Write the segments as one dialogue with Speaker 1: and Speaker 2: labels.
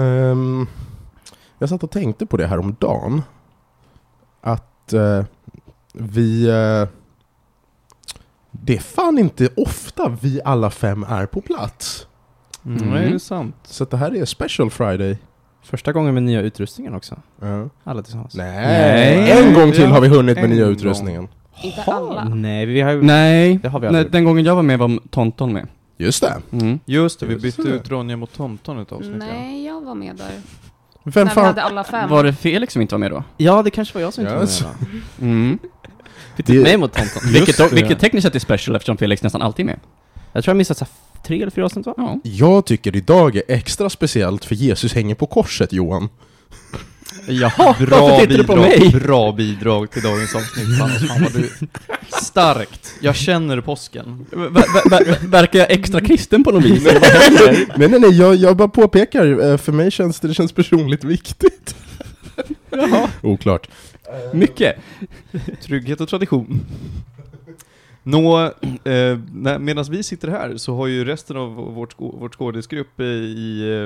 Speaker 1: Ehm, jag satt och tänkte på det här om dagen. Att eh, vi... eh, det är fan inte ofta vi alla fem är på plats.
Speaker 2: Mm.
Speaker 3: Nej, det är sant.
Speaker 1: Så att det här är special Friday.
Speaker 2: Första gången med nya utrustningen också.
Speaker 1: Ja.
Speaker 2: Alla tillsammans.
Speaker 1: Nej.
Speaker 2: Nej.
Speaker 1: En gång till har vi hunnit med
Speaker 3: En
Speaker 1: nya
Speaker 3: gång.
Speaker 1: utrustningen.
Speaker 4: Inte
Speaker 2: Ha,
Speaker 4: alla.
Speaker 2: Nej, vi har ju...
Speaker 3: Nej,
Speaker 2: Det har vi
Speaker 3: Nej
Speaker 2: aldrig
Speaker 3: den gången jag var med var Tonton med.
Speaker 1: Just det.
Speaker 3: Mm.
Speaker 1: Just
Speaker 3: Så vi bytte
Speaker 1: det.
Speaker 3: ut Ronja mot Tonton i ett avsnitt. ja.
Speaker 4: Nej, jag var med där.
Speaker 1: Vem
Speaker 4: När vi
Speaker 1: fan...
Speaker 4: hade alla fem.
Speaker 3: Var det Felix som inte var med då?
Speaker 2: Ja, det kanske var jag som inte
Speaker 1: Yes.
Speaker 2: var med då.
Speaker 3: Mm.
Speaker 2: Bytte
Speaker 1: Det-
Speaker 2: ut mig mot Tonton.
Speaker 3: Vilket,
Speaker 2: Just
Speaker 3: dock- vilket tekniskt sett är special eftersom Felix nästan alltid är med.
Speaker 2: Jag tror jag missat så här f- tre eller fyra avsnitt va?
Speaker 3: Ja.
Speaker 1: Jag tycker idag är extra speciellt för Jesus hänger på korset, Johan.
Speaker 3: Jaha,
Speaker 2: varför tittar du på mig?
Speaker 3: bra bidrag till dagens avsnitt. Fan, fan vad du... Starkt. Jag känner påsken.
Speaker 2: verkar jag extra kristen på något vis?
Speaker 1: nej, nej, nej, jag, jag bara påpekar. eh, För mig känns det, det känns personligt viktigt. Oklart.
Speaker 2: Mycket.
Speaker 3: Trygghet och tradition. Nå, eh, medan vi sitter här så har ju resten av vårt, skå- vårt skådisgrupp i, i,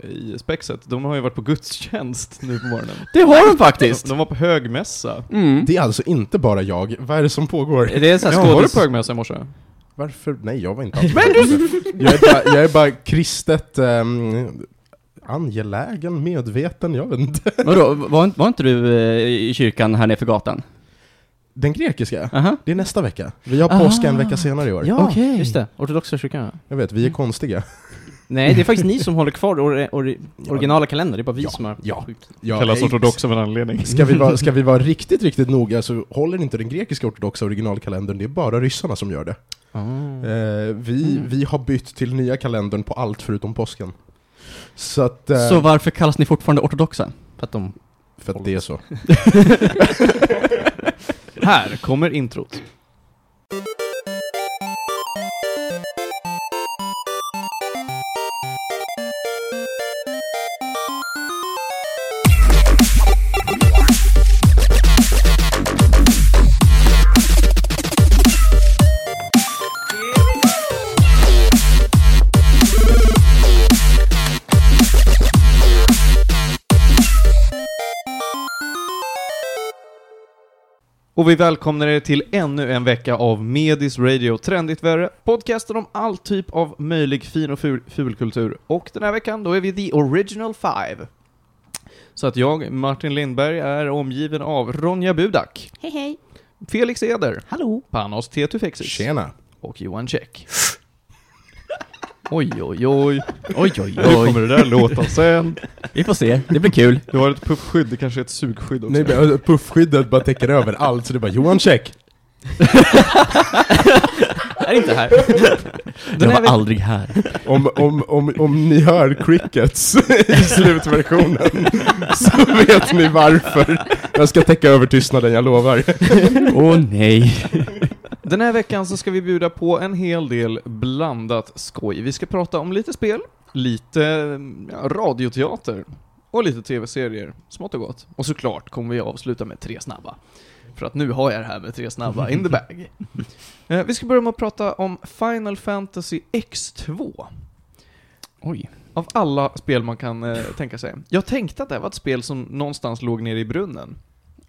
Speaker 3: eh, i Spexet, de har ju varit på gudstjänst nu på morgonen.
Speaker 2: Det har de
Speaker 3: De,
Speaker 2: faktiskt!
Speaker 3: de var på högmässa.
Speaker 2: Mm.
Speaker 1: Det är alltså inte bara jag. Vad är det som pågår?
Speaker 2: Det är så
Speaker 3: Ja,
Speaker 2: här
Speaker 3: var du
Speaker 2: skådis...
Speaker 3: på högmässa i morse?
Speaker 1: Varför? Nej, jag var inte alls Men du... jag, är bara, jag är bara kristet ehm, angelägen, medveten, jag vet inte.
Speaker 2: Vadå, var, inte- var inte du eh, i kyrkan här nere för gatan?
Speaker 1: Den grekiska,
Speaker 2: Aha.
Speaker 1: det är nästa vecka. Vi har
Speaker 2: Ah.
Speaker 1: påsk en vecka senare i år.
Speaker 2: Ja,
Speaker 3: Okej.
Speaker 2: just det. Ortodoxa kyrkan ja.
Speaker 1: Jag vet, vi är konstiga.
Speaker 2: Nej, det är faktiskt ni som håller kvar or, or, originala kalendern, det är bara vi
Speaker 1: Ja,
Speaker 2: som har...
Speaker 1: ja. Ja,
Speaker 3: Kallas
Speaker 1: eh,
Speaker 3: ortodox av en anledning.
Speaker 1: Ska vi, vara, ska vi vara riktigt, riktigt noga så håller inte den grekiska ortodoxa originalkalendern, det är bara ryssarna som gör det.
Speaker 2: Ah.
Speaker 1: Eh, vi,
Speaker 2: Mm.
Speaker 1: vi har bytt till nya kalendern på allt förutom påsken. Så att... eh,
Speaker 3: Så
Speaker 2: Varför kallas ni fortfarande ortodoxa? För att de...
Speaker 1: för att det är så.
Speaker 3: Här kommer introt. Och vi välkomnar er till ännu en vecka av Medis Radio Trendigt Värre, podcasten om all typ av möjlig fin och ful, fulkultur. Och den här veckan, då är vi the original five. Så att jag, Martin Lindberg, är omgiven av Ronja Budak,
Speaker 4: Hej hej.
Speaker 3: Felix Eder,
Speaker 2: Hallå!
Speaker 3: Panos Tetufexis
Speaker 1: Tjena!
Speaker 3: och Johan Käck. Oj, oj, oj.
Speaker 2: Oj, oj,
Speaker 3: Hur kommer det där låta sen?
Speaker 2: Vi får se, det blir kul.
Speaker 3: Du har ett puffskydd, det kanske är ett sugskydd också.
Speaker 1: Nej, men eh, puffskyddet bara täcker över allt, så det är bara Johan check!
Speaker 2: är inte här.
Speaker 3: Den här veck-
Speaker 2: aldrig här.
Speaker 1: Om, om, om, om ni hör crickets i slutversionen så vet ni varför. Jag ska täcka över tystnaden, jag lovar.
Speaker 2: Åh nej.
Speaker 3: Den här veckan så ska vi bjuda på en hel del blandat skoj. Vi ska prata om lite spel, lite ja, radioteater och lite tv-serier, smått och gott. Och såklart kommer vi avsluta med tre snabba. För att nu har jag det här med tre snabba in the bag. Eh, Vi ska börja med att prata om Final Fantasy X2.
Speaker 2: Oj.
Speaker 3: Av alla spel man kan eh, tänka sig. Jag tänkte att det här var ett spel som någonstans låg nere i brunnen.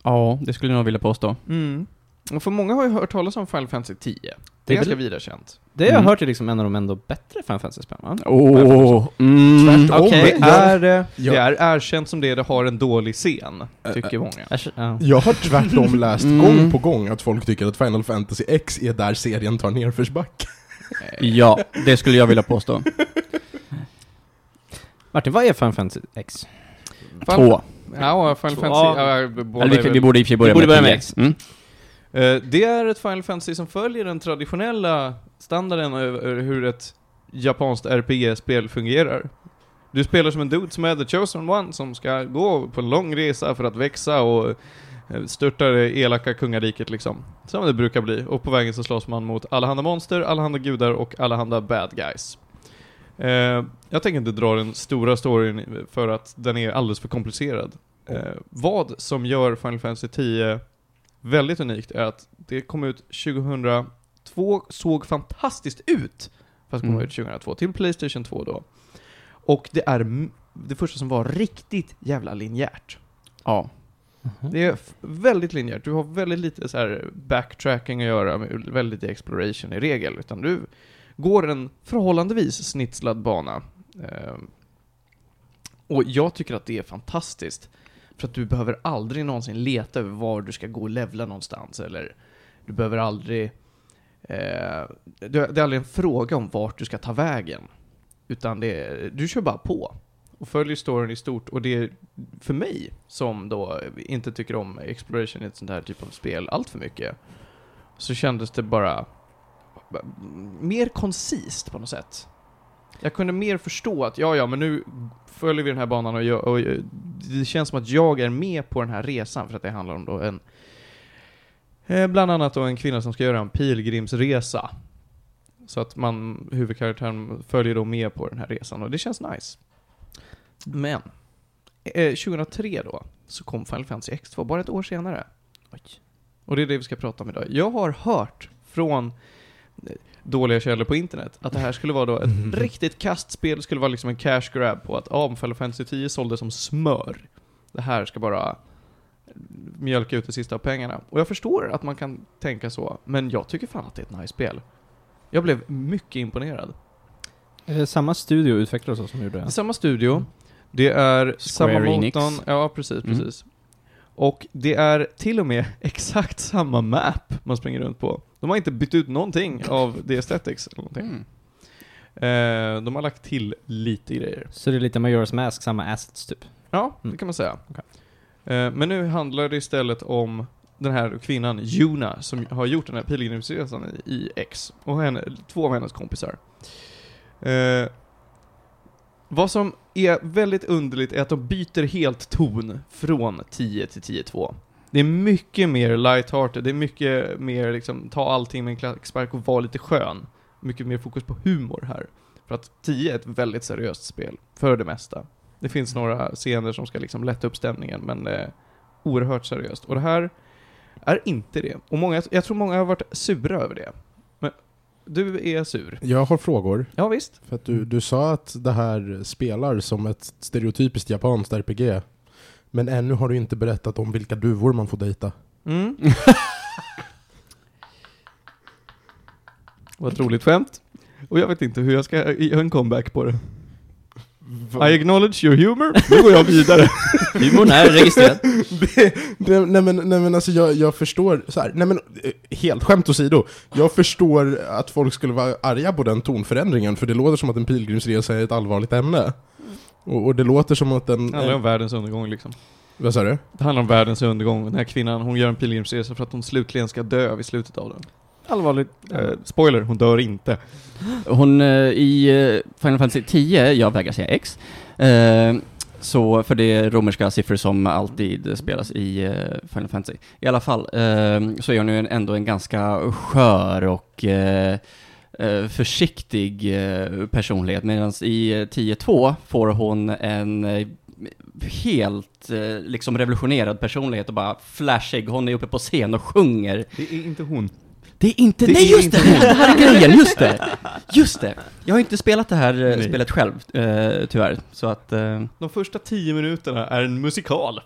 Speaker 2: Ja, det skulle jag nog vilja påstå.
Speaker 3: Mm. Och för många har ju hört talas om Final Fantasy 10. Det är,
Speaker 2: Det är
Speaker 3: ganska
Speaker 2: väl-
Speaker 3: vida känt.
Speaker 2: Det har jag
Speaker 3: Mm.
Speaker 2: hört är liksom en av de ändå bättre Final Fantasy-spelen, va?
Speaker 3: Åh,
Speaker 2: mm.
Speaker 1: Tvärtom.
Speaker 2: Okej.
Speaker 3: Det är, eh,
Speaker 1: Ja.
Speaker 3: det är erkänt som det, det har en dålig scen, tycker många.
Speaker 2: Äsch, ja.
Speaker 1: Jag har tvärtom läst
Speaker 2: Mm.
Speaker 1: gång på gång att folk tycker att Final Fantasy X är där serien tar nerförsbacke.
Speaker 2: ja, det skulle jag vilja påstå. Martin, vad är Final Fantasy X?
Speaker 3: Fan-
Speaker 2: Två.
Speaker 3: Ja, Final
Speaker 2: Två.
Speaker 3: Fantasy... Ja, båda
Speaker 2: Eller vi, kan-
Speaker 3: är väl-
Speaker 2: vi borde i och för sig börja
Speaker 3: borde börja med
Speaker 2: tio X. Mm.
Speaker 3: Eh, det är ett Final Fantasy som följer den traditionella standarden över över hur ett japanskt RPG-spel fungerar. Du spelar som en dude som är the chosen one, som ska gå på en lång resa för att växa och eh, störta det elaka kungariket liksom. Som det brukar bli. Och på vägen så slåss man mot allehanda monster, allehanda gudar och allehanda bad guys. Eh, jag tänker inte dra den stora storyn för att den är alldeles för komplicerad. Eh, vad som gör Final Fantasy 10 väldigt unikt är att det kom ut 2002, såg fantastiskt ut för att komma
Speaker 2: Mm.
Speaker 3: ut 2002, till Playstation 2 då. Och det är m- det första som var riktigt jävla linjärt.
Speaker 5: Ja.
Speaker 2: Mm-hmm.
Speaker 3: Det är f- väldigt linjärt. Du har väldigt lite så här backtracking att göra, med väldigt lite exploration i regel. Utan du går en förhållandevis snitslad bana. Eh, Och jag tycker att det är fantastiskt. För att du behöver aldrig någonsin leta över var du ska gå och levla någonstans. Eller du behöver aldrig... Eh, det det är aldrig en fråga om vart du ska ta vägen. Utan det är, du kör bara på. Och följer storyn i stort. Och det är för mig, som då inte tycker om exploration i ett sånt här typ av spel allt för mycket, så kändes det bara mer koncist på något sätt. Jag kunde mer förstå att, ja, ja, men nu följer vi den här banan och, jag, och jag, det känns som att jag är med på den här resan för att det handlar om då en eh, Bland annat då en kvinna som ska göra en pilgrimsresa. Så att man, huvudkaraktären följer då med på den här resan och det känns nice. Men eh, 2003 då, så kom Final Fantasy X2, bara ett år senare. Och det är det vi ska prata om idag. Jag har hört från eh, dåliga källor på internet att det här skulle vara då ett riktigt kastspel, det skulle vara liksom en cash grab på att ah, om Final Fantasy 10 sålde som smör. Det här ska bara eh, mjölka ut de sista av pengarna. Och jag förstår att man kan tänka så, men jag tycker fan att det är ett nice spel. Jag blev mycket imponerad.
Speaker 5: Är det samma studio utvecklare så som gjorde
Speaker 3: Det
Speaker 5: det?
Speaker 3: är samma studio. Det är samma
Speaker 5: Enix.
Speaker 3: motorn. Ja, precis,
Speaker 5: Mm.
Speaker 3: precis. Och det är till och med exakt samma map man springer runt på. De har inte bytt ut någonting av the aesthetics eller
Speaker 5: Mm.
Speaker 3: någonting. Eh, de har lagt till lite grejer.
Speaker 6: Så det är lite Majora's Mask, samma assets typ.
Speaker 3: Ja, det
Speaker 6: Mm.
Speaker 3: kan man säga.
Speaker 6: Okej.
Speaker 3: Eh, men nu handlar det istället om den här kvinnan, Juna, som har gjort den här pilgrimsresan i- i X. Och henne, två av hennes kompisar. Eh, vad som är väldigt underligt är att de byter helt ton från 10 till 10-2. Det är mycket mer lighthearted, det är mycket mer liksom, ta allting med en klackspark och vara lite skön. Mycket mer fokus på humor här. För att 10 är ett väldigt seriöst spel, för det mesta. Det finns några scener som ska liksom lätta upp stämningen, men det är oerhört seriöst. Och det här är inte det. Och många, jag tror många har varit sura över det. Men du är sur.
Speaker 1: Jag har frågor.
Speaker 3: Ja, visst.
Speaker 1: För att du, du sa att det här spelar som ett stereotypiskt japanskt RPG. Men ännu har du inte berättat om vilka duvor man får dejta.
Speaker 3: Mm. Vad ett roligt skämt. Och jag vet inte hur jag ska göra en comeback på det. I acknowledge your humor. Nu går jag vidare.
Speaker 5: Humorn är registrerad.
Speaker 1: Det- det- nej, men, nej men alltså jag, jag förstår, så här, nej men eh, helt skämt åsido. Jag förstår att folk skulle vara arga på den tonförändringen för det låter som att en pilgrimsresa är ett allvarligt ämne. Och, och det låter som att den...
Speaker 3: Det handlar om världens undergång liksom.
Speaker 1: vad sa du?
Speaker 3: Det handlar om världens undergång. Den här kvinnan, hon gör en pilgrimsresa för att hon slutligen ska dö vid slutet av den.
Speaker 5: Allvarligt.
Speaker 3: Eh, spoiler, hon dör inte.
Speaker 2: Hon eh, i eh, Final Fantasy 10, jag vägrar säga X, eh, så för det är romerska siffror som alltid spelas i eh, Final Fantasy. I alla fall eh, så är hon ju en- ändå en ganska skör och eh, eh, försiktig eh, personlighet medan i eh, 10.2 får hon en eh, helt eh, liksom revolutionerad personlighet och bara flashig. Hon är uppe på scen och sjunger
Speaker 3: Det är inte hon.
Speaker 2: det är inte,
Speaker 3: Det
Speaker 2: nej
Speaker 3: är
Speaker 2: just
Speaker 3: inte
Speaker 2: det!
Speaker 3: det.
Speaker 2: Det här är grejen, just det! Just det! Jag har inte spelat det här eh,
Speaker 3: Nej.
Speaker 2: spelet själv, eh, tyvärr, så att... Eh,
Speaker 3: De första tio minuterna är en musikal.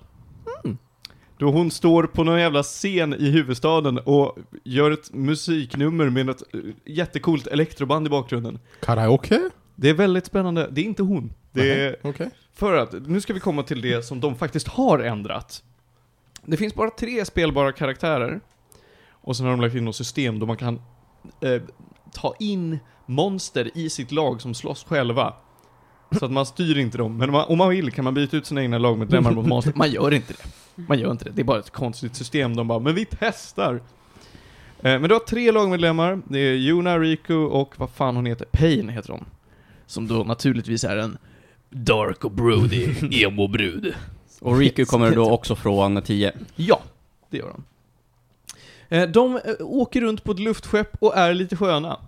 Speaker 3: Då hon står på någon jävla scen i huvudstaden och gör ett musiknummer med något eh, jättecoolt elektroband i bakgrunden.
Speaker 1: Karaoke?
Speaker 3: Det är väldigt spännande. Det är inte hon. Det är
Speaker 1: Okej.
Speaker 3: för att, nu ska vi komma till det som de faktiskt har ändrat. Det finns bara tre spelbara karaktärer. Och sen har de lagt in något system då man kan eh, ta in monster i sitt lag som slåss själva. Så att man styr inte dem. Men om man, om man vill kan man byta ut sina egna lagmedlemmar mot monster. Man gör inte det. Man gör inte det. Det är bara ett konstigt system. De bara, men vi testar. Eh, men du har tre lagmedlemmar. Det är Yuna, Riku och vad fan hon heter. Pain heter hon. Som då naturligtvis är en dark och broody emo-brud.
Speaker 2: och Riku kommer då också från 10.
Speaker 3: Ja, det gör de. Eh, De eh, åker runt på ett luftskepp och är lite sköna.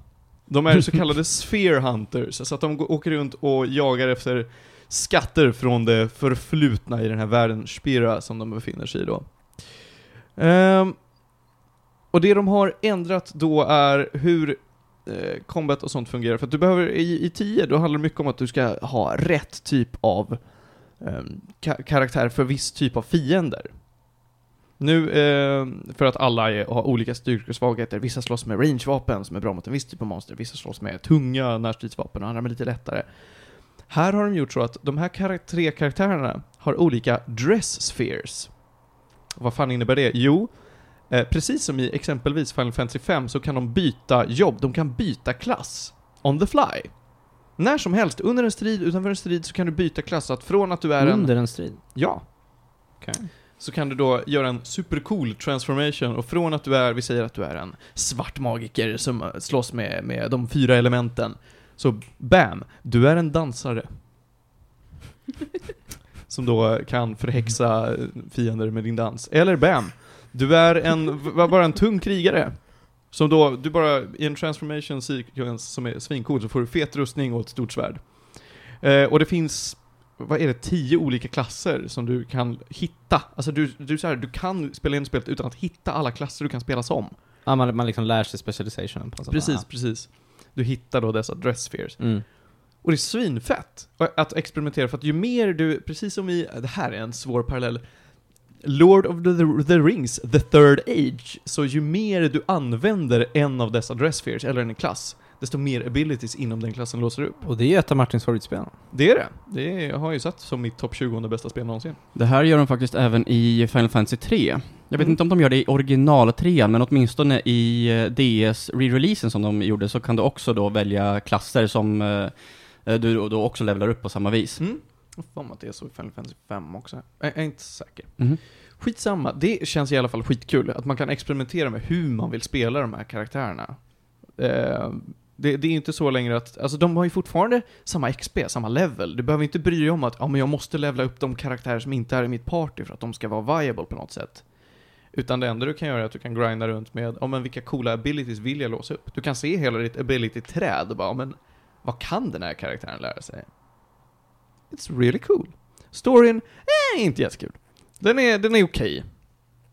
Speaker 3: De är så kallade sphere hunters, så att de går- åker runt och jagar efter skatter från det förflutna i den här världen, Spira, som de befinner sig i då. Ehm, och det de har ändrat då är hur eh, combat och sånt fungerar. För att du behöver, i, i 10, då handlar det mycket om att du ska ha rätt typ av eh, ka- karaktär för viss typ av fiender. Nu, eh, för att alla är, har olika styrkor och svagheter, vissa slåss med rangevapen som är bra mot en viss typ av monster, vissa slåss med tunga närstridsvapen och andra med lite lättare. Här har de gjort så att de här karak- tre karaktärerna har olika dress spheres. Vad fan innebär det? Jo, eh, precis som i exempelvis Final Fantasy 5 så kan de byta jobb, de kan byta klass on the fly. När som helst, under en strid, utanför en strid, så kan du byta klass. Så att från att du är en...
Speaker 7: Under en strid.
Speaker 3: Ja. Så kan du då göra en supercool transformation och från att du är, vi säger att du är en svart magiker som eh, slåss med, med de fyra elementen. Så bam, du är en dansare. som då kan förhäxa eh, fiender med din dans. Eller bam, du är en, v- var bara en tung krigare. Som då, du bara, i en transformation sequence som är svincool så får du fet rustning och ett stort svärd. Eh, och det finns vad är det, tio olika klasser som du kan hitta. Alltså du, du, så här, du kan spela in spelet utan att hitta alla klasser du kan spela som.
Speaker 2: Ja, man, man liksom lär sig specializationen på en sån
Speaker 3: precis,
Speaker 2: här-
Speaker 3: precis. Du hittar då dessa dress spheres.
Speaker 2: Mm.
Speaker 3: Och det är svinfett att experimentera för att ju mer du, precis som i, det här är en svår parallell, Lord of the, the Rings, The Third Age, så ju mer du använder en av dessa dress spheres, eller en klass, desto mer abilities inom den klassen låser du upp.
Speaker 2: Och det är ju ett av Martins favoritspel.
Speaker 3: Det är det. Det är, jag har ju satt som mitt topp 20 bästa spel någonsin.
Speaker 4: Det här gör de faktiskt även i Final Fantasy 3. Jag vet
Speaker 3: Mm.
Speaker 4: inte om de gör det i originaltrean, men åtminstone i eh, DS re-releasen som de gjorde så kan du också då välja klasser som eh, eh, du då- då också levlar upp på samma vis.
Speaker 3: Mm. Jag har för mig att det är så i Final Fantasy 5 också. Jag jag är inte säker.
Speaker 4: Mhm.
Speaker 3: Skitsamma, det känns i alla fall skitkul att man kan experimentera med hur man vill spela de här karaktärerna. Eh, det, det är inte så längre att, alltså de har ju fortfarande samma XP, samma level. Du behöver inte bry dig om att, ja men jag måste levla upp de karaktärer som inte är i mitt party för att de ska vara viable på något sätt. Utan det enda du kan göra är att du kan grinda runt med, ja men vilka coola abilities vill jag låsa upp? Du kan se hela ditt ability-träd och bara, ja men vad kan den här karaktären lära sig? It's really cool. Storyn är inte jättekul. Den är, den är okej.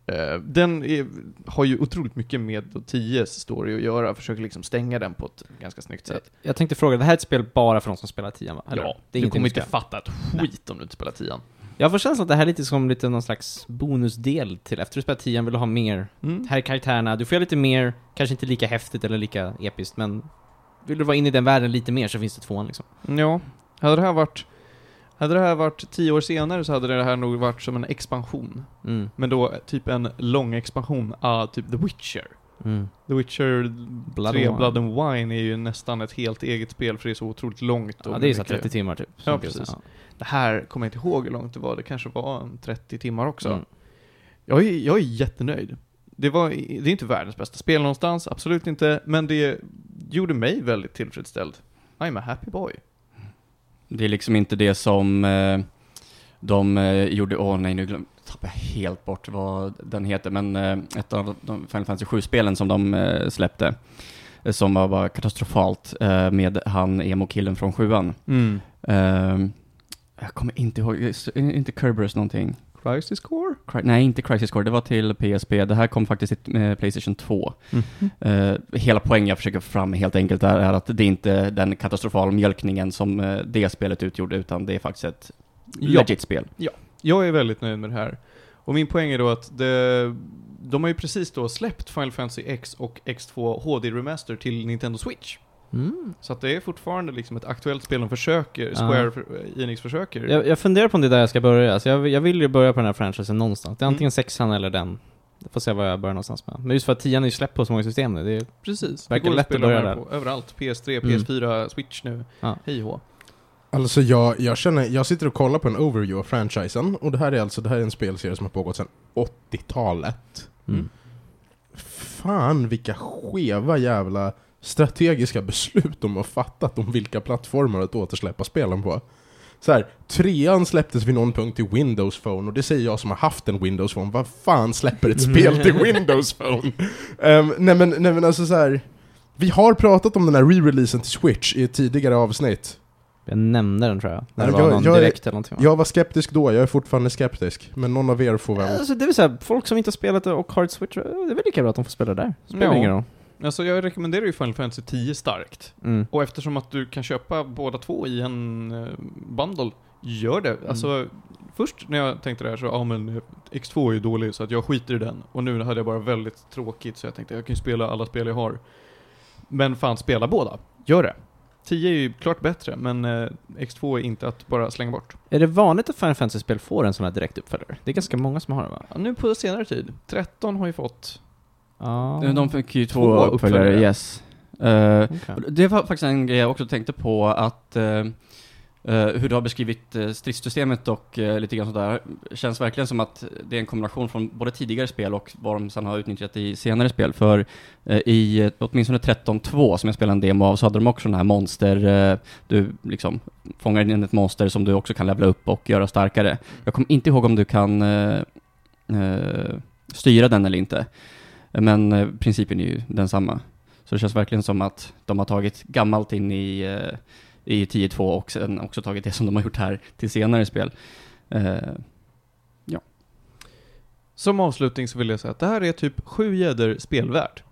Speaker 3: Eh, Den är, har ju otroligt mycket med 10 story att göra, försöker liksom stänga den på ett ganska snyggt sätt.
Speaker 2: Jag tänkte fråga, det här är ett spel bara för de som spelar tian va? Eller?
Speaker 3: ja,
Speaker 2: Eh, det är
Speaker 3: du
Speaker 2: ingenting
Speaker 3: kommer
Speaker 2: du
Speaker 3: inte
Speaker 2: ska-
Speaker 3: fatta ett skit om du inte spelar 10
Speaker 2: Jag får känslan att det här är lite som lite någon slags bonusdel till efter du spelat tian vill du ha mer.
Speaker 3: mm.
Speaker 2: Här är karaktärerna, du får göra lite mer, kanske inte lika häftigt eller lika episkt men vill du vara inne i den världen lite mer så finns det tvåan liksom.
Speaker 3: Ja, hade det här varit hade det här varit 10 år senare så hade det här nog varit som en expansion.
Speaker 2: Mm.
Speaker 3: Men då typ en lång expansion, ah, typ The Witcher.
Speaker 2: Mm.
Speaker 3: The Witcher
Speaker 2: Blood
Speaker 3: 3
Speaker 2: and
Speaker 3: Blood and Wine är ju nästan ett helt eget spel för det är så otroligt långt. och
Speaker 2: Ja, det är ju så här
Speaker 3: mycket-
Speaker 2: 30 timmar typ.
Speaker 3: Ja, precis. Det här kommer jag inte ihåg hur långt det var, det kanske var en 30 timmar också.
Speaker 2: Mm.
Speaker 3: Jag, är, jag är jättenöjd. Det, var, det är inte världens bästa spel någonstans, absolut inte, men det gjorde mig väldigt tillfredsställd. I'm a happy boy.
Speaker 4: Det är liksom inte det som eh, de eh, gjorde, åh nej nu glöm, tappar jag helt bort vad den heter, men eh, ett av de Final Fantasy 7-spelen som de eh, släppte, eh, som var bara katastrofalt eh, med han emo-killen från 7an.
Speaker 2: Mm.
Speaker 4: Ehm, jag kommer inte ihåg, s- eh, inte Kerberos någonting.
Speaker 3: Crisis Core?
Speaker 4: Cry, nej, inte Crisis Core, det var till PSP. Det här kom faktiskt till eh, Playstation 2.
Speaker 3: Mm.
Speaker 4: Eh, hela poängen jag försöker få fram helt enkelt är, är att det är inte den katastrofala mjölkningen som eh, det spelet utgjorde, utan det är faktiskt ett
Speaker 3: Ja.
Speaker 4: legit spel.
Speaker 3: Jag är väldigt nöjd med det här. Och min poäng är då att det, de har ju precis då släppt Final Fantasy X och X2 HD Remaster till Nintendo Switch.
Speaker 2: Mm.
Speaker 3: Så att det är fortfarande liksom ett aktuellt spel de försöker,
Speaker 2: Ja.
Speaker 3: Square för- eh, Enix försöker.
Speaker 2: Jag, jag funderar på om det är där jag ska börja. Alltså jag, jag vill ju börja på den här franchisen någonstans. Det är
Speaker 3: Mm.
Speaker 2: antingen sexan eller den. Jag får se vad jag börjar någonstans med. Men just för att tian är ju släppt på så många system nu. Det är,
Speaker 3: Precis.
Speaker 2: Verkar
Speaker 3: det går
Speaker 2: lätt
Speaker 3: att
Speaker 2: att
Speaker 3: spela
Speaker 2: börja
Speaker 3: de här
Speaker 2: där.
Speaker 3: på överallt. PS3,
Speaker 2: Mm.
Speaker 3: PS4, Switch nu.
Speaker 2: Ja.
Speaker 3: Hej hå.
Speaker 1: Alltså jag, jag känner, jag sitter och kollar på en overview av franchisen och det här är alltså, det här är en spelserie som har pågått sedan 80-talet.
Speaker 2: mm.
Speaker 1: Fan vilka skeva jävla strategiska beslut de har fattat om vilka plattformar att återsläppa spelen på. Så här, trean släpptes vid någon punkt till Windows Phone och det säger jag som har haft en Windows Phone, vad fan släpper ett spel till Windows Phone? Ehm, nej, men, nej men alltså så här, vi har pratat om den här re-releasen till Switch i ett tidigare avsnitt.
Speaker 2: Jag nämnde den tror jag. När det
Speaker 1: Jag-
Speaker 2: var någon
Speaker 1: jag är-
Speaker 2: direkt eller någonting. va?
Speaker 1: Jag var skeptisk då, jag är fortfarande skeptisk. Men någon av er får väl...
Speaker 2: Alltså, det vill säga, folk som inte har spelat det och har ett switch, eh, det är väl lika bra att de får spela där. Spelar
Speaker 3: Ja.
Speaker 2: ingen roll.
Speaker 3: Alltså jag rekommenderar ju Final Fantasy 10 starkt.
Speaker 5: Mm.
Speaker 3: Och eftersom att du kan köpa båda två i en eh, bundle, gör det.
Speaker 2: Mm.
Speaker 3: Alltså, först när jag tänkte det här så, ja ah, men eh, X2 är ju dålig så att jag skiter i den. Och nu hade jag bara väldigt tråkigt så jag tänkte jag kan ju spela alla spel jag har. Men fan, spela båda. Gör det. 10 är ju klart bättre, men eh, X2 är inte att bara slänga bort.
Speaker 5: Är det vanligt att Final Fantasy-spel får en sån här direktuppföljare? Det är ganska många som har det va?
Speaker 3: Ja, nu på senare tid, 13 har ju fått.
Speaker 5: Ja.
Speaker 4: Euh,
Speaker 2: De fick ju två,
Speaker 3: Två
Speaker 2: uppföljare,
Speaker 3: uppföljare.
Speaker 2: yes. Eh,
Speaker 5: Okej.
Speaker 2: Det var faktiskt en grej jag också tänkte på att eh, eh, hur du har beskrivit eh, stridssystemet och eh, lite grann sådär. Känns verkligen som att det är en kombination från både tidigare spel och vad de sen har utnyttjat i senare spel. För eh, i eh, åtminstone 13.2 som jag spelade en demo av så hade de också den här monster, eh, du liksom fångar in ett monster som du också kan levla upp och göra starkare. Jag kommer inte ihåg om du kan eh, eh, styra den eller inte. Men eh, principen är ju densamma. Så det känns verkligen som att de har tagit gammalt in i, eh, i 10.2 och sen också tagit det som de har gjort här till senare spel. Eh,
Speaker 3: Som avslutning så vill jag säga att det här är typ sju gäddor spelvärt.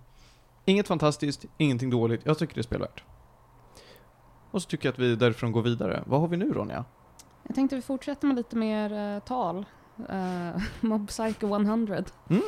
Speaker 3: Inget fantastiskt, ingenting dåligt. Jag tycker det är spelvärt. Och så tycker jag att vi därifrån går vidare. Vad har vi nu Ronja?
Speaker 4: Jag tänkte vi fortsätter med lite mer eh, tal. Eh, Mob Psycho 100.
Speaker 3: Mm.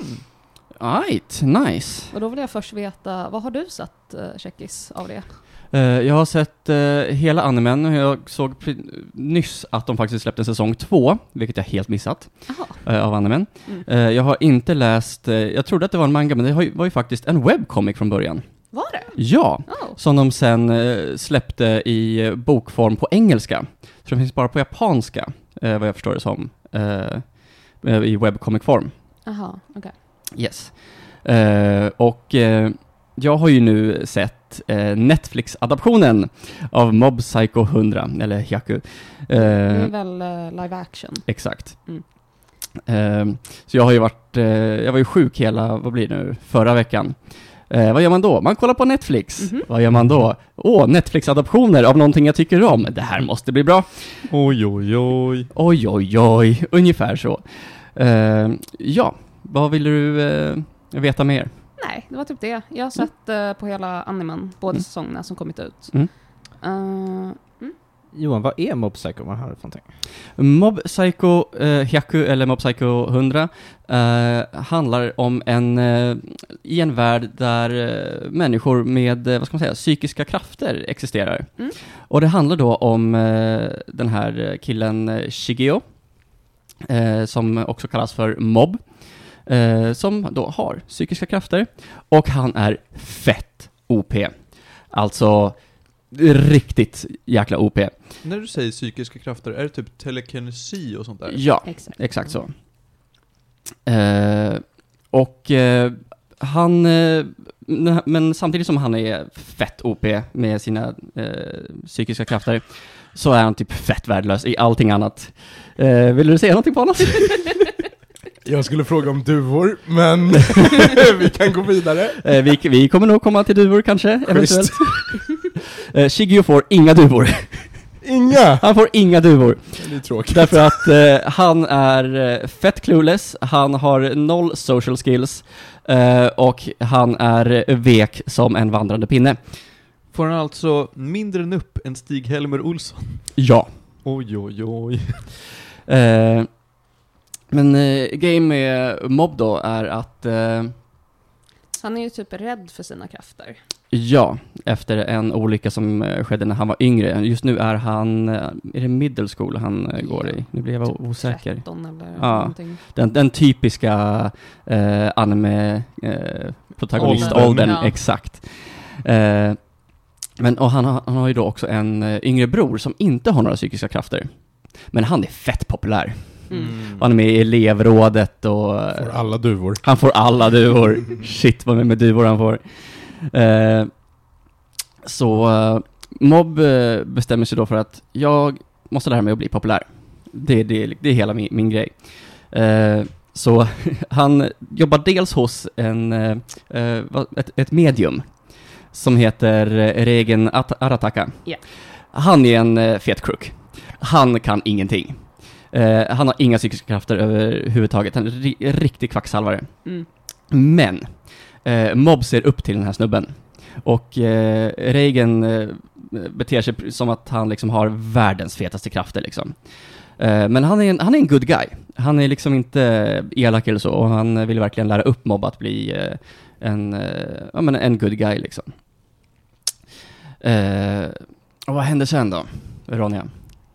Speaker 2: Alright, nice.
Speaker 4: Och då vill jag först veta, vad har du sett eh, Checkis av det?
Speaker 2: Eh, jag har sett eh, hela animen och jag såg pri- nyss att de faktiskt släppte en säsong två, vilket jag helt missat,
Speaker 4: Jaha.
Speaker 2: eh, av animen.
Speaker 4: Mm.
Speaker 2: Eh, jag har inte läst, eh, jag trodde att det var en manga, men det har ju- var ju faktiskt en webcomic från början.
Speaker 4: Var det?
Speaker 2: Ja!
Speaker 4: Oh.
Speaker 2: Som de sen eh, släppte i eh, bokform på engelska. Så den finns bara på japanska, eh, vad jag förstår det som, eh, eh, i webcomic-form.
Speaker 4: Jaha, okej.
Speaker 2: Yes. Eh, och eh, jag har ju nu sett eh, Netflix-adaptionen av Mob Psycho 100, eller Hyaku.
Speaker 4: Det
Speaker 2: Eh,
Speaker 4: är väl eh, live action?
Speaker 2: Exakt.
Speaker 4: Mm.
Speaker 2: Ehm, så jag har ju varit, eh, jag var ju sjuk hela, vad blir det nu, förra veckan. Eh, vad gör man då? Man kollar på Netflix.
Speaker 4: Mhm.
Speaker 2: Vad gör man då? Åh, Netflix-adaptioner av någonting jag tycker om. Det här måste bli bra.
Speaker 3: Oj, oj, oj.
Speaker 2: Oj, oj, oj. Ungefär så. Ehm, ja, vad vill du eh, veta mer?
Speaker 4: Nej, det var typ det. Jag har sett eh, på hela animen, båda säsongerna som kommit ut.
Speaker 2: Mm.
Speaker 4: Eh,
Speaker 5: Johan, vad är Mob Psycho 100 för någonting?
Speaker 2: Mob Psycho eh, Hyaku, eller Mob Psycho 100, eh, handlar om en, eh, i en värld där eh, människor med, eh, vad ska man säga, psykiska krafter existerar.
Speaker 4: Mm.
Speaker 2: Och det handlar då om eh, den här eh, killen eh, Shigeo, eh, som också kallas för Mob, eh, som då har psykiska krafter. Och han är fett OP. Alltså, riktigt jäkla OP.
Speaker 3: När du säger psykiska krafter, är det typ telekinesi och sånt där?
Speaker 2: Ja.
Speaker 4: exakt.
Speaker 2: Exakt så. Eh, och eh, han, eh, n- men samtidigt som han är fett OP med sina eh, psykiska krafter, så är han typ fett värdelös i allting annat. Eh, vill du säga någonting Panos?
Speaker 1: Jag skulle fråga om duvor, men vi kan gå vidare.
Speaker 2: eh, vi, vi kommer nog komma till duvor kanske, eventuellt.
Speaker 1: Schysst.
Speaker 2: eh, Shigio får inga duvor.
Speaker 1: Inga!
Speaker 2: Han får inga duvor.
Speaker 1: Det är tråkigt.
Speaker 2: Därför att eh, han är eh, fett clueless, han har noll social skills eh, och han är eh, vek som en vandrande pinne.
Speaker 3: Får han alltså mindre än upp än Stig-Helmer Olsson?
Speaker 2: Ja.
Speaker 3: Oj, oj, oj.
Speaker 2: Eh, men eh, grejen med Mob då är att, eh,
Speaker 4: Han är ju typ rädd för sina krafter.
Speaker 2: ja, efter en olycka som eh, skedde när han var yngre, just nu är han, eh, är det middle school han eh, går i? Nu blev jag osäker.
Speaker 4: 13 eller
Speaker 2: Ja.
Speaker 4: någonting.
Speaker 2: Den, den typiska eh, anime-protagoniståldern,
Speaker 4: Åldern. Ja.
Speaker 2: exakt. Eh, men, och han, har- han har ju då också en eh, yngre bror som inte har några psykiska krafter. Men han är fett populär.
Speaker 4: Mm.
Speaker 2: Han är med i elevrådet och eh,
Speaker 1: Får alla duvor.
Speaker 2: han får alla duvor. Shit vad med duvor han får. Eh, så eh, Mob eh, bestämmer sig då för att jag måste lära mig att bli populär. Det, det, det är hela min, min grej. Eh, så han jobbar dels hos en, eh, eh, vad- ett, ett medium som heter eh, Regen At- Arataka.
Speaker 4: Ja.
Speaker 2: Han är en eh, fet crook. Han kan ingenting. Eh, han har inga psykiska krafter överhuvudtaget. Han är en ri- riktig kvacksalvare.
Speaker 4: Mm.
Speaker 2: Men Eh, Mob ser upp till den här snubben. Och eh, Reagan eh, beter sig pr- som att han liksom har världens fetaste krafter liksom. Eh, men han är, en, han är en good guy. Han är liksom inte elak eller så och han vill verkligen lära upp Mob att bli eh, en, eh, ja, men en good guy liksom. Eh, och vad händer sen då, Ronja?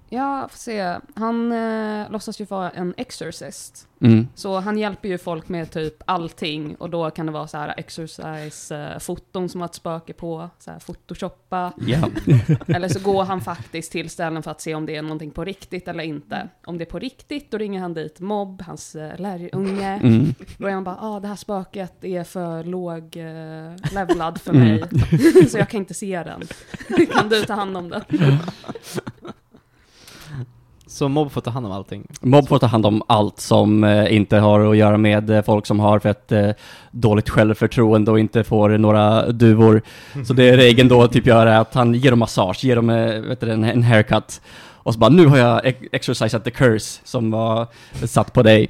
Speaker 4: Ja, får se. Han eh, låtsas ju vara en exorcist.
Speaker 2: Mm.
Speaker 4: Så han hjälper ju folk med typ allting och då kan det vara så här exercise-foton som har ett spöke på, så här photoshoppa.
Speaker 2: Ja.
Speaker 4: Eller så går han faktiskt till ställen för att se om det är någonting på riktigt eller inte. Om det är på riktigt, då ringer han dit Mobb, hans eh, lärjunge.
Speaker 2: Mm.
Speaker 4: Då är han bara, ah, det här spöket är för låg eh, levlad för mig, så jag kan inte se den. kan du ta hand om den?
Speaker 6: Så Mob får ta hand om allting.
Speaker 2: Mob får ta hand om allt som eh, inte har att göra med eh, folk som har för ett eh, dåligt självförtroende och inte får några duvor. Så det regeln då typ gör är att han ger dem massage, ger dem eh, vet du, en, en haircut. Och så bara nu har jag ex- exercisat the curse som var satt på dig. Eh,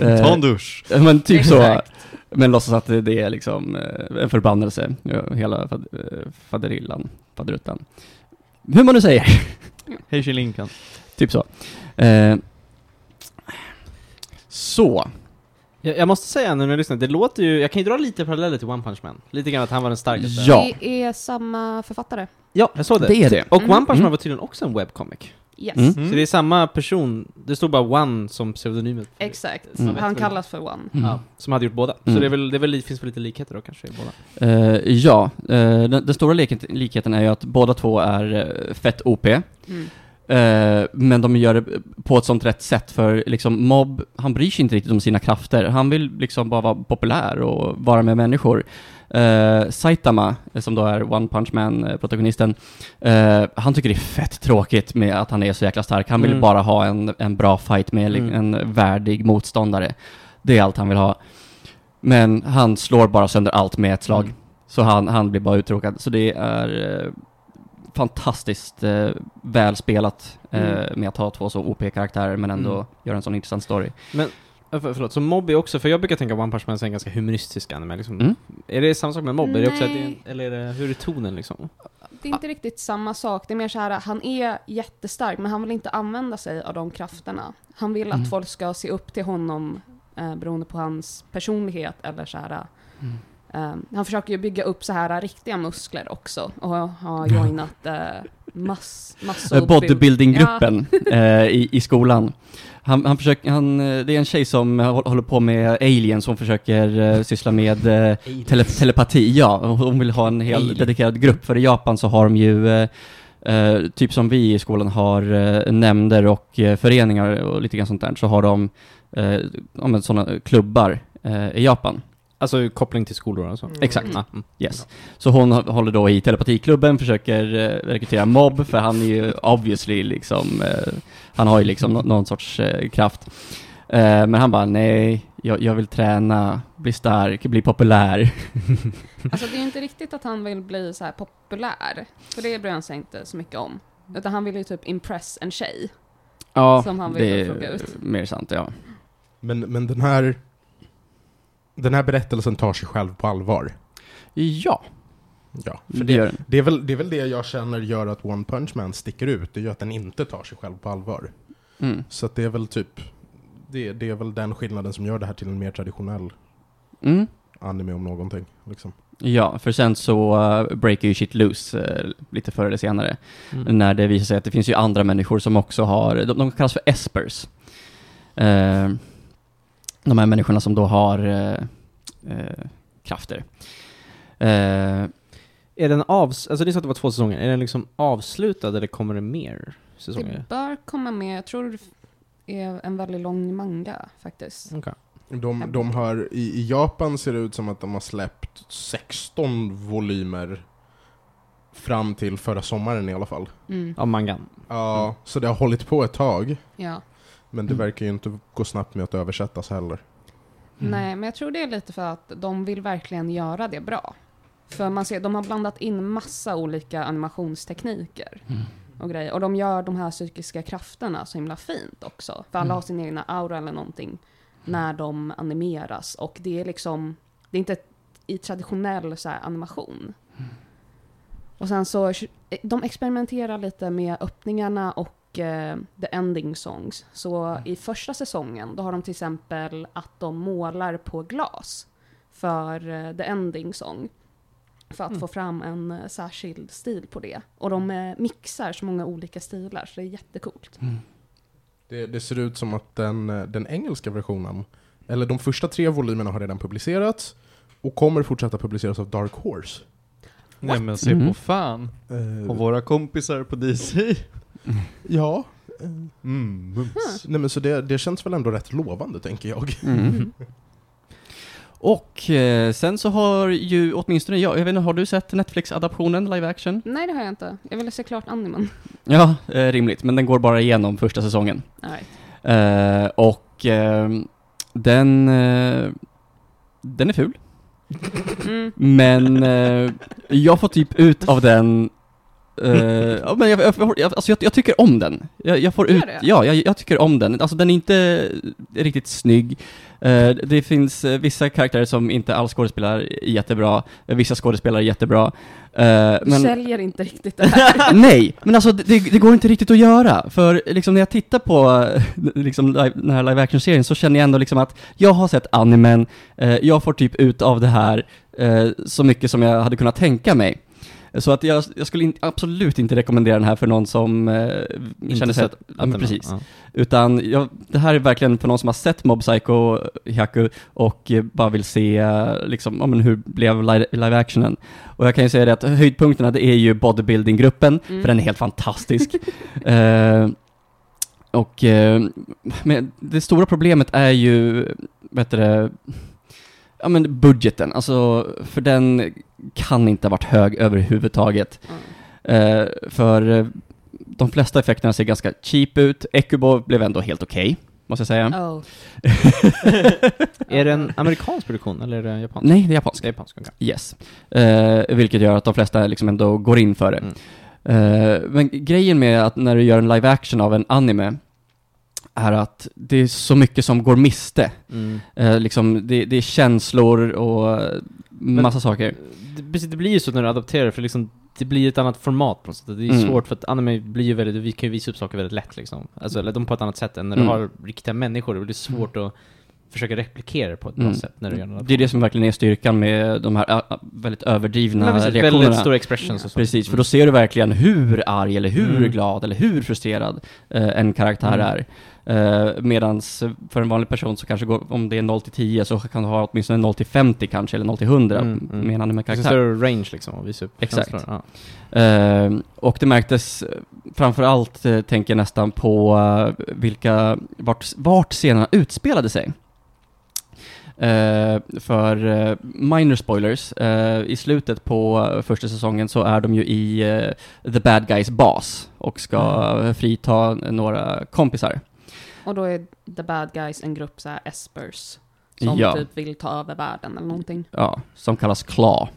Speaker 3: Mm. Ta en dusch.
Speaker 2: Men typ så.
Speaker 4: Exakt.
Speaker 2: Men låtsas att det- det är liksom eh, en förbannelse, ja, hela fad, eh, faderillan, faderuttan. Hur man nu säger,
Speaker 3: Hej Kjell Linkan.
Speaker 2: typ så. Eh, så.
Speaker 6: Jag, jag måste säga nu när jag lyssnar, det låter ju, jag kan ju dra lite paralleller till One Punch Man. Lite grann att han var den starkaste.
Speaker 2: Ja.
Speaker 4: Det är samma författare.
Speaker 6: Ja, jag såg det.
Speaker 2: Det är det.
Speaker 6: Och One
Speaker 4: Mm.
Speaker 6: Punch Man
Speaker 2: Mm.
Speaker 6: var tydligen också en webcomic.
Speaker 4: Yes.
Speaker 2: Mm.
Speaker 6: Så det är samma person, det stod bara One som pseudonymet.
Speaker 4: Exakt.
Speaker 2: Mm.
Speaker 4: Han kallas för One.
Speaker 2: Mm.
Speaker 6: Ja, som hade gjort båda.
Speaker 2: Mm.
Speaker 6: Så det, är väl, det är väl, li- finns väl lite likheter då kanske i båda.
Speaker 2: Eh, ja, eh, den, den stora likheten, likheten är ju att båda två är eh, fett OP.
Speaker 4: Mm.
Speaker 2: Eh, men de gör det på ett sånt rätt sätt för liksom Mob, han bryr sig inte riktigt om sina krafter. Han vill liksom bara vara populär och vara med människor. Eh, Saitama, eh, som då är One Punch Man-protagonisten, eh, han tycker det är fett tråkigt med att han är så jäkla stark. Han vill
Speaker 6: Mm.
Speaker 2: bara ha en, en bra fight med li-
Speaker 6: Mm.
Speaker 2: en värdig motståndare. Det är allt han vill ha. Men han slår bara sönder allt med ett slag.
Speaker 6: Mm.
Speaker 2: Så han, han blir bara uttråkad. Så det är eh, fantastiskt eh, väl spelat eh,
Speaker 6: Mm.
Speaker 2: med att ha två så OP-karaktärer men ändå
Speaker 6: Mm.
Speaker 2: göra en sån intressant story.
Speaker 6: Ja, För, förlåt, så Mob är också, för jag brukar tänka One Punch Man som en ganska humoristisk anime liksom.
Speaker 2: Mm.
Speaker 6: Är det samma sak med Mob? Är det också att det, är-
Speaker 4: Nej.
Speaker 6: eller är det, hur är tonen liksom?
Speaker 4: Det är
Speaker 2: Ah.
Speaker 4: inte riktigt samma sak. Det är mer så här, han är jättestark, men han vill inte använda sig av de krafterna. Han vill
Speaker 2: Mm.
Speaker 4: att folk ska se upp till honom eh, beroende på hans personlighet eller så här.
Speaker 2: Mm.
Speaker 4: eh, han försöker ju bygga upp så här eh, riktiga muskler också och har joinat eh, mass, massor.
Speaker 2: Eh, Bodybuilding-gruppen eh, i, i skolan. Han, han försöker, han, eh, det är en tjej som eh, hå- håller på med aliens, hon försöker eh, syssla med eh, tele, telepati, ja. Hon- Hon vill ha en hel
Speaker 6: Alien.
Speaker 2: dedikerad grupp, för i Japan så har de ju eh, eh, typ som vi i skolan har eh, nämnder och eh, föreningar och lite grann sånt där, så har de eh, ja, men sådana klubbar eh, i Japan.
Speaker 6: Alltså koppling till skolor och så?
Speaker 2: Exakt.
Speaker 6: Ja, mm.
Speaker 2: Yes. Så hon hå- håller då i telepatiklubben, försöker eh, rekrytera mobb, för han är ju obviously liksom, eh, han har ju liksom nå- någon sorts eh, kraft. Eh, men han bara, nej, jag, jag vill träna, bli stark, bli populär.
Speaker 4: Alltså det är ju inte riktigt att han vill bli så här populär, för det bryr han sig inte så mycket om. Utan han vill ju typ impress en tjej.
Speaker 2: Ja,
Speaker 4: Som han vill
Speaker 2: det
Speaker 4: fråga
Speaker 2: är
Speaker 4: ut.
Speaker 2: mer sant, ja.
Speaker 1: Men, men den här... Den här berättelsen tar sig själv på allvar.
Speaker 2: Ja,
Speaker 1: Ja, för det,
Speaker 2: för det gör den.
Speaker 1: det, är väl, det är väl det jag känner gör att One Punch Man sticker ut. Det gör att den inte tar sig själv på allvar.
Speaker 2: Mm.
Speaker 1: Så att det är väl typ... Det, det är väl den skillnaden som gör det här till en mer traditionell
Speaker 2: Mm.
Speaker 1: anime om någonting. Liksom.
Speaker 2: Ja, för sen så eh, breaker ju shit loose eh, lite förr eller senare.
Speaker 6: Mm.
Speaker 2: När det visar sig att det finns ju andra människor som också har, de, de kallas för espers. Eh, de här människorna som då har eh, eh, krafter. Eh,
Speaker 6: Är den avs... Alltså ni sa att det var två säsonger, är den liksom avslutad eller kommer det mer säsonger?
Speaker 4: Det bör komma med, jag tror det är en väldigt lång manga faktiskt.
Speaker 6: Okej.
Speaker 1: De, de har, i, I Japan ser det ut som att de har släppt 16 volymer fram till förra sommaren i alla fall.
Speaker 4: Mm.
Speaker 6: Av mangan?
Speaker 1: Ja, Så det har hållit på ett tag.
Speaker 4: Ja.
Speaker 1: Men det
Speaker 2: Mm.
Speaker 1: verkar ju inte gå snabbt med att översättas heller.
Speaker 4: Nej, men jag tror det är lite för att de vill verkligen göra det bra. För man ser, de har blandat in massa olika animationstekniker och grejer. Och de gör de här psykiska krafterna så himla fint också. För alla har sin egna aura eller någonting när de animeras. Och det är liksom, det är inte ett i traditionell så här, animation. Och sen så, de experimenterar lite med öppningarna och eh, the ending songs. Så i första säsongen, då har de till exempel att de målar på glas för eh, the ending song. För att få fram en eh, särskild stil på det. Och de eh, mixar så många olika stilar, så det är jättecoolt.
Speaker 1: Det, det ser ut som att den, eh, den engelska versionen, eller de första tre volymerna har redan publicerats och kommer fortsätta publiceras av Dark Horse.
Speaker 3: Nej men se
Speaker 2: Mhm.
Speaker 3: på fan.
Speaker 1: Eh,
Speaker 3: Och våra kompisar på DC.
Speaker 1: ja,
Speaker 3: Mm, mums.
Speaker 1: nej men så det, det känns väl ändå rätt lovande tänker jag.
Speaker 2: Mm. Och eh, sen så har ju åtminstone jag, jag vet inte, har du sett Netflix-adaptionen live action?
Speaker 4: Nej, det har jag inte. Jag ville se klart animen.
Speaker 2: Ja, eh, rimligt, men den går bara igenom första säsongen.
Speaker 4: Nej.
Speaker 2: Eh, och ehm, den, eh, den är ful,
Speaker 4: Mm.
Speaker 2: men eh, jag får typ ut av den eh, ja, men jag, jag, jag, alltså jag, jag tycker om den. Jag, jag får
Speaker 4: Gör
Speaker 2: ut,
Speaker 4: det?
Speaker 2: ja, jag, jag tycker om den. Alltså den är inte riktigt snygg. Eh, det finns eh, vissa karaktärer som inte alls skådespelar jättebra, eh, vissa skådespelare jättebra. Eh,
Speaker 4: Du
Speaker 2: men,
Speaker 4: säljer inte riktigt det här.
Speaker 2: Nej, men alltså det- det, det går inte riktigt att göra. För liksom när jag tittar på eh, liksom, live, den här live action-serien så känner jag ändå liksom att jag har sett animen, eh, jag får typ ut av det här eh, så mycket som jag hade kunnat tänka mig. Så att jag, jag skulle in, absolut inte rekommendera den här för någon som eh, känner sig att, ja, men precis.
Speaker 6: Ja.
Speaker 2: Utan jag, det här är verkligen för någon som har sett Mob Psycho Hyaku och eh, bara vill se eh, liksom, ja, men hur blev li- live-actionen. Och jag kan ju säga det att höjdpunkterna det är ju bodybuilding-gruppen,
Speaker 4: Mm.
Speaker 2: för den är helt fantastisk. Eh, och eh, men det stora problemet är ju, vad heter det, ja men budgeten, alltså för den kan inte ha varit hög överhuvudtaget.
Speaker 4: Mm.
Speaker 2: Eh, för eh, de flesta effekterna ser ganska cheap ut. Ecubo blev ändå helt okej, måste jag säga.
Speaker 4: Oh.
Speaker 6: Är det en amerikansk produktion eller är det en japansk?
Speaker 2: Nej, det är japanska.
Speaker 6: Ska japansk, okej.
Speaker 2: Yes. Eh, vilket gör att de flesta liksom ändå går in för det.
Speaker 6: Mm.
Speaker 2: Eh, men grejen med att när du gör en live action av en anime är att det är så mycket som går miste.
Speaker 6: Mm.
Speaker 2: Eh, liksom, det, det är känslor och eh, massa saker.
Speaker 6: Det, precis, det blir ju så när du adapterar för liksom det blir ett annat format på något sätt. Det är ju
Speaker 2: Mm.
Speaker 6: svårt för att anime blir ju väldigt, vi kan ju visa upp saker väldigt lätt liksom. Alltså, eller de på ett annat sätt än när
Speaker 2: Mm.
Speaker 6: du har riktiga människor. Det blir svårt att försöka replikera det på ett bra
Speaker 2: Mm.
Speaker 6: sätt när du gör något.
Speaker 2: Det är det som verkligen är styrkan med de här ä, väldigt överdrivna
Speaker 6: Men precis,
Speaker 2: reaktionerna.
Speaker 6: väldigt stora expressions och så.
Speaker 2: Precis, för då ser du verkligen hur arg eller hur
Speaker 6: Mm.
Speaker 2: glad eller hur frustrerad eh, en karaktär
Speaker 6: Mm.
Speaker 2: är. Eh, medans för en vanlig person så kanske går, om det är 0 till 10 så kan du ha åtminstone 0 till 50 kanske, eller 0 till 100
Speaker 6: Mm, mm.
Speaker 2: med en
Speaker 6: Det finns en
Speaker 2: anime-karaktär.
Speaker 6: större range liksom att visa upp
Speaker 2: Exakt.
Speaker 6: känslor. Ja.
Speaker 2: Eh, och det märktes eh, framförallt, eh, tänker jag nästan på eh, vilka, vart, vart scenerna utspelade sig. Eh, för eh, minor spoilers, eh, i slutet på eh, första säsongen så är de ju i eh, The Bad Guys bas och ska
Speaker 3: Mm.
Speaker 2: eh, frita några kompisar.
Speaker 4: Och då är the bad guys en grupp så här espers. Som
Speaker 2: Ja.
Speaker 4: typ vill ta över världen eller någonting.
Speaker 2: ja, som kallas Claw.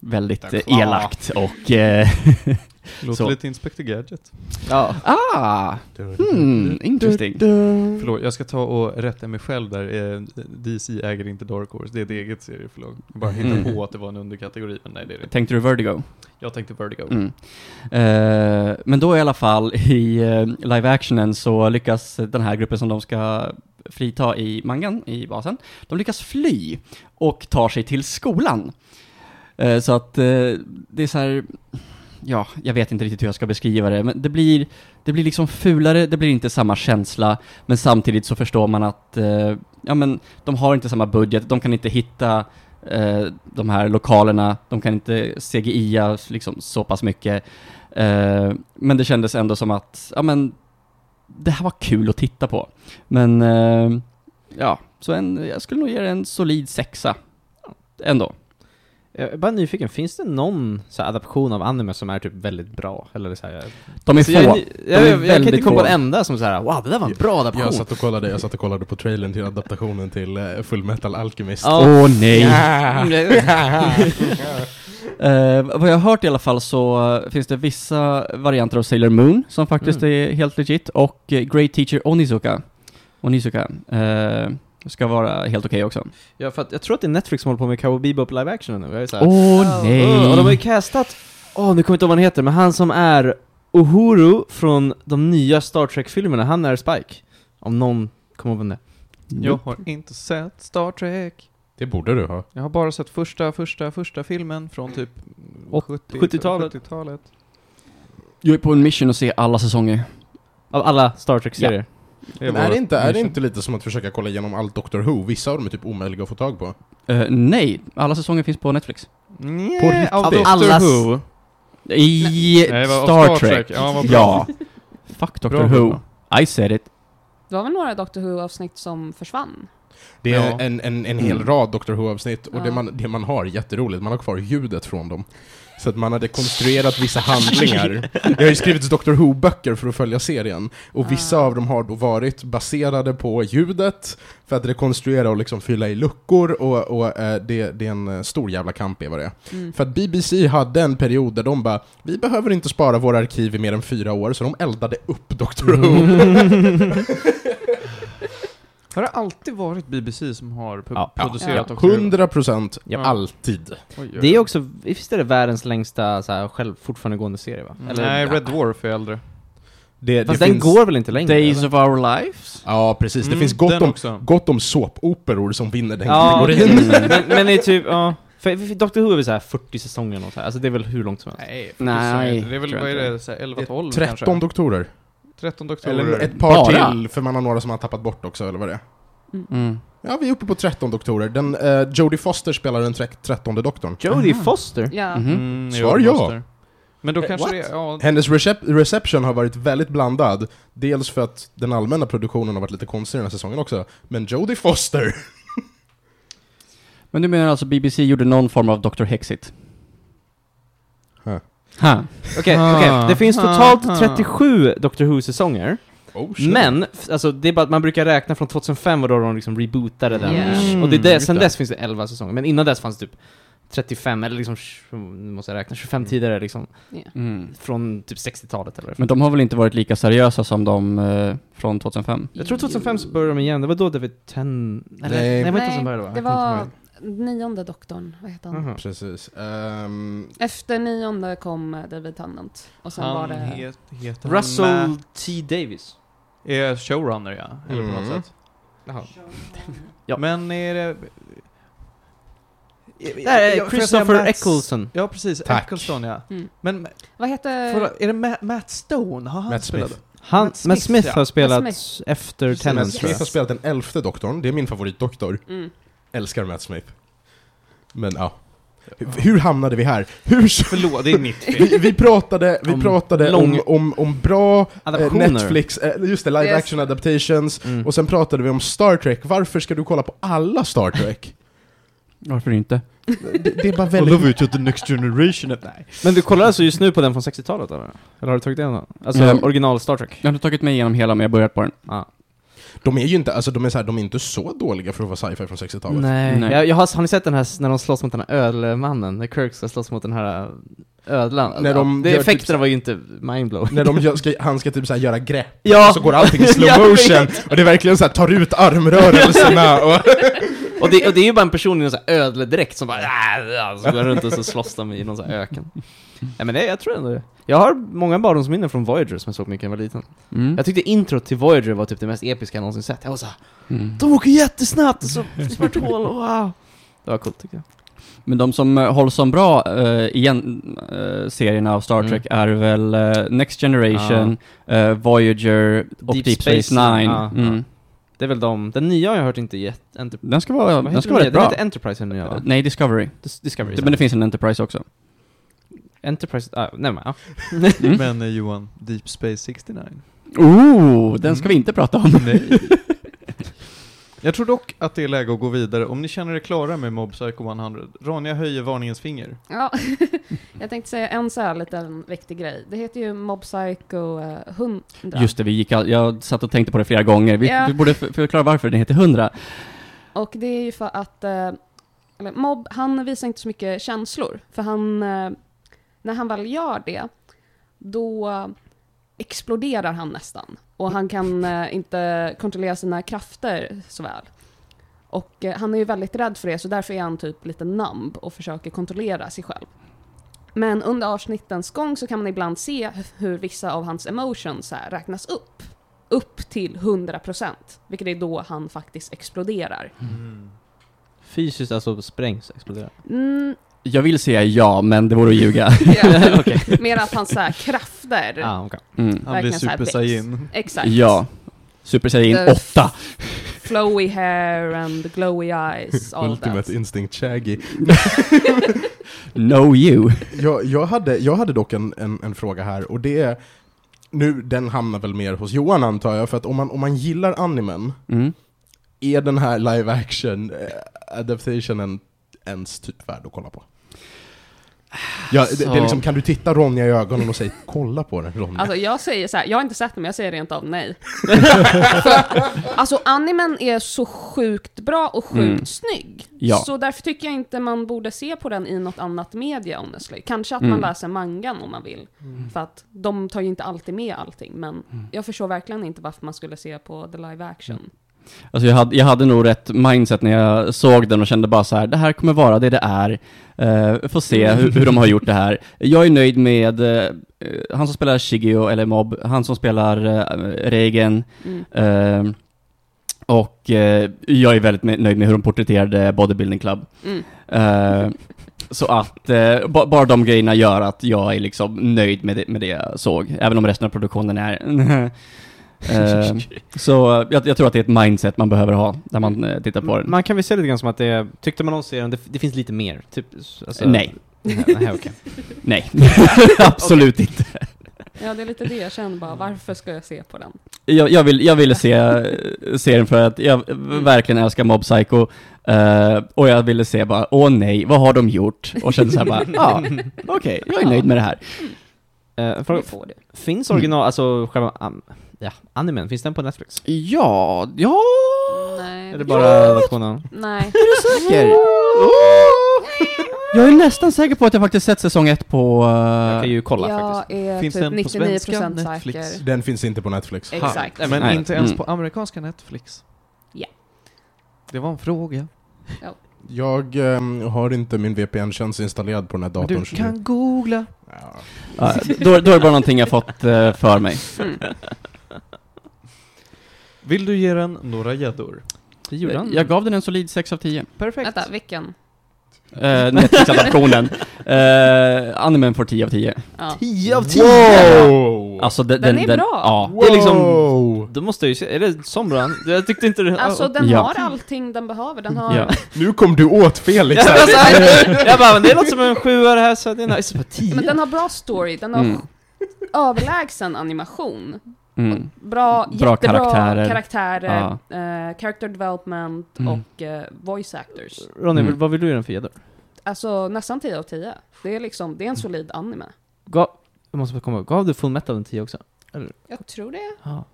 Speaker 2: Väldigt
Speaker 3: The
Speaker 2: eh,
Speaker 3: Claw.
Speaker 2: elakt och... eh,
Speaker 3: Låter
Speaker 2: Så.
Speaker 3: lite Inspector Gadget.
Speaker 2: ah, hmm, interesting.
Speaker 3: Förlåt, jag ska ta och rätta mig själv där. Eh, DC äger inte Dark Horse, det är ett eget serieförlag. Jag bara hittade
Speaker 2: Mm.
Speaker 3: på att det var en underkategori, men nej det är det inte.
Speaker 2: Tänkte du Vertigo?
Speaker 3: Jag tänkte Vertigo.
Speaker 2: Mm. Eh, men då i alla fall i eh, live-actionen så lyckas den här gruppen som de ska frita i mangan, i basen, de lyckas fly och tar sig till skolan. Eh, så att eh, det är så här, ja, jag vet inte riktigt hur jag ska beskriva det, men det blir, det blir liksom fulare, det blir inte samma känsla, men samtidigt så förstår man att, eh, ja men, de har inte samma budget, de kan inte hitta eh, de här lokalerna, de kan inte CGI-a liksom så pass mycket. Eh, men det kändes ändå som att, ja men, det här var kul att titta på. Men, eh, ja, så en, jag skulle nog ge det en solid sexa. Ändå.
Speaker 6: Jag är bara nyfiken, finns det någon så här, adaption av anime som är typ väldigt bra? Eller så här,
Speaker 2: De är
Speaker 6: Så
Speaker 2: få.
Speaker 6: Alltså, jag, jag, jag, jag, kan inte
Speaker 2: väldigt
Speaker 6: komma på
Speaker 2: få.
Speaker 6: en enda som såhär wow det där var en bra adaption.
Speaker 1: Jag satt, och kollade, jag satt och kollade på trailern till adaptationen till eh, Full Metal Alchemist.
Speaker 6: Ja.
Speaker 2: Åh nej! Eh, vad jag har hört i alla fall så eh, finns det vissa varianter av Sailor Moon som
Speaker 8: Mm.
Speaker 2: faktiskt är helt legit och eh, Great Teacher Onizuka. Onizuka. eh, ska vara helt okej också.
Speaker 3: Ja, för att jag tror att det är Netflix som håller på med Cowboy Bebop live action nu. Jag är så här,
Speaker 2: Åh
Speaker 4: Oh.
Speaker 2: nej!
Speaker 3: "Åh", Mm, och de har ju castat, åh nu kommer jag inte ihåg vad han heter, men han som är Uhuru från de nya Star Trek-filmerna, han är Spike. Om någon kommer ihåg vem det är.
Speaker 8: Jag har inte sett Star Trek.
Speaker 1: Det borde du ha.
Speaker 8: Jag har bara sett första, första, första filmen från typ 70,
Speaker 3: 70-talet.
Speaker 8: 70-talet.
Speaker 2: Jag är på en mission att se alla säsonger.
Speaker 3: Av alla Star Trek-serier.
Speaker 8: Det
Speaker 1: Men är
Speaker 8: var-
Speaker 1: det, inte, är det inte lite som att försöka kolla igenom allt Doctor Who? Vissa av dem är typ omöjliga att få tag på.
Speaker 2: Eh, nej, alla säsonger finns på Netflix.
Speaker 8: Nja,
Speaker 1: På riktigt?
Speaker 8: av
Speaker 3: Av
Speaker 8: Doctor
Speaker 3: allas-
Speaker 8: Who.
Speaker 2: I
Speaker 8: Nej, vad-
Speaker 2: Star Trek.
Speaker 8: Ja, vad bra.
Speaker 2: Ja. Fuck Doctor
Speaker 8: Bra,
Speaker 2: Who.
Speaker 8: bra.
Speaker 2: I said it.
Speaker 4: Det var väl några Doctor Who-avsnitt som försvann?
Speaker 1: Det är
Speaker 8: Ja.
Speaker 1: en, en, en hel
Speaker 2: Mm.
Speaker 1: rad Doctor Who-avsnitt och det,
Speaker 4: Ja.
Speaker 1: man, det man har är jätteroligt, man har kvar ljudet från dem. Så att man hade konstruerat vissa handlingar. Det har ju skrivits Doctor Who-böcker för att följa serien. Och vissa
Speaker 4: Ah.
Speaker 1: av dem har då varit baserade på ljudet, för att rekonstruera och liksom fylla i luckor, och, och eh, det, det är en eh, stor jävla kamp i vad det är.
Speaker 4: Mm.
Speaker 1: För att BBC hade en period där de bara, vi behöver inte spara våra arkiv i mer än fyra år, så de eldade upp Doctor Who.
Speaker 8: Har det alltid varit BBC som har pu-
Speaker 2: Ja, ja.
Speaker 8: producerat Doctor Who?
Speaker 1: 100%
Speaker 3: Ja.
Speaker 1: alltid.
Speaker 8: Oj, oj, oj.
Speaker 3: Det är också, visst är det världens längsta så här, själv fortfarande gående serie va?
Speaker 8: Mm. Nej, Red Dwarf är äldre.
Speaker 1: Det,
Speaker 3: Fast
Speaker 1: det
Speaker 3: den
Speaker 1: finns-
Speaker 3: går väl inte längre?
Speaker 2: Days
Speaker 3: eller?
Speaker 2: of our lives.
Speaker 1: Ja, precis. Det
Speaker 8: Mm,
Speaker 1: finns gott
Speaker 8: den
Speaker 1: om,
Speaker 8: också.
Speaker 1: gott om såpoperor som vinner den
Speaker 3: Ja,
Speaker 1: kategorin.
Speaker 3: men, men det är typ, ja. För, för Doctor Who är väl så här 40 säsonger eller nåt så här. alltså det är väl hur långt som helst?
Speaker 8: Nej,
Speaker 2: Nej,
Speaker 8: det är väl,
Speaker 2: tror jag
Speaker 8: vad är
Speaker 2: inte.
Speaker 8: det, så här 11, 12 kanske?
Speaker 1: 13 doktorer.
Speaker 8: 13 doktorer.
Speaker 1: Eller ett par
Speaker 2: Bara?
Speaker 1: till, för man har några som man har tappat bort också, eller vad det är.
Speaker 2: Mm.
Speaker 1: Ja, vi är uppe på 13 doktorer. Den, eh, Jodie Foster spelar den tre- 13 doktorn.
Speaker 3: Jodie Foster?
Speaker 4: Ja.
Speaker 2: Mhm.
Speaker 8: Mm, jo,
Speaker 1: Svar ja.
Speaker 8: måste. Men då
Speaker 1: Eh,
Speaker 8: kanske
Speaker 1: what?
Speaker 8: det, ja,
Speaker 1: Hennes recep- reception har varit väldigt blandad. Dels för att den allmänna produktionen har varit lite konstig den här säsongen också. Men Jodie Foster!
Speaker 2: Men du menar alltså BBC gjorde någon form av Dr. Hexit?
Speaker 1: Huh.
Speaker 2: Huh.
Speaker 3: Okej,
Speaker 8: Ah.
Speaker 3: okej. Det finns
Speaker 8: Ah.
Speaker 3: totalt 37 Doctor Who-säsonger,
Speaker 1: Oh, shit.
Speaker 3: men f- alltså, det är bara att man brukar räkna från 2005 och då de liksom rebootade den.
Speaker 4: Yeah.
Speaker 3: Och det är
Speaker 8: Mm,
Speaker 3: det, sen
Speaker 1: just det.
Speaker 3: dess finns det 11 säsonger, men innan dess fanns det typ 35, eller liksom, tj- nu måste jag räkna, 25 tidigare liksom,
Speaker 2: Mm.
Speaker 3: från typ 60-talet eller vad det är.
Speaker 2: Men de har väl inte varit lika seriösa som de eh, från 2005?
Speaker 3: Jag tror 2005 så började de igen, det var då David Ten... Eller,
Speaker 1: Nej.
Speaker 3: nej, det var inte
Speaker 4: Nej,
Speaker 3: som började va?
Speaker 4: Det
Speaker 3: Jag kommer
Speaker 4: var
Speaker 3: inte
Speaker 4: nionde doktorn, vad heter han?
Speaker 3: ihåg. Mhm.
Speaker 1: Precis. Ehm,
Speaker 4: Efter nionde kom eh, David Tennant. Och sen var
Speaker 8: han
Speaker 4: det...
Speaker 8: het, heter han
Speaker 3: Russell
Speaker 8: Matt-
Speaker 3: T. Davis.
Speaker 8: är showrunner ja, eller på
Speaker 1: Mm.
Speaker 8: något sätt.
Speaker 3: Jaha.
Speaker 8: Ja. Men är det...
Speaker 3: Nej,
Speaker 8: Jag- får jag säga
Speaker 3: Christopher
Speaker 8: Matt-
Speaker 3: Eccleston.
Speaker 8: Ja, precis.
Speaker 1: Tack.
Speaker 8: Eccleston ja.
Speaker 4: Mm.
Speaker 8: Men
Speaker 4: Vad hette...
Speaker 8: får, är det Ma- Matt Stone? Har han
Speaker 1: Matt
Speaker 8: spelat?
Speaker 1: Smith.
Speaker 3: Han,
Speaker 8: Matt
Speaker 3: Matt
Speaker 8: Smith,
Speaker 3: Smith,
Speaker 8: ja.
Speaker 3: har spelat
Speaker 4: Matt
Speaker 3: efter
Speaker 1: Matt
Speaker 3: Tennant tror
Speaker 1: Smith
Speaker 3: jag.
Speaker 1: har spelat den elfte doktorn. Det är min favoritdoktor.
Speaker 4: Mm.
Speaker 1: Älskar Matt Smith. Men ja. Hur, hur hamnade vi här? Hur så?
Speaker 8: Förlåt, det är 90.
Speaker 1: Vi, vi pratade, vi
Speaker 3: Om
Speaker 1: pratade
Speaker 3: lång-
Speaker 1: om, om, om bra eh,
Speaker 3: Adaptioner.
Speaker 1: Netflix, eh, just det, live
Speaker 4: Yes.
Speaker 1: action adaptations,
Speaker 3: Mm.
Speaker 1: och sen pratade vi om Star Trek. Varför ska du kolla på alla Star Trek?
Speaker 2: Varför inte?
Speaker 1: det, det är bara väldigt...
Speaker 8: vet ju att the next generation... Nej.
Speaker 3: Men du kollar alltså just nu på den från 60-talet eller? Eller har du tagit igenom den? Alltså
Speaker 2: Mm.
Speaker 3: original Star Trek?
Speaker 2: Jag har inte tagit mig igenom hela, men jag har börjat på den.
Speaker 1: De är ju inte, alltså, de är så här, de är inte så dåliga för att vara sci-fi från 60-talet.
Speaker 3: Nej.
Speaker 2: Nej.
Speaker 3: Jag, jag har, har ni sett den här s- när de slåss mot den här ödlemannen? När Kirk ska slåss mot den här ödlan?
Speaker 1: När de
Speaker 3: det,
Speaker 1: gör
Speaker 3: effekterna
Speaker 1: typ-
Speaker 3: var ju inte mindblowing.
Speaker 1: När de gör, ska, han ska typ så här göra grepp,
Speaker 3: Ja.
Speaker 1: så går allting i slow motion, och det är verkligen så här, tar ut armrörelserna och...
Speaker 3: och, det, och det är ju bara en person i någon sån här ödledräkt som bara "Ah", så går han runt och så slåss de i någon sån här öken. Nej men det, jag tror ändå det. Jag har många barndomsminnen från Voyager som jag såg mycket när jag var liten.
Speaker 2: Mm.
Speaker 3: Jag tyckte introt till Voyager var typ det mest episka jag någonsin sett. Jag var såhär,
Speaker 2: Mm.
Speaker 3: de åker jättesnabbt och så svart hål, wow. Det var coolt tycker jag.
Speaker 2: Men de som eh, hålls som bra eh, igen, eh, serierna av Star
Speaker 3: Mm.
Speaker 2: Trek är väl eh, Next Generation, eh, Voyager och
Speaker 3: Deep
Speaker 2: Deep,
Speaker 3: Space
Speaker 2: Space, Nine.
Speaker 3: Nine. Ja,
Speaker 2: mm.
Speaker 3: Det är väl de, den nya har jag hört inte jätte... Enter-
Speaker 2: Den ska vara,
Speaker 3: vad
Speaker 2: den
Speaker 3: heter
Speaker 2: ska vara
Speaker 3: nya?
Speaker 2: rätt bra.
Speaker 3: Den heter Enterprise den nya va?
Speaker 2: Nej, Discovery.
Speaker 3: Dis- Discovery.
Speaker 2: Det, men det finns en Enterprise också.
Speaker 3: Enterprise, ah, nej men ja.
Speaker 2: Mm.
Speaker 8: Men eh, Johan, Deep Space 69?
Speaker 2: Oh, den ska vi inte prata om.
Speaker 8: Nej. Jag tror dock att det är läge att gå vidare. Om ni känner er klara med Mob Psycho 100, Ronja höjer varningens finger.
Speaker 4: Ja, jag tänkte säga en så här liten viktig grej. Det heter ju Mob Psycho eh, 100.
Speaker 2: Just det, vi gick all, jag satt och tänkte på det flera gånger. Vi,
Speaker 4: Ja.
Speaker 2: vi borde f- förklara varför den heter 100.
Speaker 4: Och det är ju för att eh, eller, Mob, han visar inte så mycket känslor. För han, eh, när han väl gör det, då exploderar han nästan. Och han kan eh, inte kontrollera sina krafter så väl. Och eh, han är ju väldigt rädd för det, så därför är han typ lite numb och försöker kontrollera sig själv. Men under avsnittens gång så kan man ibland se hur vissa av hans emotions så här räknas upp. Upp till 100%, vilket är då han faktiskt exploderar.
Speaker 6: Fysiskt alltså sprängs, exploderar.
Speaker 4: Mm,
Speaker 2: Jag vill säga ja, men det vore att ljuga.
Speaker 4: ja. Mer att hans så här krafter
Speaker 6: Ah, okay.
Speaker 2: Mm.
Speaker 3: Han blir
Speaker 4: Verkligen så här
Speaker 3: super
Speaker 4: växt.
Speaker 3: saiyan.
Speaker 4: Exakt.
Speaker 2: Ja. Super Saiyan
Speaker 4: The
Speaker 2: 8.
Speaker 4: Flowy hair and glowy eyes, all that.
Speaker 1: Ultimate Instinct Shaggy.
Speaker 2: No you.
Speaker 1: Jag, jag, hade, jag hade dock en, en, en fråga här och det är... Nu, den hamnar väl mer hos Johan antar jag, för att om man, om man gillar animen,
Speaker 2: Mm.
Speaker 1: är den här live action eh, adaptationen ens typ värd att kolla på? Ja, det, det är
Speaker 2: Så-
Speaker 1: liksom, kan du titta Ronja i ögonen och säga kolla på den Ronja?
Speaker 4: Alltså jag säger så här, jag har inte sett den men jag säger rent av nej. För, alltså animen är så sjukt bra och sjukt
Speaker 2: Mm.
Speaker 4: snygg.
Speaker 2: Ja.
Speaker 4: Så därför tycker jag inte man borde se på den i något annat media honestly. Kanske att man
Speaker 2: Mm.
Speaker 4: läser mangan om man vill. För att de tar ju inte alltid med allting. Men
Speaker 2: Mm.
Speaker 4: jag förstår verkligen inte varför man skulle se på the live action.
Speaker 2: Alltså jag, hade, jag hade nog rätt mindset när jag såg den och kände bara så här, det här kommer vara det det är. Uh, får se hur, hur de har gjort det här. Jag är nöjd med eh, han som spelar Shigeo, eller Mob, han som spelar eh, Reigen.
Speaker 4: Mm.
Speaker 2: eh, och eh, jag är väldigt me- nöjd med hur de porträtterade Bodybuilding Club.
Speaker 4: Mm.
Speaker 2: Eh, så att eh, ba, bara de grejerna gör att jag är liksom nöjd med det, med det jag såg. Även om resten av produktionen är... Eh, så eh, jag, jag tror att det är ett mindset man behöver ha när man eh, tittar på den.
Speaker 6: Man kan väl se lite grann som att det, är- tyckte man om serien, det, det finns lite mer? Typ, alltså,
Speaker 2: Nej,
Speaker 6: Nej, nej, okej.
Speaker 2: nej. Absolut inte.
Speaker 4: Ja det är lite det jag känner bara, varför ska jag se på den?
Speaker 2: Jag, jag, vill, jag ville se eh, serien för att jag verkligen älskar Mob Psycho. eh, och jag ville se bara, åh nej, vad har de gjort? Och kände såhär bara, ja, okej, jag är nöjd med det här.
Speaker 6: Eh,
Speaker 4: Det
Speaker 6: fråga,
Speaker 4: får du.
Speaker 6: finns original, alltså själva am, ja, animen, finns den på Netflix?
Speaker 2: Ja, ja...
Speaker 4: Nej.
Speaker 6: Är det bara versionen?
Speaker 4: Nej.
Speaker 2: Är du säker? Oh! Jag är nästan säker på att jag faktiskt sett säsong ett på...
Speaker 3: Eh,
Speaker 2: eh,
Speaker 6: Jag kan ju kolla faktiskt.
Speaker 4: Jag är
Speaker 3: Finns
Speaker 4: typ
Speaker 3: den på
Speaker 4: 99%
Speaker 3: svenska Netflix?
Speaker 4: säker.
Speaker 1: Den finns inte på Netflix.
Speaker 4: Exakt.
Speaker 3: Nej, men
Speaker 2: Nej.
Speaker 3: inte ens
Speaker 2: Mm.
Speaker 3: på amerikanska Netflix.
Speaker 4: Ja.
Speaker 3: Det var en fråga.
Speaker 1: Jag ehm, har inte min VPN-tjänst installerad på den här
Speaker 3: Men
Speaker 1: datorn.
Speaker 3: du
Speaker 1: så
Speaker 3: kan googla.
Speaker 1: Ja.
Speaker 2: Ja, då, då är det bara någonting jag fått eh, för mig.
Speaker 3: Vill du ge den några gäddor?
Speaker 6: Det gjorde han.
Speaker 2: Jag gav den en solid 6 av 10.
Speaker 3: Perfekt.
Speaker 4: Vänta, vilken?
Speaker 2: Uh, Netflix-adaptionen. uh, Animen får 10 av 10.
Speaker 4: Ja.
Speaker 6: 10 av 10!
Speaker 1: Wow!
Speaker 2: Alltså, den,
Speaker 4: Den är bra.
Speaker 2: Ja.
Speaker 1: wow!
Speaker 6: det är liksom- Då måste jag ju se, är det sån bra? Jag tyckte inte det...
Speaker 4: Alltså den
Speaker 2: Ja.
Speaker 4: har allting den behöver. Den har...
Speaker 2: ja.
Speaker 1: Nu kom du åt Felix
Speaker 6: jag,
Speaker 1: här.
Speaker 6: bara, så här- jag bara, men det låter som en sjua det här, så det är nice. Bara 10?
Speaker 4: Men den har bra story, den har
Speaker 2: Mm.
Speaker 4: överlägsen animation.
Speaker 2: Mm.
Speaker 4: Bra,
Speaker 2: Bra
Speaker 4: jättebra
Speaker 2: karaktärer.
Speaker 4: karaktärer, eh, character development
Speaker 2: Mm.
Speaker 4: och eh, voice actors.
Speaker 6: Ronny,
Speaker 2: Mm.
Speaker 6: vad vill du ge den för gäddor?
Speaker 4: Alltså nästan 10 av 10. Det är liksom, det är en solid anime.
Speaker 6: Gav, jag måste bara komma ihåg, gav du Full Metal en 10 också?
Speaker 4: Jag tror det.
Speaker 6: Ja.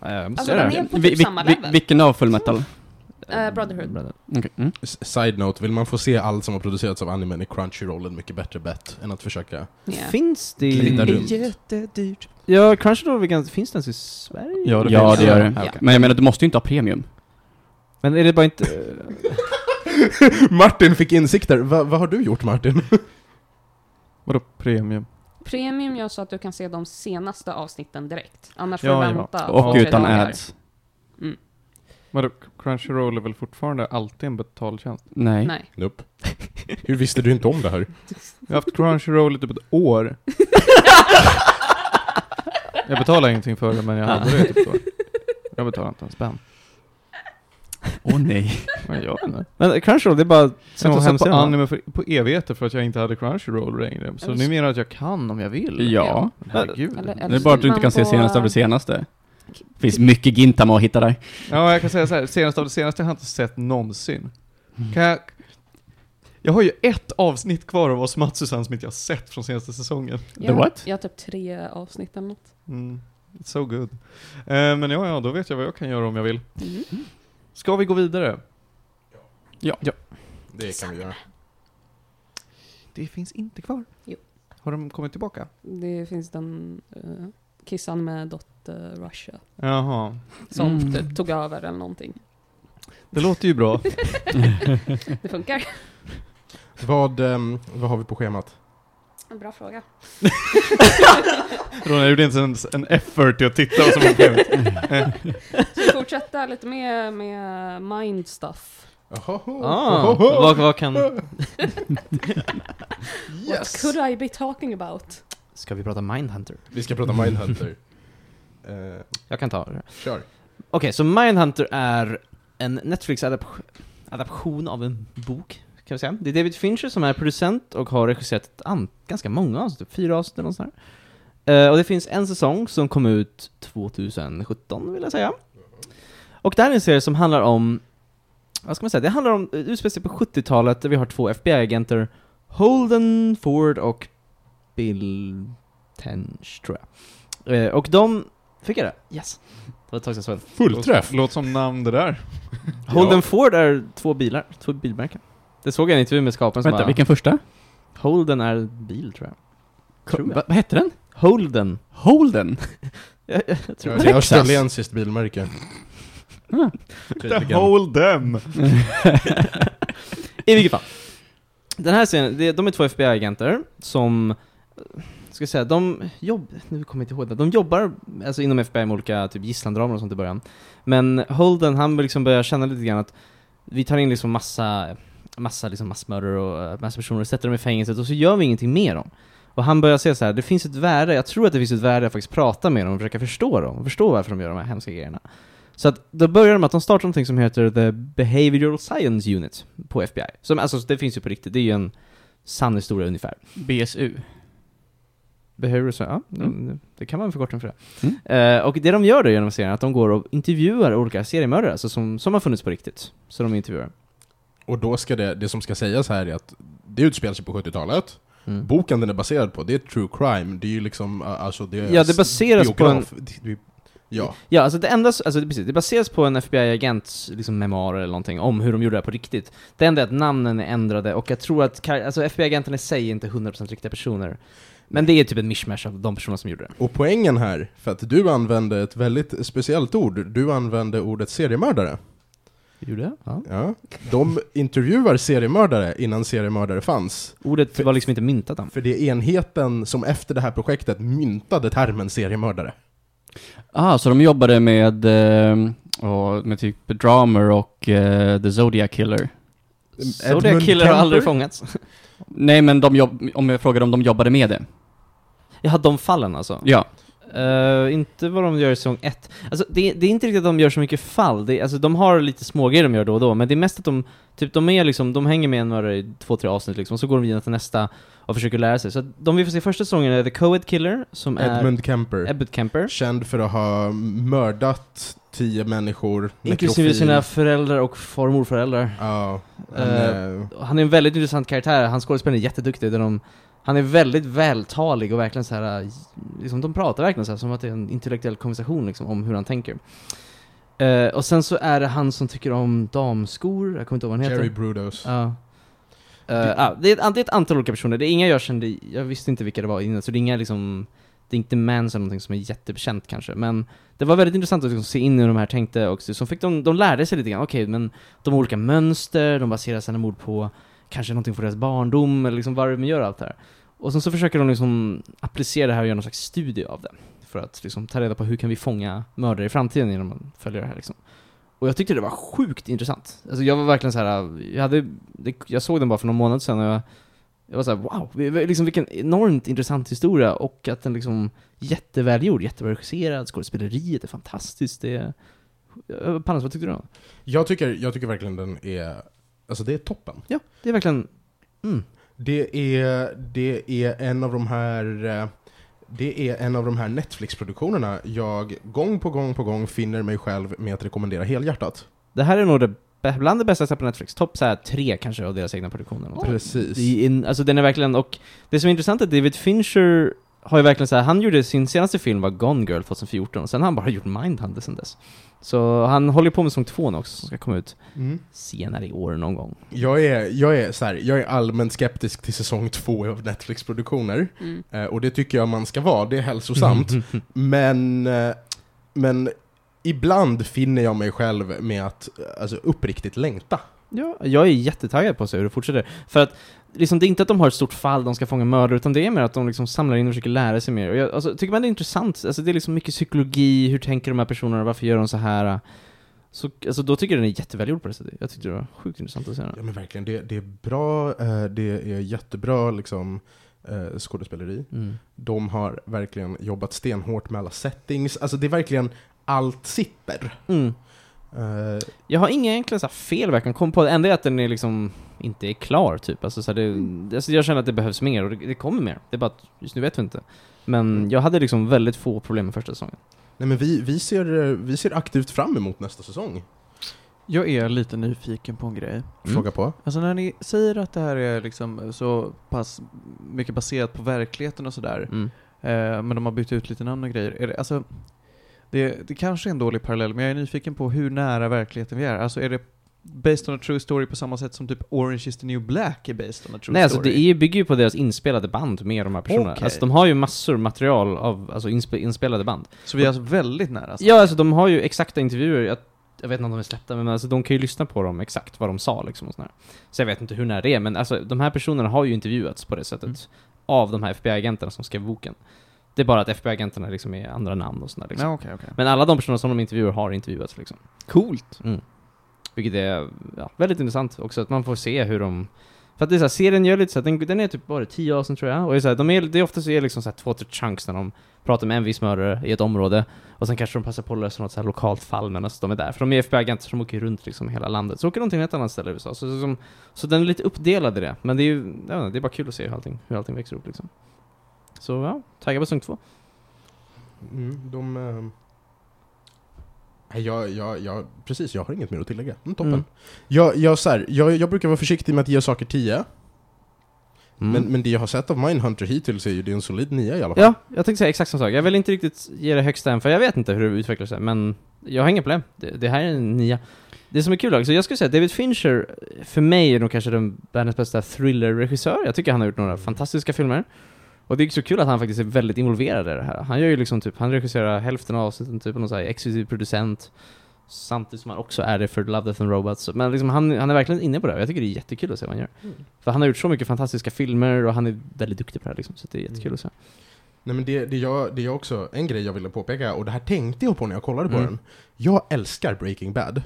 Speaker 6: Ja, jag måste
Speaker 4: Alltså,
Speaker 6: göra
Speaker 4: den
Speaker 6: det.
Speaker 4: är på
Speaker 2: Vi-
Speaker 4: typ
Speaker 2: vi-
Speaker 4: samma
Speaker 2: vi-
Speaker 4: level.
Speaker 2: vilken av Full Metal?
Speaker 4: Eh, Brotherhood.
Speaker 2: Okej, Mm.
Speaker 1: S- Side note, vill man få se allt som har producerats av animen är Crunchyroll en mycket bättre bet än att försöka
Speaker 4: Yeah.
Speaker 6: Finns det...
Speaker 1: glida runt.
Speaker 3: jättedyrt.
Speaker 6: Ja, Crunchyroll, vilken- finns den i Sverige?
Speaker 1: Ja, det
Speaker 2: Ja,
Speaker 1: finns.
Speaker 2: det gör det.
Speaker 6: Ja, okej.
Speaker 2: Men jag menar, du måste ju inte ha premium.
Speaker 6: Men är det bara inte...
Speaker 1: Martin fick insikter. Va, vad har du gjort Martin?
Speaker 3: Vadå premium?
Speaker 4: Premium gör så att du kan se de senaste avsnitten direkt. Annars
Speaker 3: Ja,
Speaker 4: får
Speaker 3: ja.
Speaker 4: du vänta.
Speaker 2: Och
Speaker 4: tre
Speaker 2: utan
Speaker 4: dagar.
Speaker 2: ads.
Speaker 3: Vadå, Crunchyroll är väl fortfarande alltid en betaltjänst?
Speaker 2: Nej.
Speaker 4: Nej.
Speaker 1: Nope. Hur visste du inte om det här?
Speaker 3: Jag har haft Crunchyroll i typ ett år. jag betalar ingenting för det, men jag hade det i typ ett år. Jag betalar inte en spänn.
Speaker 2: Åh nej.
Speaker 3: Men jag vet inte.
Speaker 6: Men Crunchyroll, det är bara...
Speaker 3: Jag
Speaker 6: Sen
Speaker 3: har
Speaker 6: på
Speaker 3: inte sett på
Speaker 6: hemsidan va?
Speaker 3: anime för, på evigheter för att jag inte hade Crunchyroll längre. Så
Speaker 4: Eller
Speaker 3: nu
Speaker 4: så-
Speaker 3: menar jag att jag kan om jag vill.
Speaker 2: Ja.
Speaker 3: Men Herregud.
Speaker 4: Eller-
Speaker 9: Mm.
Speaker 2: Det
Speaker 4: eller
Speaker 2: är
Speaker 4: så
Speaker 2: bara att du
Speaker 4: tittar
Speaker 2: inte kan
Speaker 4: man
Speaker 2: se
Speaker 4: på,
Speaker 2: senaste av det
Speaker 4: eh,
Speaker 2: senaste. Det finns mycket Gintama att hitta där.
Speaker 3: Ja, jag kan säga så här. Senast av det senaste har jag inte sett någonsin. Kan jag... Jag har ju ett avsnitt kvar av Osmatsu Sansmith jag har sett från senaste säsongen.
Speaker 2: The what?
Speaker 4: Jag har typ tre avsnitt eller något.
Speaker 3: Mm. It's so good. Eh, men ja, ja, då vet jag vad jag kan göra om jag vill.
Speaker 4: Mm.
Speaker 3: Ska vi gå vidare?
Speaker 1: Det kan vi göra.
Speaker 3: Det finns inte kvar.
Speaker 4: Jo.
Speaker 3: Har de kommit tillbaka?
Speaker 4: Det finns den uh, kissan med Dot eh, Russia
Speaker 3: Jaha.
Speaker 4: som
Speaker 2: Mm.
Speaker 4: typ tog över eller någonting.
Speaker 3: Det låter ju bra.
Speaker 4: Det funkar.
Speaker 1: Vad, ehm, vad har vi på schemat?
Speaker 4: En bra fråga.
Speaker 3: Ronja gjorde inte ens en effort till att titta vad som hände.
Speaker 4: Ska vi fortsätta lite mer med mind stuff?
Speaker 1: Jaha.
Speaker 2: Ah, vad, vad kan...
Speaker 4: What could I be talking about?
Speaker 2: Ska vi prata Mindhunter?
Speaker 1: Vi ska prata Mindhunter. Eh,
Speaker 2: Jag kan ta det.
Speaker 1: kör.
Speaker 2: Okej, så Mindhunter är en Netflix-adaption av en bok, kan vi säga. Det är David Fincher som är producent och har regisserat ett an- ganska många avsnitt, typ fyra avsnitt eller något sånt där. Eh, Och det finns en säsong som kom ut 2017, vill jag säga. Och det här är en serie som handlar om, vad ska man säga, det handlar om, eh, utspelar sig på 70-talet där vi har två FBI-agenter, Holden Ford och Bill Tench, tror jag. Eh, Och de, fick jag det? Yes. Det var ett tag sedan jag såg den.
Speaker 1: Fullträff.
Speaker 3: Låt som namn det där.
Speaker 2: Holden Ford är två bilar, två bilmärken. Det såg jag i en intervju med skaparen som
Speaker 9: Vänta,
Speaker 2: bara,
Speaker 9: vilken första?
Speaker 2: Holden är bil tror jag. Tror jag.
Speaker 9: Va- Vad hette den?
Speaker 2: Holden.
Speaker 9: Holden?
Speaker 2: Jag, jag, jag tror
Speaker 1: Det är australiensiskt bilmärke.
Speaker 2: Ah.
Speaker 1: Typ Tydligen.
Speaker 3: Hold them!
Speaker 2: I vilket fall. Den här scenen, det, de är två FBI-agenter som, eh, ska jag säga, de jobb, nu kommer jag inte ihåg det, de jobbar alltså inom FBI med olika typ gisslandramer och sånt i början. Men Holden, han vill liksom börja känna lite grann att vi tar in liksom massa, massa liksom massmördare och eh, massa personer och sätter dem i fängelset och så gör vi ingenting med dem. Och han börjar se så här, det finns ett värde, jag tror att det finns ett värde att faktiskt prata med dem och försöka förstå dem, och förstå varför de gör de här hemska grejerna. Så att då börjar de med att de startar någonting som heter The Behavioral Science Unit på FBI. Som, alltså det finns ju på riktigt, det är ju en sann historia ungefär.
Speaker 9: BSU.
Speaker 2: Behavioral Science, ja, det- det kan man förkorta den för det.
Speaker 9: Mm.
Speaker 2: Eh, och det de gör då genom serien är att de går och intervjuar olika seriemördare, alltså som, som har funnits på riktigt. Så de intervjuar.
Speaker 1: Och då ska det, det som ska sägas här är att det utspelar sig på 70-talet.
Speaker 2: Mm.
Speaker 1: Boken den är baserad på, det är true crime. Det är ju liksom, eh, alltså det är
Speaker 2: Ja, det baseras på en,
Speaker 1: biograf- det- det- Ja,
Speaker 2: Ja, alltså det enda, alltså det, precis, det baseras på en FBI-agents liksom, memoarer eller någonting om hur de gjorde det här på riktigt. Det enda är att namnen är ändrade och jag tror att kar- alltså, FBI-agenten i sig är inte 100% riktiga personer. Men det är typ en mishmash av de personer som gjorde det.
Speaker 1: och poängen här, för att du använde ett väldigt speciellt ord. Du använde ordet seriemördare.
Speaker 2: Gjorde jag? Ja.
Speaker 1: Ja. De intervjuar seriemördare innan seriemördare fanns.
Speaker 2: Ordet var liksom inte myntat än.
Speaker 1: För det är enheten som efter det här projektet myntade termen seriemördare.
Speaker 9: Ah, så de jobbade med, eh, och med typ Dramer och eh, The Zodiac Killer.
Speaker 2: Så det killar har aldrig fångats.
Speaker 9: Nej, men de jobb, om jag frågar om de jobbade med det.
Speaker 2: Jag hade de fallen alltså.
Speaker 9: Ja.
Speaker 2: Eh, inte vad de gör i säsong ett. Alltså, det, det är inte riktigt att de gör så mycket fall. Det, är- alltså, de har lite smågrejer de gör då och då, men det är mest att de, typ, de, är liksom, de hänger med en mördare i två, tre avsnitt liksom, och så går de vidare till nästa och försöker lära sig. Så att de vi får se i första säsongen är The Coed Killer, som
Speaker 1: Edmund Kemper.
Speaker 2: är Edmund Kemper.
Speaker 1: Känd för att ha mördat tio människor.
Speaker 2: Inklusive
Speaker 1: nekrofil.
Speaker 2: sina föräldrar och far och morföräldrar.
Speaker 1: Ja. han,
Speaker 2: Eh,
Speaker 1: eh,
Speaker 2: Han är en väldigt intressant karaktär, han skådespelaren är jätteduktig. Där de, han är väldigt vältalig och verkligen så här, eh, liksom, de pratar verkligen så här, som att det är en intellektuell konversation liksom, om hur han tänker. Eh, och sen så är det han som tycker om damskor, jag kommer inte ihåg vad han
Speaker 1: Jerry
Speaker 2: heter.
Speaker 1: Brudos.
Speaker 2: Ja. Eh, ja, det, är ett, an- det är ett antal olika personer, det är inga jag kände, jag visste inte vilka det var innan, så det är inga liksom det är inte Mans eller någonting som är jättebekänt kanske, men det var väldigt intressant att liksom se in i hur de här tänkte och så så fick de, de lärde sig lite grann, okej men de har olika mönster, de baserar sina mord på kanske någonting från deras barndom eller liksom varför de gör allt det här. Och sen så försöker de liksom applicera det här och göra någon slags studie av det. För att liksom ta reda på hur kan vi fånga mördare i framtiden genom att följa det här liksom. Och jag tyckte det var sjukt intressant. Alltså jag var verkligen så här, jag hade, det, jag såg den bara för någon månad sedan och jag, jag var så här, wow, vi- vi- liksom vilken enormt intressant historia och att den liksom jättevälgjord, jättevälregisserad, skådespeleriet är fantastiskt, det är... Eh, Panos, vad tyckte du om den?
Speaker 1: Jag tycker, jag tycker verkligen den är... Alltså det är toppen.
Speaker 2: Ja, det är verkligen, mm.
Speaker 1: Det är, det är en av de här... eh, Det är en av de här Netflix-produktionerna jag gång på gång på gång finner mig själv med att rekommendera helhjärtat.
Speaker 2: Det här är nog det, bä- bland det bästa jag sett på Netflix. Topp så här tre kanske av deras egna produktioner. eller någonting.
Speaker 1: Precis.
Speaker 2: Det är en- Alltså den är verkligen, och det som är intressant är att David Fincher har ju verkligen så här, han gjorde sin senaste film var Gone Girl 2014, och sen har han bara gjort Mindhunter sen dess. Så han håller på med säsong två nu också, som ska komma ut
Speaker 1: Mm.
Speaker 2: senare i år någon gång.
Speaker 1: Jag är, jag, är så här, jag är allmänt skeptisk till säsong två av Netflix-produktioner.
Speaker 4: Mm.
Speaker 2: Mm.
Speaker 1: Eh, Och det tycker jag man ska vara, det är hälsosamt. men, eh, men ibland finner jag mig själv med att alltså, uppriktigt längta.
Speaker 2: Ja, jag är jättetaggad på att se hur det fortsätter. För att liksom, det är inte att de har ett stort fall de ska fånga mördare, utan det är mer att de liksom samlar in och försöker lära sig mer. Och jag, alltså, tycker man det är intressant, alltså, det är liksom mycket psykologi, hur tänker de här personerna, varför gör de så här? Så, alltså, då tycker jag den är jättevälgjord på det sättet. Jag tyckte det var sjukt intressant att se den.
Speaker 1: Ja men verkligen, det, det är bra, eh, det är jättebra liksom, eh, skådespeleri.
Speaker 2: Mm.
Speaker 1: De har verkligen jobbat stenhårt med alla settings, alltså det är verkligen allt sitter.
Speaker 2: Mm.
Speaker 1: Eh,
Speaker 2: Jag har inga egentligen så här fel vad jag kan komma på, det enda är att den är liksom inte är klar typ. Alltså, så här,
Speaker 10: Mm.
Speaker 2: det, alltså, jag känner att det behövs mer och det, det kommer mer. Det är bara att just nu vet vi inte.
Speaker 10: Mm.
Speaker 2: Men jag hade liksom väldigt få problem med första säsongen.
Speaker 1: nej men vi, vi, ser, eh, vi ser aktivt fram emot nästa säsong.
Speaker 10: Jag är lite nyfiken på en grej.
Speaker 2: Mm.
Speaker 1: Fråga på.
Speaker 10: Alltså när ni säger att det här är liksom så pass mycket baserat på verkligheten och sådär.
Speaker 2: Mm.
Speaker 10: Eh, men de har bytt ut lite namn och grejer. Är det, alltså, det, det kanske är en dålig parallell, men jag är nyfiken på hur nära verkligheten vi är. Alltså är det based on a true story på samma sätt som typ Orange is the new black är based on a true
Speaker 2: Nej, alltså
Speaker 10: story?
Speaker 2: det är, ju- bygger ju på deras inspelade band med de här personerna.
Speaker 10: Okej.
Speaker 2: Alltså de har ju massor material av alltså, inspe- inspelade band.
Speaker 10: Så vi är alltså väldigt nära. Alltså.
Speaker 2: Ja, alltså de har ju exakta intervjuer. Jag, jag vet inte om de är släppta, men alltså, de kan ju lyssna på dem exakt vad de sa liksom och sådär. Så jag vet inte hur nära det är, men alltså de här personerna har ju intervjuats på det sättet
Speaker 10: Mm.
Speaker 2: av de här FBI-agenterna som skrev boken. Det är bara att FBI-agenterna liksom är andra namn och sådär liksom.
Speaker 10: Ja, okej, okej.
Speaker 2: Men alla de personer som de intervjuar har intervjuats liksom. Coolt! Mm. Vilket är ja, väldigt intressant också, att man får se hur de... För att det är så här, serien gör lite så här, den, den är typ bara tio avsnitt tror jag, och det är så här, de är, det är ofta så är det liksom så här två, tre chunks när de pratar med en viss mördare i ett område, och sen kanske de passar på att lösa något så här lokalt fall medan de är där. För de är FBI-agenter som åker runt liksom hela landet, så åker de till ett annat ställe i USA. Så, så, som, så den är lite uppdelad i det, men det är ju, jag vet inte, det är bara kul att se hur allting, hur allting växer upp liksom. Så ja, taggad på säsong två.
Speaker 1: Mm, de... ehm, nej, jag, jag, jag, precis, jag har inget mer att tillägga. Mm, toppen.
Speaker 2: Mm.
Speaker 1: Jag, jag, så här, jag, jag brukar vara försiktig med att ge saker 10, men, men det jag har sett av Mindhunter hittills är ju det är en solid 9 i alla fall.
Speaker 2: Mm. Ja, jag tänkte säga exakt samma sak. Jag vill inte riktigt ge det högsta än, för jag vet inte hur det utvecklar sig, men jag har inga problem. Det, det här är en nia. Det som är kul också, jag skulle säga att David Fincher, för mig är nog kanske den världens bästa thriller-regissör. Jag tycker han har gjort några fantastiska filmer. Och det är så kul att han faktiskt är väldigt involverad i det här. Han gör ju liksom typ, han regisserar hälften av avsnitten, typ och någon så här exklusiv producent. Samtidigt som han också är det för Love, Death and Robots. Men liksom han, han är verkligen inne på det här. jag tycker det är jättekul att se vad han gör. För han har gjort så mycket fantastiska filmer och han är väldigt duktig på det här liksom, så det är jättekul
Speaker 1: Mm.
Speaker 2: att se.
Speaker 1: Nej, men det, det, jag, det jag också, en grej jag ville påpeka, och det här tänkte jag på när jag kollade på
Speaker 2: Mm.
Speaker 1: den. Jag älskar Breaking Bad.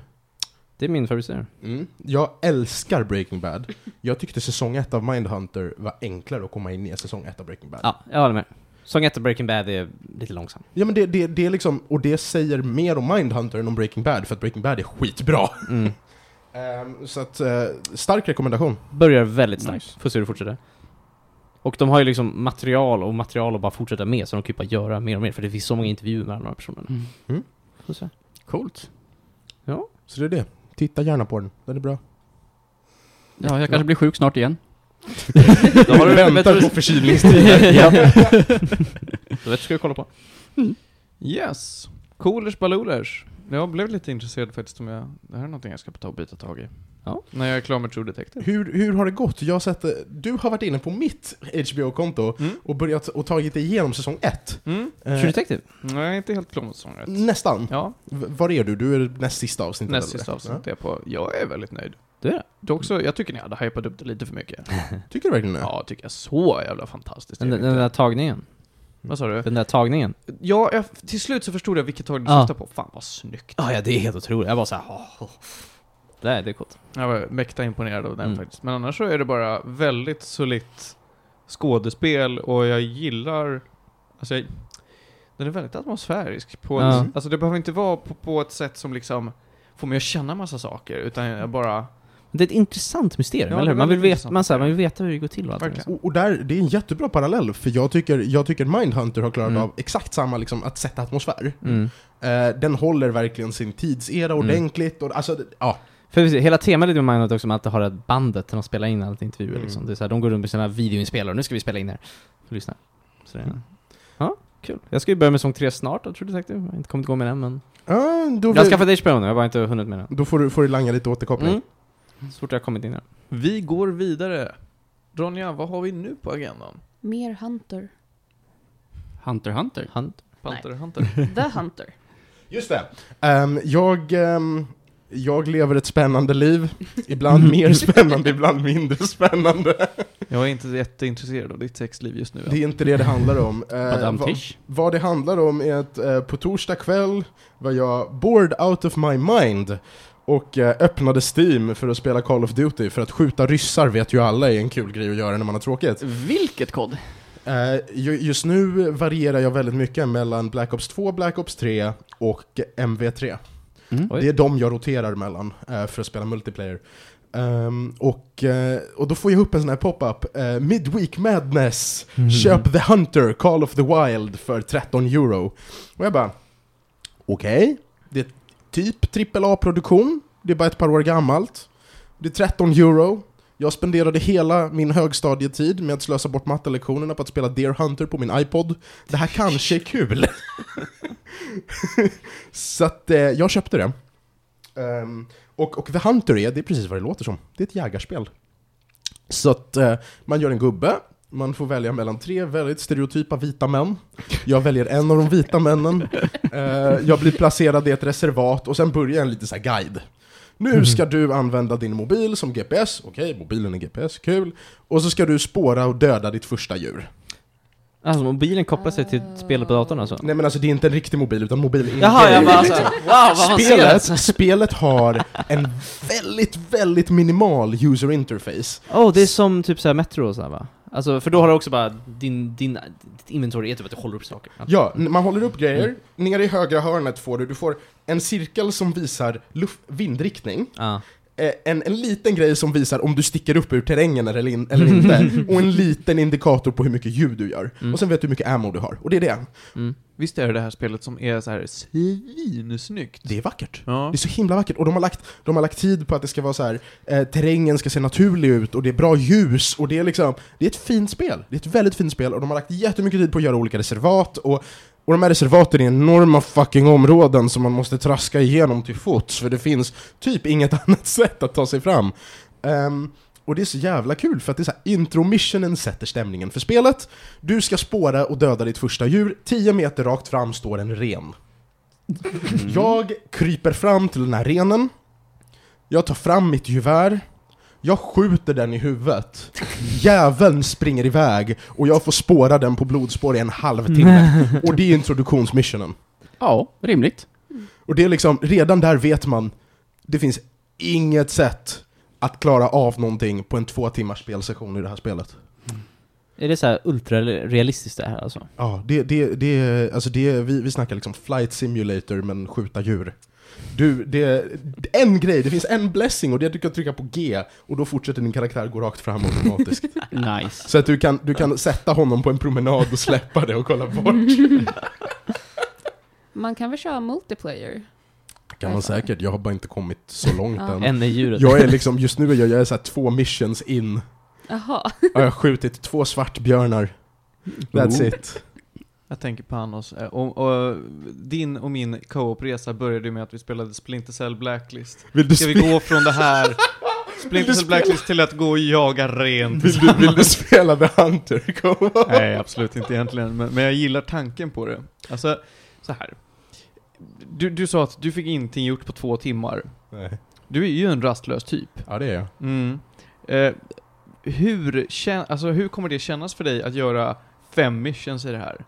Speaker 2: Det är min favoritserie.
Speaker 1: Mm. Jag älskar Breaking Bad. Jag tyckte säsong 1 av Mindhunter var enklare att komma in i än säsong 1 av Breaking Bad.
Speaker 2: Ja, jag håller med. Sång 1 Breaking Bad är lite långsam.
Speaker 1: Ja men det, det, det är liksom, och det säger mer om Mindhunter än om Breaking Bad, för att Breaking Bad är skitbra.
Speaker 2: Mm.
Speaker 1: Ehm, så att, eh, stark rekommendation.
Speaker 2: Börjar väldigt starkt. Får se hur det fortsätter. Och de har ju liksom material och material att bara fortsätta med, så de kan ju bara göra mer och mer, för det finns så många intervjuer mellan de här personerna.
Speaker 11: Mm.
Speaker 1: Mm.
Speaker 2: Får se.
Speaker 11: Coolt.
Speaker 1: Så det är det. Titta gärna på den, den är bra.
Speaker 11: Ja, jag kanske blir sjuk snart igen.
Speaker 1: Då har du väntar på förkylningstider.
Speaker 2: Så det ska vi kolla på. Mm.
Speaker 3: Yes. Coolers balolers. Jag blev lite intresserad faktiskt om jag... Det här är någonting jag ska ta och byta tag i.
Speaker 2: Ja.
Speaker 3: När jag är klar med True Detective.
Speaker 1: hur, hur har det gått? Jag har sett, eh, du har varit inne på mitt HBO-konto
Speaker 3: Mm.
Speaker 1: och börjat och tagit dig igenom säsong 1.
Speaker 3: Mm.
Speaker 2: True Detective?
Speaker 3: Nej, inte helt klar med säsong ett.
Speaker 1: nästan.
Speaker 3: Ja,
Speaker 1: V- Var är du? Du är näst sista avsnittet.
Speaker 3: näst
Speaker 1: eller?
Speaker 3: sista avsnittet är jag på. Jag är väldigt nöjd.
Speaker 2: Du är det?
Speaker 3: Det är också, jag tycker ni hade hypat upp det lite för mycket.
Speaker 1: Ja. Tycker du verkligen det?
Speaker 3: Ja, tycker jag. Så jävla fantastiskt.
Speaker 2: Den,
Speaker 3: är
Speaker 2: den
Speaker 3: det inte.
Speaker 2: där tagningen.
Speaker 3: Vad sa du?
Speaker 2: Den där tagningen.
Speaker 3: Ja, jag, till slut så förstod jag vilket tag du
Speaker 2: Ja.
Speaker 3: syftade på. Fan vad snyggt.
Speaker 2: ja, det är helt otroligt. Jag bara såhär, oh. Nej, det är coolt.
Speaker 3: Jag var mäkta imponerad av den
Speaker 2: Mm.
Speaker 3: faktiskt. Men annars så är det bara väldigt solitt skådespel och jag gillar... Alltså jag, den är väldigt atmosfärisk. På
Speaker 2: Ja.
Speaker 3: ett, alltså det behöver inte vara på, på ett sätt som liksom får mig att känna massa saker, utan
Speaker 2: Mm.
Speaker 3: jag bara...
Speaker 2: Det är ett intressant mysterium,
Speaker 3: Ja,
Speaker 2: eller
Speaker 3: det
Speaker 2: hur?
Speaker 3: är
Speaker 2: Man vill,
Speaker 3: väldigt
Speaker 2: veta,
Speaker 3: intressant.
Speaker 2: man, så här, man vill veta hur det går till och allt det där.
Speaker 3: Verkligen.
Speaker 1: Och, och där, det är en jättebra parallell, för jag tycker, jag tycker Mindhunter har klarat
Speaker 2: Mm.
Speaker 1: av exakt samma, liksom, att sätta atmosfär.
Speaker 2: Mm.
Speaker 1: Eh, den håller verkligen sin tidsera
Speaker 3: Mm.
Speaker 1: ordentligt. Och, alltså, det- ja.
Speaker 2: För precis, hela temat i Mindhunter är också med att det har ett bandet när de spelar in alla intervjuer
Speaker 1: Mm.
Speaker 2: liksom. Det är så här, de går runt med sina videoinspelare, nu ska vi spela in här. Lyssna. Så det är,
Speaker 1: Mm.
Speaker 2: Ja, kul. Jag ska ju börja med sång 3 snart av True Detective, jag har inte kommit igång med den men...
Speaker 1: Ja, Ah, då,
Speaker 2: Jag har skaffat HBO nu, jag har bara inte hunnit med den.
Speaker 1: då får du, får du langa lite återkoppling.
Speaker 2: Mm. Så fort jag har kommit in där.
Speaker 3: Vi går vidare. Ronja, vad har vi nu på agendan?
Speaker 4: Mer Hunter.
Speaker 11: Hunter Hunter.
Speaker 2: Han,
Speaker 3: Panther Hunter.
Speaker 4: The Hunter.
Speaker 1: Just det. Ehm, jag, ehm, jag lever ett spännande liv. Ibland mer spännande, ibland mindre spännande.
Speaker 12: Jag är inte jätteintresserad av ditt sexliv just nu.
Speaker 1: Det är inte det det handlar om. Eh,
Speaker 2: Madame
Speaker 1: vad-
Speaker 2: Tish?
Speaker 1: Vad det handlar om är att eh, på torsdag kväll var jag bored out of my mind och eh, öppnade Steam för att spela Call of Duty för att skjuta ryssar vet ju alla är en kul grej att göra när man har tråkigt.
Speaker 2: Vilket kod?
Speaker 1: Eh, ju- just nu varierar jag väldigt mycket mellan Black Ops 2, Black Ops 3 och MV3.
Speaker 2: Mm.
Speaker 1: Det är de jag roterar mellan eh, för att spela multiplayer. Ehm, och, eh, och då får jag upp en sån här pop-up, eh, Midweek Madness,
Speaker 2: Mm.
Speaker 3: Mhm.
Speaker 1: köp The Hunter, Call of the Wild för 13 euro. Och jag bara, okej, det är typ AAA-produktion, det är bara ett par år gammalt, det är 13 euro. Jag spenderade hela min högstadietid med att slösa bort mattelektionerna på att spela Deer Hunter på min iPod. Det här kanske är kul. Så att eh, jag köpte det. Ehm, och, och The Hunter är, det är precis vad det låter som. Det är ett jägarspel. Så att eh, man gör en gubbe, man får välja mellan tre väldigt stereotypa vita män. Jag väljer en av de vita männen. Eh, jag blir placerad i ett reservat och sen börjar en liten så här guide. Nu ska du använda din mobil som GPS, okej, mobilen är GPS, kul. Och så ska du spåra och döda ditt första djur.
Speaker 6: Alltså mobilen kopplar sig till spelet på datorn alltså?
Speaker 1: Nej men alltså det är inte en riktig mobil, utan mobil är en
Speaker 6: Jaha,
Speaker 1: grej,
Speaker 6: jag bara
Speaker 1: liksom.
Speaker 6: alltså, wow vad avancerat!
Speaker 1: Spelet, spelet har en väldigt, väldigt minimal user interface.
Speaker 6: Åh, oh, det är som typ såhär Metro och sådär va? Alltså, för då har du också bara din, din, ditt inventory är typ att du håller upp saker.
Speaker 1: Ja, n- man håller upp grejer, nere i högra hörnet får du, du får en cirkel som visar luft, vindriktning,
Speaker 6: Ja.
Speaker 1: eh, en, en liten grej som visar om du sticker upp ur terrängen eller, in, eller inte, och en liten indikator på hur mycket ljud du gör.
Speaker 6: Mm.
Speaker 1: Och sen vet du hur mycket ammo du har, och det är det.
Speaker 2: Mm.
Speaker 12: Visst är det det här spelet som är så här svinsnyggt?
Speaker 1: Det är vackert.
Speaker 12: Ja.
Speaker 1: Det är så himla vackert, och de har lagt, de har lagt tid på att det ska vara så här, eh, terrängen ska se naturlig ut och det är bra ljus och det är liksom, det är ett fint spel. Det är ett väldigt fint spel och de har lagt jättemycket tid på att göra olika reservat och, och de här reservaten är enorma fucking områden som man måste traska igenom till fots för det finns typ inget annat sätt att ta sig fram. Ehm, och det är så jävla kul för att det är så här, intromissionen sätter stämningen för spelet. Du ska spåra och döda ditt första djur, 10 meter rakt fram står en ren. Jag kryper fram till den här renen. Jag tar fram mitt gevär. Jag skjuter den i huvudet. Jäveln springer iväg och jag får spåra den på blodspår i en halvtimme. Och det är introduktionsmissionen.
Speaker 2: Ja, rimligt.
Speaker 1: Och det är liksom, redan där vet man, det finns inget sätt att klara av någonting på en två timmars spelsession i det här spelet.
Speaker 6: Är det såhär ultrarealistiskt det här alltså?
Speaker 1: Ja, det, det, det, är- alltså det, vi, vi snackar liksom flight simulator men skjuta djur. Du, det, en grej, det finns en blessing och det är att du kan trycka på G och då fortsätter din karaktär gå rakt fram automatiskt.
Speaker 2: Nice.
Speaker 1: Så att du kan, du kan sätta honom på en promenad och släppa det och kolla bort.
Speaker 4: Man kan väl köra multiplayer?
Speaker 1: kan man säkert, jag har bara inte kommit så långt
Speaker 4: Ja.
Speaker 1: än.
Speaker 6: En är djuret.
Speaker 1: Jag är liksom, just nu är jag, jag är så här två missions in.
Speaker 4: Jaha.
Speaker 1: Jag har skjutit två svartbjörnar. That's it.
Speaker 12: Jag tänker på Panos. Eh, Och, och, din och min co-op-resa började ju med att vi spelade Splinter Cell Blacklist.
Speaker 1: Vill du,
Speaker 12: Ska vi
Speaker 1: spe-
Speaker 12: gå från det här Splinter
Speaker 1: du
Speaker 12: Cell
Speaker 1: spela?
Speaker 12: Blacklist till att gå och jaga rent?
Speaker 1: vill, du, vill du spela The Hunter? Kom.
Speaker 12: Nej, absolut inte egentligen. Men, men jag gillar tanken på det. Alltså, så här. Du, du sa att du fick ingenting gjort på två timmar.
Speaker 1: Nej.
Speaker 12: Du är ju en rastlös typ.
Speaker 1: Ja, det är jag.
Speaker 12: Mm. Eh, hur, kän- alltså, hur kommer det kännas för dig att göra fem missions i det här?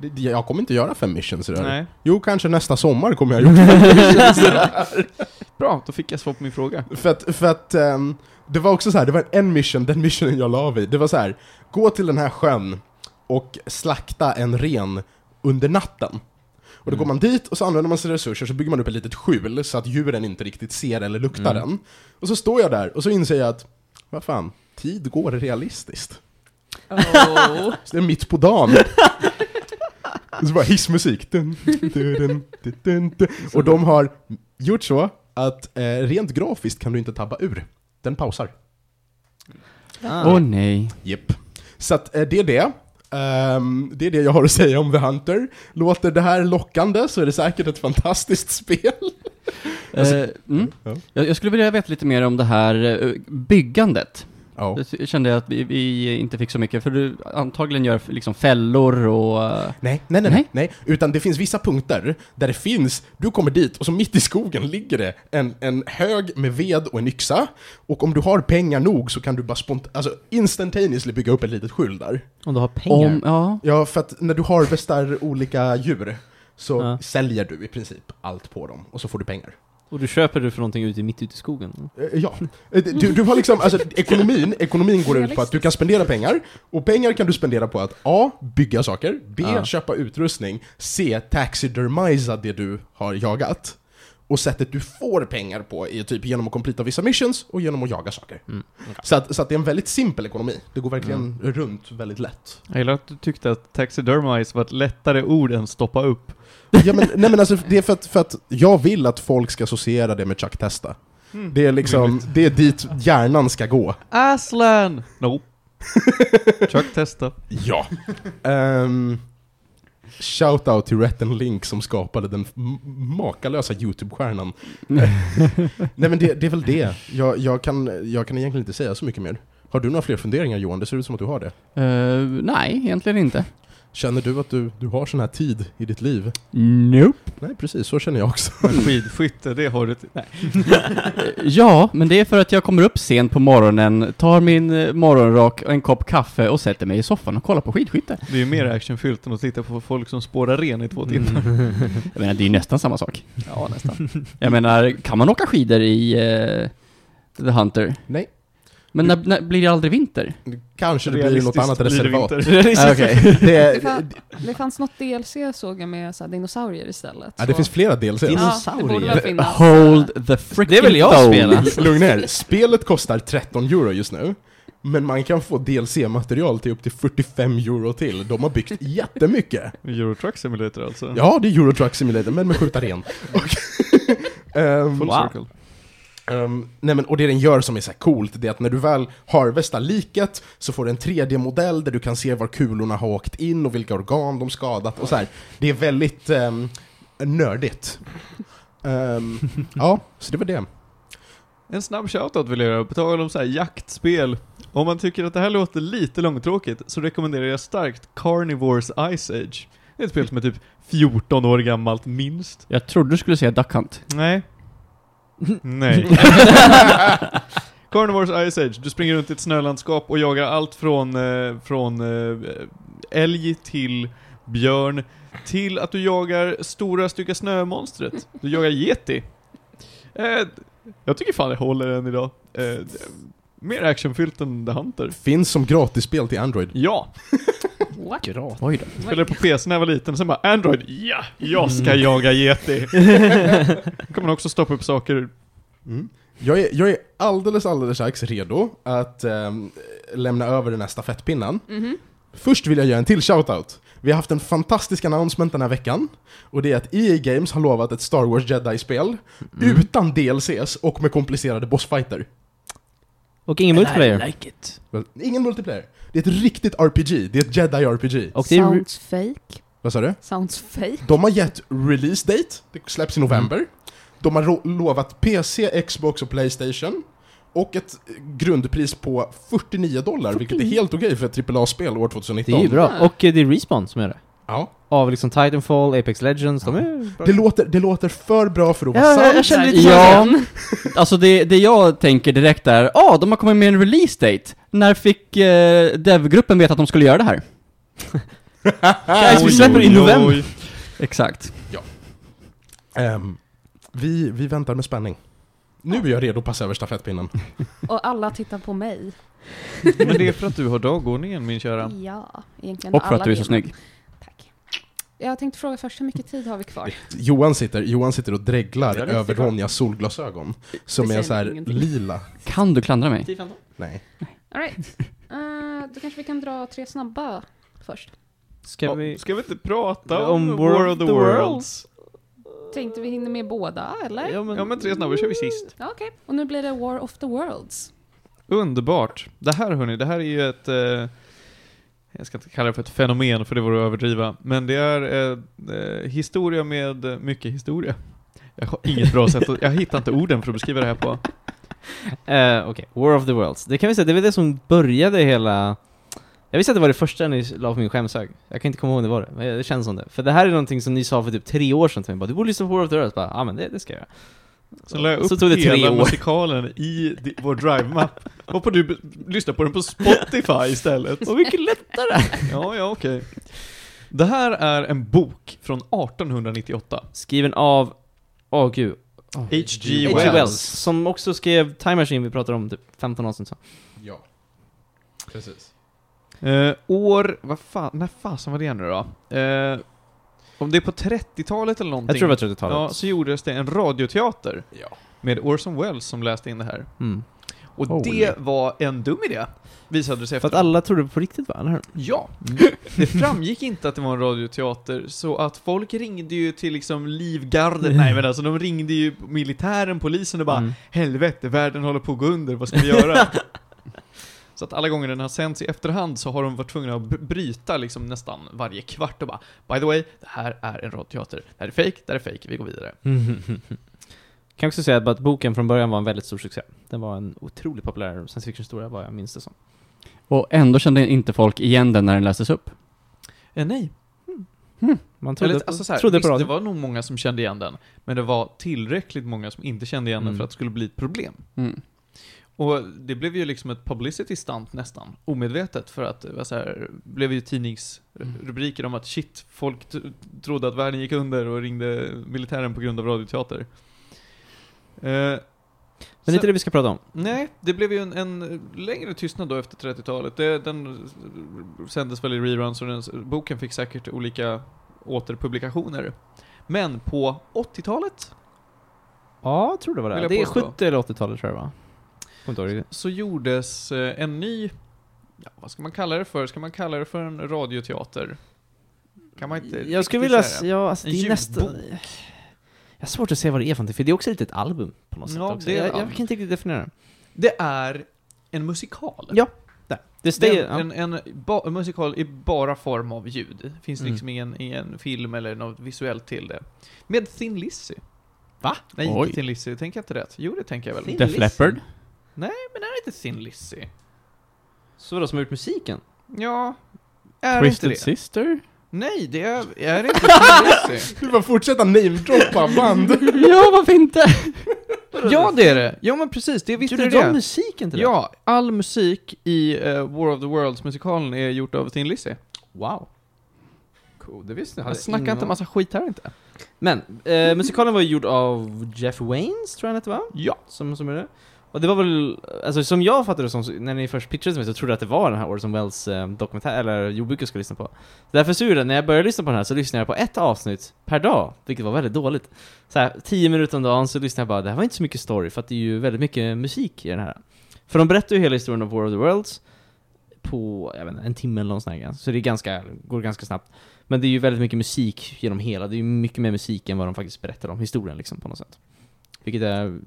Speaker 1: Det- det- Jag kommer inte göra fem missions i det här.
Speaker 12: Nej.
Speaker 1: Jo, kanske nästa sommar kommer jag göra fem missions i det här.
Speaker 12: Bra, då fick jag svar på min fråga.
Speaker 1: För att, för att ehm, det var också så här, det var en mission, den missionen jag la av i, det var så här, gå till den här sjön och slakta en ren under natten. Och då går man dit och så använder man sina resurser så bygger man upp ett litet skjul så att djuren inte riktigt ser eller luktar den. Och så står jag där och så inser jag att, vad fan, tid går realistiskt.
Speaker 4: Oh.
Speaker 1: Så det är mitt på dagen. Och så bara hissmusik. Dun, dun, dun, dun, dun, dun. Och de har gjort så att eh, rent grafiskt kan du inte tabba ur. Den pausar.
Speaker 6: Ah.
Speaker 2: Åh nej.
Speaker 1: Japp. Så att eh, det är det. Ehm, det är det jag har att säga om The Hunter. Låter det här lockande så är det säkert ett fantastiskt spel.
Speaker 2: Eh, mm.
Speaker 1: Ja.
Speaker 3: Alltså,
Speaker 2: jag, jag skulle vilja veta lite mer om det här eh, byggandet.
Speaker 1: Ja.
Speaker 2: Jag kände att vi, vi inte fick så mycket, för du antagligen gör liksom fällor och... eh,
Speaker 1: Nej, nej, nej,
Speaker 2: Nej.
Speaker 1: nej, nej. Utan det finns vissa punkter där det finns, du kommer dit och så mitt i skogen ligger det en, en hög med ved och en yxa. Och om du har pengar nog så kan du bara spontant, alltså instantaneously bygga upp ett litet skjul där.
Speaker 6: Om du har pengar.
Speaker 2: Om, ja.
Speaker 1: Ja, för att när du harvestar olika djur så
Speaker 6: Ja.
Speaker 1: säljer du i princip allt på dem och så får du pengar.
Speaker 6: Och du köper det för någonting ute, mitt ute i skogen.
Speaker 1: Eh, Ja, Eh, du, du har liksom, alltså ekonomin, ekonomin går ut på att du kan spendera pengar, och pengar kan du spendera på att A. Bygga saker, B.
Speaker 2: Ja.
Speaker 1: Köpa utrustning, C. Taxidermisa det du har jagat. Och sättet du får pengar på är typ genom att completa vissa missions och genom att jaga saker.
Speaker 6: Mm.
Speaker 1: Så, att, så att det är en väldigt simpel ekonomi. Det går verkligen runt väldigt lätt.
Speaker 3: Jag gillar att du tyckte att taxidermize var ett lättare ord än stoppa upp.
Speaker 1: Ja, men, nej men alltså, det är för att, för att jag vill att folk ska associera det med Chuck Testa.
Speaker 12: Hmm.
Speaker 1: Det är liksom, det är dit hjärnan ska gå.
Speaker 3: Aslan! Nope. Chuck testa.
Speaker 1: Ja. um, Shoutout till Retten Link som skapade den m- makalösa YouTube-stjärnan. Nej men det, det är väl det. Jag, jag, kan, jag kan egentligen inte säga så mycket mer. Har du några fler funderingar Johan? Det ser ut som att du har det.
Speaker 2: Eh, nej, egentligen inte.
Speaker 1: Känner du att du, du har sån här tid i ditt liv?
Speaker 2: Nope.
Speaker 1: Nej precis, så känner jag också.
Speaker 2: Mm.
Speaker 3: Men skidskytte, det har du till. Nej.
Speaker 2: Ja, men det är för att jag kommer upp sent på morgonen, tar min eh, morgonrock och en kopp kaffe och sätter mig i soffan och kollar på skidskytte.
Speaker 3: Det är ju mer actionfyllt än att titta på folk som spårar ren i två timmar.
Speaker 2: Mm. Jag menar, det är ju nästan samma sak. Ja, nästan. jag menar, kan man åka skidor i eh, The Hunter?
Speaker 1: Nej.
Speaker 2: Men när, när blir det aldrig vinter?
Speaker 1: Kanske det blir något
Speaker 3: Realistiskt
Speaker 1: annat
Speaker 3: blir det
Speaker 1: reservat.
Speaker 3: vinter.
Speaker 2: Ah, Okej.
Speaker 1: Det,
Speaker 4: Det,
Speaker 1: är,
Speaker 4: fann, det fanns något DLC såg jag med så här, dinosaurier istället.
Speaker 1: ja, det
Speaker 4: Så-
Speaker 1: finns flera delser.
Speaker 4: ja, det borde väl finnas.
Speaker 2: Hold the freaking
Speaker 6: Det vill jag
Speaker 2: phone.
Speaker 6: spela.
Speaker 1: Lugna er, spelet kostar 13 euro just nu. Men man kan få DLC-material till upp till 45 euro till. De har byggt
Speaker 6: Mm.
Speaker 1: jättemycket.
Speaker 3: Euro Truck Simulator alltså.
Speaker 1: Ja, det är Euro Truck Simulator, men med skjuta ren. Och, ehm,
Speaker 3: Full
Speaker 2: Wow.
Speaker 3: circle.
Speaker 1: ehm, nej men, och det den gör som är så här coolt, det är att när du väl harvestar liket så får du en 3D-modell där du kan se var kulorna har åkt in och vilka organ de skadat och så här. Det är väldigt ehm, nördigt. Ehm, ja, så det var det.
Speaker 3: En snabb shoutout vill jag göra, på tal om så här jaktspel. Om man tycker att det här låter lite långtråkigt så rekommenderar jag starkt Carnivores Ice Age. Det är ett spel som är typ 14 år gammalt minst.
Speaker 2: Jag trodde du skulle säga Duck Hunt.
Speaker 3: Nej. Nej. Carnivores Ice Age, du springer runt i ett snölandskap och jagar allt från, eh, från eh, älg till björn, till att du jagar stora stycken snömonstret. Du jagar yeti. Eh, jag tycker fan det håller än idag. Eh, d- mer actionfyllt än The Hunter.
Speaker 1: Finns som gratisspel till Android.
Speaker 3: Ja,
Speaker 4: What?
Speaker 2: Oj då.
Speaker 3: spelade på PC när jag var liten, sen bara Android, ja, jag ska jaga yeti. Då kan man också stoppa upp saker.
Speaker 1: Mm. Jag, är, jag är alldeles, alldeles strax redo att ehm, lämna över den här stafettpinnen.
Speaker 4: Mhm.
Speaker 1: Först vill jag göra en till shoutout. Vi har haft en fantastisk announcement den här veckan. Och det är att EA Games har lovat ett Star Wars Jedi-spel utan DLCs och med komplicerade bossfighter.
Speaker 6: Och ingen multiplayer.
Speaker 2: like it.
Speaker 1: Väl, Ingen multiplayer. Det är ett riktigt RPG, det är ett Jedi-RPG.
Speaker 6: Och det är re-
Speaker 4: Sounds fake.
Speaker 1: Vad sa du?
Speaker 4: Sounds fake.
Speaker 1: De har gett release date, det släpps i november. De har ro- lovat PC, Xbox och Playstation. Och ett eh, grundpris på 49 dollar, vilket är helt okej för ett AAA-spel år
Speaker 6: det är
Speaker 1: 2019.
Speaker 6: ju bra. Och eh, det är Respawn som gör det.
Speaker 1: Ja.
Speaker 6: Av liksom Titanfall, Apex Legends, de är bra.
Speaker 1: Det, låter, det låter för bra för att vara
Speaker 6: Ja,
Speaker 1: sant.
Speaker 6: jag, jag känner lite
Speaker 2: Ja, alltså det, det jag tänker direkt är, ah, de har kommit med en release date. När fick eh, devgruppen veta att de skulle göra det här? Guys, vi släpper i november. Exakt.
Speaker 1: Ehm, vi, vi väntar med spänning. Nu är jag redo att passa över stafettpinnen.
Speaker 4: Och alla tittar på mig.
Speaker 3: Men det är för att du har dagordningen min kära.
Speaker 4: Ja, egentligen
Speaker 2: Och för
Speaker 4: alla
Speaker 2: att du är så
Speaker 4: vill.
Speaker 2: snygg.
Speaker 4: Tack. Jag tänkte fråga först, hur mycket tid har vi kvar?
Speaker 1: Johan sitter, Johan sitter och dreglar
Speaker 3: Ja, det är
Speaker 1: över
Speaker 3: klart.
Speaker 1: Ronjas solglasögon. Som
Speaker 4: Det
Speaker 1: är
Speaker 4: säger
Speaker 1: så här
Speaker 4: ingenting.
Speaker 1: lila.
Speaker 2: Kan du klandra mig?
Speaker 1: Nej.
Speaker 4: All right. Eh, då kanske vi kan dra tre snabba först.
Speaker 6: Ska
Speaker 3: Ja,
Speaker 6: vi...
Speaker 3: Ska vi inte prata om,
Speaker 6: Om
Speaker 3: War of the, Worlds?
Speaker 4: Tänkte vi hinner med båda, eller?
Speaker 6: Ja, men-
Speaker 3: Ja men tre snabba kör vi sist.
Speaker 4: Ja, Okej, och nu blir det War of the Worlds.
Speaker 3: Underbart. Det här hörni, det här är ju ett... Eh, jag ska inte kalla det för ett fenomen för det vore att överdriva. Men det är eh, eh, historia med eh, mycket historia. Jag har inget bra sätt att, Jag hittar inte orden för att beskriva det här på.
Speaker 2: Eh, Okej, War of the Worlds. Det kan vi säga, det var det som började hela... Jag visste att det var det första ni la på min skämshög. Jag kan inte komma ihåg det var det, men det känns som det. För det här är någonting som ni sa för typ tre år sedan till mig. Bara, du borde lyssna på War of the Worlds. Bara, ja men det, det ska jag göra.
Speaker 3: Så la jag upp
Speaker 2: Så tog det tre
Speaker 3: hela
Speaker 2: år.
Speaker 3: musikalen i di- vår drive-mapp. Varpå du b- lyssnar på den på Spotify istället.
Speaker 2: Vad mycket lättare!
Speaker 3: Ja, ja, okej. Det här är en bok från 1898.
Speaker 2: Skriven av... Åh gud.
Speaker 3: H.G.
Speaker 2: H.G.
Speaker 3: Wells.
Speaker 2: Wells. Som också skrev Time Machine vi pratade om typ 15 år sedan. så.
Speaker 1: Ja. Precis.
Speaker 3: Eh, år, vad fan, när fasen var det nu då? Eh, om det är på 30-talet eller någonting.
Speaker 2: Jag tror det var 30-talet.
Speaker 3: Ja, så gjordes det en radioteater
Speaker 1: Ja.
Speaker 3: med Orson Welles som läste in det här.
Speaker 2: Mm.
Speaker 3: Och
Speaker 1: Holy.
Speaker 3: det var en dum idé, visade det sig
Speaker 2: För att
Speaker 3: efter.
Speaker 2: alla trodde på riktigt va, eller hur?
Speaker 3: Ja. Mm. Det framgick inte att det var en radioteater, så att folk ringde ju till liksom livgardet, nej men alltså de ringde ju militären, polisen och bara
Speaker 2: Mm.
Speaker 3: Helvete, världen håller på att gå under, vad ska vi göra? Så att alla gånger den har sänts i efterhand så har de varit tvungna att b- bryta liksom nästan varje kvart och bara By the way, det här är en radioteater. Det här är fake, det här är fake, vi går vidare.
Speaker 2: Kan också säga att boken från början var en väldigt stor succé. Den var en otroligt populär science fiction-historia, vad jag minns det som.
Speaker 4: Och ändå kände inte folk igen den när den lästes upp.
Speaker 3: Eh, nej.
Speaker 2: Man trodde,
Speaker 3: Eller, alltså så här,
Speaker 2: trodde
Speaker 3: visst,
Speaker 2: på
Speaker 3: det
Speaker 2: radio.
Speaker 3: var nog många som kände igen den, men det var tillräckligt många som inte kände igen den
Speaker 2: Mm.
Speaker 3: för att det skulle bli ett problem.
Speaker 4: Mm.
Speaker 3: Och det blev ju liksom ett publicity stunt nästan, omedvetet, för att det var så här, blev ju tidningsrubriker om att shit, folk t- trodde att världen gick under och ringde militären på grund av radioteater. Eh,
Speaker 2: Men det är inte det vi ska prata om.
Speaker 3: nej, det blev ju en, en längre tystnad då efter 30-talet. Det, den sändes väl i reruns och den, boken fick säkert olika återpublikationer. Men på 80-talet
Speaker 2: Ja, jag tror det var
Speaker 3: Vill
Speaker 2: det.
Speaker 3: jag
Speaker 2: Det är
Speaker 3: påstå.
Speaker 2: 70 eller 80-talet tror jag va? Kommer inte ihåg riktigt.
Speaker 3: så gjordes eh, en ny, ja, vad ska man kalla det för? Ska man kalla det för en radioteater? Kan man inte
Speaker 2: Jag
Speaker 3: riktigt
Speaker 2: skulle vilja... s-
Speaker 3: säga.
Speaker 2: Ja, alltså, det
Speaker 3: En
Speaker 2: är nästan...
Speaker 3: ljudbok.
Speaker 2: Jag har svårt att se vad det är för någonting, för det är också lite ett album på något sätt
Speaker 3: Ja,
Speaker 2: också.
Speaker 3: det är ett
Speaker 2: jag, jag
Speaker 3: album.
Speaker 2: kan inte riktigt definiera det.
Speaker 3: Det är en musikal.
Speaker 2: Ja, där. Det
Speaker 3: Det
Speaker 2: steg,
Speaker 3: är en, en, ba, en musikal i bara form av ljud. Det finns
Speaker 2: Mm.
Speaker 3: liksom ingen, ingen film eller något visuellt till det. Med Thin Lizzy.
Speaker 2: Va?
Speaker 3: Nej,
Speaker 4: Oj.
Speaker 3: inte Thin Lizzy. Tänker jag inte rätt? Jo, det tänker jag väl.
Speaker 2: Thin-
Speaker 4: Def Leppard.
Speaker 3: är inte Thin Lizzy?
Speaker 2: Så vadå, som har gjort musiken?
Speaker 3: Ja, är
Speaker 4: Twisted
Speaker 3: inte det?
Speaker 4: Sister.
Speaker 3: Nej, det är, är det inte Thin Lizzy?
Speaker 1: Du bara fortsätta namedroppa band.
Speaker 4: ja, varför inte?
Speaker 3: ja, det är det. Ja, men precis. Det visste
Speaker 2: Gjorde
Speaker 3: du det.
Speaker 2: de musiken till
Speaker 3: Ja, all musik i eh, War of the Worlds-musikalen är gjort av Thin Lizzy.
Speaker 2: det? Wow.
Speaker 3: Cool, det visste
Speaker 2: hade
Speaker 3: jag.
Speaker 2: jag
Speaker 3: Snacka
Speaker 2: ingen
Speaker 3: inte
Speaker 2: aning.
Speaker 3: massa skit här inte.
Speaker 2: Men, eh, musikalen var ju gjord av Jeff Waynes, tror jag han hette va?
Speaker 3: Ja.
Speaker 2: Som, som är det. Och det var väl, alltså som jag fattade det som, så- när ni först pitchade mig så trodde jag att det var den här Orson Welles eh, dokumentär, eller ljudbok jag skulle lyssna på. Därför så gjorde jag, när jag började lyssna på den här så lyssnade jag på ett avsnitt per dag, vilket var väldigt dåligt. Så här, tio minuter om dagen så lyssnade jag bara, det här var inte så mycket story, för att det är ju väldigt mycket musik i den här. För de berättar ju hela historien av War of the Worlds på, jag vet inte, en timme eller någon sån här grej. Så det är ganska, går ganska snabbt. Men det är ju väldigt mycket musik genom hela, det är ju mycket mer musik än vad de faktiskt berättar om historien liksom på något sätt. Vilket är,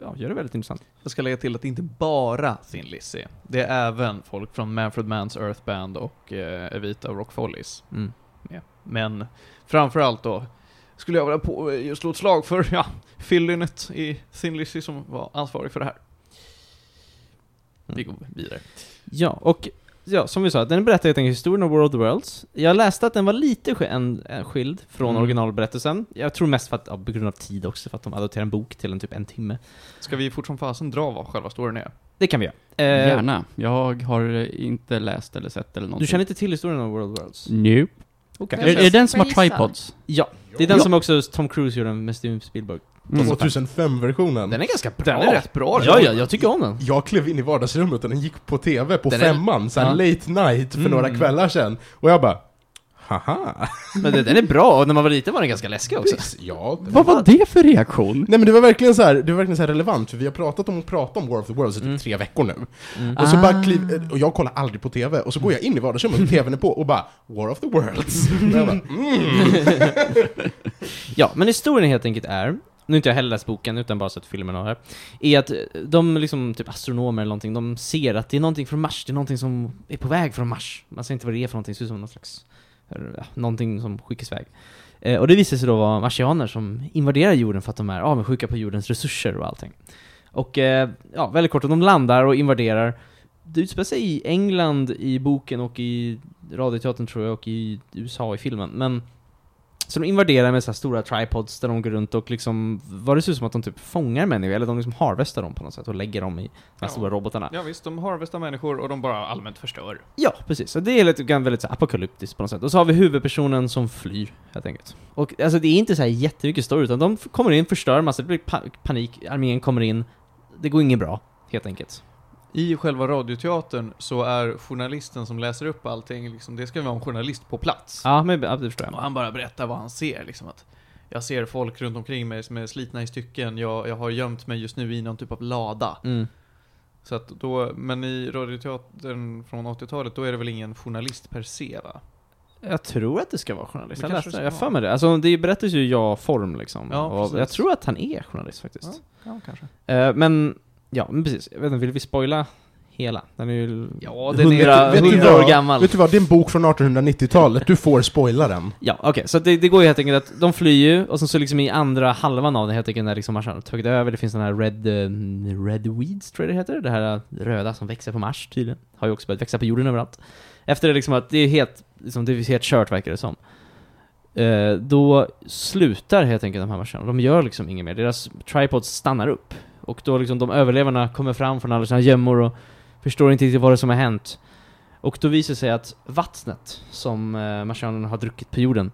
Speaker 2: ja, gör det väldigt intressant.
Speaker 3: Jag ska lägga till att det inte bara Thin Lizzy. Det är även folk från Manfred Manns Earth Band och eh, Evita Rock Follies.
Speaker 2: Mm.
Speaker 3: med. Men framförallt då skulle jag vilja på, eh, slå ett slag för ja, fyllynet i Thin Lizzy som var ansvarig för det här. Vi går vidare.
Speaker 2: Ja, och ja, som vi sa, den berättar helt enkelt historien om World of the Worlds. Jag läste att den var lite sk- en, en skild från
Speaker 3: Mm.
Speaker 2: originalberättelsen. Jag tror mest för att, ja, på grund av tid också, för att de adopterar en bok till en typ en timme.
Speaker 3: Ska vi fort som fasen dra vad själva storyn är?
Speaker 2: Det kan vi göra. Eh,
Speaker 4: Gärna. Jag har inte läst eller sett eller någonting.
Speaker 2: Du känner inte till historien om World of the Worlds?
Speaker 4: Nope.
Speaker 2: Okej.
Speaker 4: Är, är den som har
Speaker 13: Får jag gissa?
Speaker 4: tripods?
Speaker 2: Ja, det är den
Speaker 4: Ja.
Speaker 2: som också Tom Cruise gjorde med Steven Spielberg.
Speaker 4: Mm.
Speaker 1: 2005-versionen.
Speaker 2: Alltså, är ganska bra.
Speaker 3: Den är rätt bra.
Speaker 2: Ja, ja, jag tycker om den.
Speaker 1: Jag klev in i vardagsrummet och den gick på tv på
Speaker 2: Den är-
Speaker 1: femman, såhär
Speaker 2: Ja. Mm.
Speaker 1: late night för några kvällar sedan. Och jag bara, haha.
Speaker 2: Men den är bra, och när man var liten var den ganska läskig också.
Speaker 1: Precis, Ja, det-
Speaker 4: Vad var det för reaktion?
Speaker 1: Nej men det var verkligen så här, det var verkligen så här relevant, för vi har pratat om att prata om War of the Worlds i typ
Speaker 2: Mm.
Speaker 1: tre veckor nu. Och så
Speaker 4: Ah.
Speaker 1: bara kliv, och jag kollar aldrig på TV, och så går jag in i vardagsrummet och TVn är på och bara War of the Worlds. Och jag bara, mm.
Speaker 2: Ja, men historien helt enkelt är, nu har inte jag heller läst boken utan bara sett filmen och det här, är att eh, de liksom, typ astronomer eller någonting, de ser att det är någonting från Mars, det är någonting som är på väg från Mars. Man ser inte vad det är för någonting, det ser ut som någon slags, eller, ja, någonting som skickas iväg. Eh, och det visar sig då vara marsianer som invaderar jorden för att de är avundsjuka på jordens resurser och allting. Och eh, ja, väldigt kort, de landar och invaderar. Det utspelar sig i England i boken och i radioteatern tror jag och i USA i filmen. Men så de invaderar med så här stora tripods där de går runt och liksom, vad det ser ut som att de typ fångar människor, eller de liksom harvestar dem på något sätt och lägger dem i de här
Speaker 3: Ja.
Speaker 2: stora robotarna.
Speaker 3: Ja visst, de harvestar människor och de bara allmänt förstör.
Speaker 2: Ja, precis. Så det är lite grann väldigt så här apokalyptiskt på något sätt. Och så har vi huvudpersonen som flyr, helt enkelt. Och alltså det är inte så här jättemycket story, utan de f- kommer in, förstör massa, det blir pa- panik, armén kommer in, det går inget bra, helt enkelt.
Speaker 3: I själva radioteatern så är journalisten som läser upp allting, liksom, det ska vara en journalist på plats.
Speaker 2: Ja, men ja, det förstår
Speaker 3: Och
Speaker 2: jag.
Speaker 3: han bara berättar vad han ser. Liksom, att jag ser folk runt omkring mig som är slitna i stycken, jag, jag har gömt mig just nu i någon typ av lada.
Speaker 2: Mm.
Speaker 3: Så att då, men i radioteatern från 80-talet, då är det väl ingen journalist per se va?
Speaker 2: Jag tror att det ska vara journalist.
Speaker 3: Det
Speaker 2: Jag, läste,
Speaker 3: kanske det ska
Speaker 2: jag har för
Speaker 3: vara.
Speaker 2: mig det. Alltså det berättas ju i ja-form liksom.
Speaker 3: Ja,
Speaker 2: och jag
Speaker 3: precis.
Speaker 2: tror att han är journalist faktiskt.
Speaker 3: Ja, kanske.
Speaker 2: Eh, men, ja, men precis. Jag vet inte, vill vi spoila hela? Den är ju
Speaker 3: Ja, den är...
Speaker 2: hundra
Speaker 1: vet du
Speaker 2: hundra år
Speaker 1: vad?
Speaker 2: gammal.
Speaker 1: Vet du vad, det är en bok från 1890-talet. Du får spoila den.
Speaker 2: Ja, okej. Så att det, det går ju helt enkelt att de flyr ju, och sen så liksom i andra halvan av den helt enkelt när liksom Mars har tagit över, det finns den här Red, eh, red Weeds tror jag det heter, det här eh, röda som växer på Mars tydligen. Har ju också börjat växa på jorden överallt. Efter det liksom att det är helt, liksom, det är helt kört verkar det som. Eh, då slutar helt enkelt de här marscherna, de gör liksom inget mer. Deras tripods stannar upp. Och då liksom de överlevarna kommer fram från alla sina gömmor och förstår inte riktigt vad det är som har hänt. Och då visar det sig att vattnet som eh, marsianerna har druckit på jorden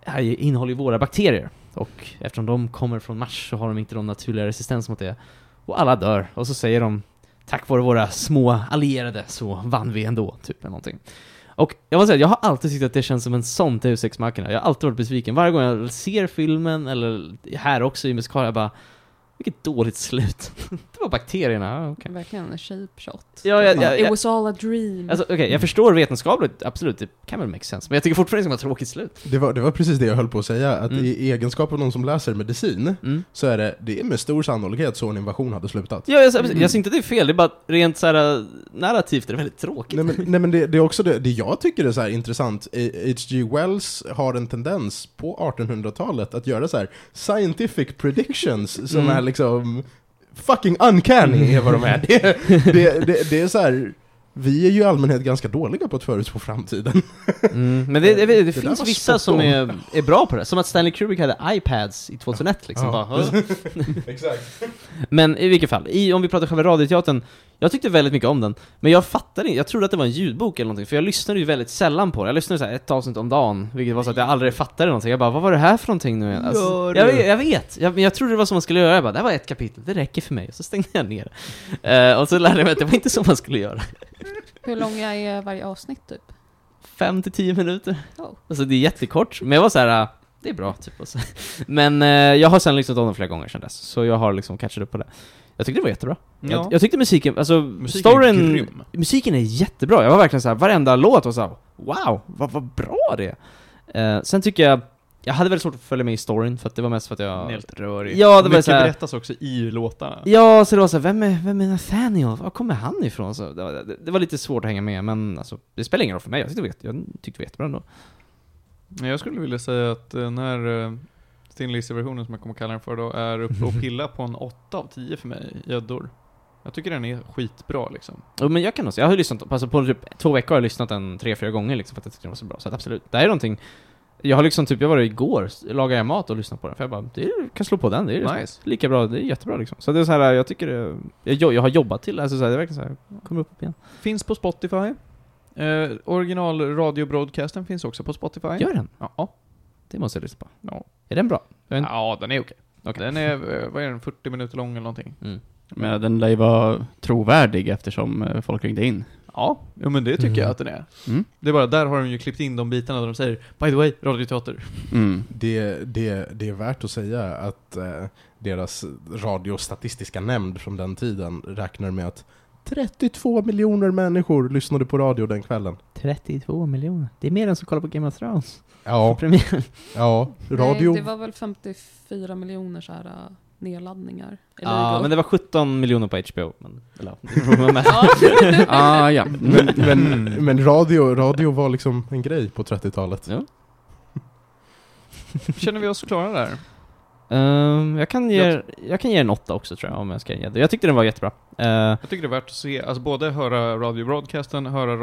Speaker 2: här innehåller ju våra bakterier. Och eftersom de kommer från Mars så har de inte någon naturlig resistens mot det. Och alla dör. Och så säger de tack vare våra små allierade så vann vi ändå, typ eller någonting. Och jag måste säga, jag har alltid tyckt att det känns som en sån Deus Ex Machina. Jag har alltid varit besviken. Varje gång jag ser filmen, eller här också i musikalen, jag bara Vilket dåligt slut. det var bakterierna, ja, okej.
Speaker 4: Verkligen en shape shot.
Speaker 2: Ja, jag, jag,
Speaker 4: It
Speaker 2: jag,
Speaker 4: was all a dream.
Speaker 2: alltså, okej, jag förstår vetenskapligt, absolut, det kan väl make sense. Men jag tycker fortfarande det ska vara tråkigt slut.
Speaker 1: Det var, det var precis det jag höll på att säga, att
Speaker 2: Mm.
Speaker 1: i i egenskap av någon som läser medicin
Speaker 2: Mm.
Speaker 1: så är det, det är med stor sannolikhet så en invasion hade slutat.
Speaker 2: Ja, jag, jag,
Speaker 1: Mm.
Speaker 2: jag ser inte att det är fel, det är bara att rent så här äh, narrativt är det väldigt tråkigt.
Speaker 1: Nej men, nej, men det, det är också det, det jag tycker är så här intressant. Eh, H.G. Wells har en tendens på 1800-talet att göra så här scientific predictions som
Speaker 2: Mm.
Speaker 1: är liksom fucking uncanny är vad de är. Det, det, det, det är så här, vi är ju i allmänhet ganska dåliga på att förutspå framtiden.
Speaker 2: Mm, men det, det, det,
Speaker 1: Det där
Speaker 2: finns
Speaker 1: var
Speaker 2: vissa
Speaker 1: spot on.
Speaker 2: som är, är bra på det, som att Stanley Kubrick hade iPads i 2001 liksom.
Speaker 1: Ja.
Speaker 2: Bara, "Åh."
Speaker 1: Exakt.
Speaker 2: men i vilket fall, i, om vi pratar själva radioteatern, jag tyckte väldigt mycket om den, men jag fattade inte, jag trodde att det var en ljudbok eller någonting, för jag lyssnade ju väldigt sällan på det. Jag lyssnade så här ett avsnitt om dagen, vilket var så att jag aldrig fattade någonting. Jag bara, vad var det här för någonting nu igen? Alltså,
Speaker 14: Gör
Speaker 2: jag,
Speaker 14: du?
Speaker 2: vet- jag vet, jag, men jag trodde det var så man skulle göra. Jag bara, det här var ett kapitel, det räcker för mig. Och så stängde jag ner. Eh, och så lärde jag mig att det var inte så man skulle göra.
Speaker 4: Hur långa är varje avsnitt typ?
Speaker 2: fem till tio minuter.
Speaker 4: Oh.
Speaker 2: Alltså det är jättekort, men jag var så här. äh, det är bra typ. Och så. Men eh, jag har sen lyssnat om den flera gånger sedan dess, så jag har liksom catchat upp på det. Jag tyckte det var jättebra.
Speaker 3: Ja.
Speaker 2: Jag, jag tyckte musiken, alltså
Speaker 3: Musiken är
Speaker 2: storyn,
Speaker 3: grym.
Speaker 2: musiken är jättebra. Jag var verkligen så här, varenda låt var så här, wow, vad, vad bra det är. Eh, Sen tycker jag, jag hade väldigt svårt att följa med i storyn, för att det var mest för att jag...
Speaker 3: Helt rörig.
Speaker 2: Ja, det var
Speaker 3: Och Mycket
Speaker 2: så här-
Speaker 3: berättas också i låtarna.
Speaker 2: Ja, så det var så här, vem är, vem är Nathaniel? Var kommer han ifrån? Så det, var, det, det var lite svårt att hänga med, men alltså, det spelar ingen roll för mig. Jag tyckte det var, jätte- jag tyckte det var jättebra ändå.
Speaker 3: Jag skulle vilja säga att den här eh, Thin Lizzy-versionen som jag kommer kalla den för då är uppe och pilla på en 8 av 10 för mig i gäddor. Jag tycker den är skitbra liksom.
Speaker 2: Jo men jag kan också, jag har ju lyssnat, alltså på typ två veckor har jag lyssnat den tre, fyra gånger liksom för att jag tyckte den var så bra. Så att absolut, det här är någonting Jag har liksom typ, jag var där igår, s- lagade jag mat och lyssnade på den för jag bara, det är, kan slå på den, det är liksom
Speaker 3: Nice.
Speaker 2: lika bra, det är jättebra liksom. Så det är så här, jag tycker det, jag, jo- jag har jobbat till det, alltså så här, det är verkligen så här, kommer upp igen.
Speaker 3: Finns på Spotify. Eh, original radiobroadcasten finns också på Spotify.
Speaker 2: Gör den?
Speaker 3: Ja.
Speaker 2: Det måste jag lyssna på.
Speaker 3: Ja.
Speaker 2: Är den bra? Men-
Speaker 3: ja, den är okej. Den är, eh, vad är den, 40 minuter lång eller någonting?
Speaker 15: Men den lär ju vara trovärdig eftersom eh, folk ringde in.
Speaker 3: Ja, jo, men det tycker
Speaker 1: Mm.
Speaker 3: jag att den är.
Speaker 15: Mm.
Speaker 3: Det är bara, där har de ju klippt in de bitarna där de säger By the way, radioteater.
Speaker 15: Mm.
Speaker 1: Det, det, det är värt att säga att eh, deras radiostatistiska nämnd från den tiden räknar med att 32 miljoner människor lyssnade på radio den kvällen.
Speaker 2: 32 miljoner. Det är mer än som kollar på Game of Thrones.
Speaker 1: Ja,
Speaker 2: Premiär.
Speaker 1: ja. radio.
Speaker 4: Nej, det var väl 54 miljoner så här äh, nedladdningar. Eller
Speaker 2: Ja,
Speaker 4: igår.
Speaker 2: men det var 17 miljoner på HBO. Men, eller, det beror på vem man-
Speaker 15: Ah, ja.
Speaker 1: Men, men, men radio, radio var liksom en grej på 30-talet.
Speaker 15: Ja.
Speaker 3: Känner vi oss klara där?
Speaker 6: Ehm, jag, kan ge, jag kan ge en åtta också tror jag, om jag ska ge det. Jag tyckte den var jättebra. Eh,
Speaker 3: Jag tycker det är värt att se, alltså både höra radiobroadcasten, höra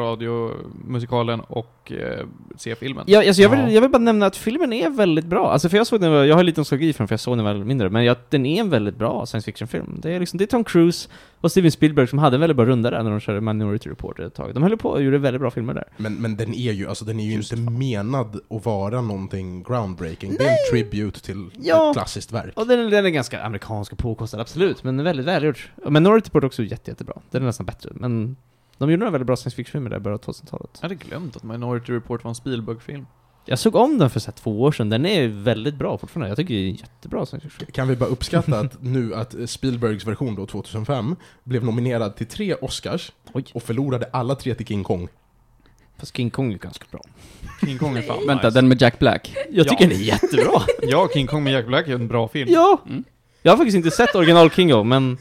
Speaker 3: radiomusikalen och eh, se filmen.
Speaker 6: jag, alltså jag,
Speaker 1: Ja.
Speaker 6: vill, jag vill bara nämna att filmen är väldigt bra. Alltså för jag såg den, jag har lite nostalgi för den för jag såg den väl mindre, men jag, den är en väldigt bra science fiction-film. Det är liksom, det är Tom Cruise och Steven Spielberg som hade en väldigt bra runda där när de körde Minority Report ett tag. De höll på och gjorde väldigt bra filmer där.
Speaker 1: Men, men den är ju, alltså, den är ju inte menad att vara någonting groundbreaking. Det är en tribute till
Speaker 6: Ja.
Speaker 1: ett klassiskt verk.
Speaker 6: Och den, den är ganska amerikansk och påkostad, absolut, men väldigt välgjord. Och Minority Report är också jätte, jättebra. Den är nästan bättre, men de gjorde några väldigt bra science fiction-filmer där i början av 2000-talet.
Speaker 3: Jag hade glömt att Minority Report var en Spielberg-film.
Speaker 6: Jag såg om den för så här, två år sedan, den är väldigt bra fortfarande. Jag tycker det är en jättebra science fiction.
Speaker 1: Kan vi bara uppskatta att nu att Spielbergs version då 2005 blev nominerad till tre Oscars
Speaker 6: Oj.
Speaker 1: och förlorade alla tre till King Kong.
Speaker 6: Fast King Kong är ganska bra.
Speaker 3: King Kong är fan
Speaker 2: Vänta,
Speaker 3: nice.
Speaker 2: den med Jack Black?
Speaker 6: Jag tycker den är jättebra!
Speaker 3: Ja, King Kong med Jack Black är en bra film.
Speaker 6: ja!
Speaker 2: Mm.
Speaker 6: Jag har faktiskt inte sett original King Kong, men...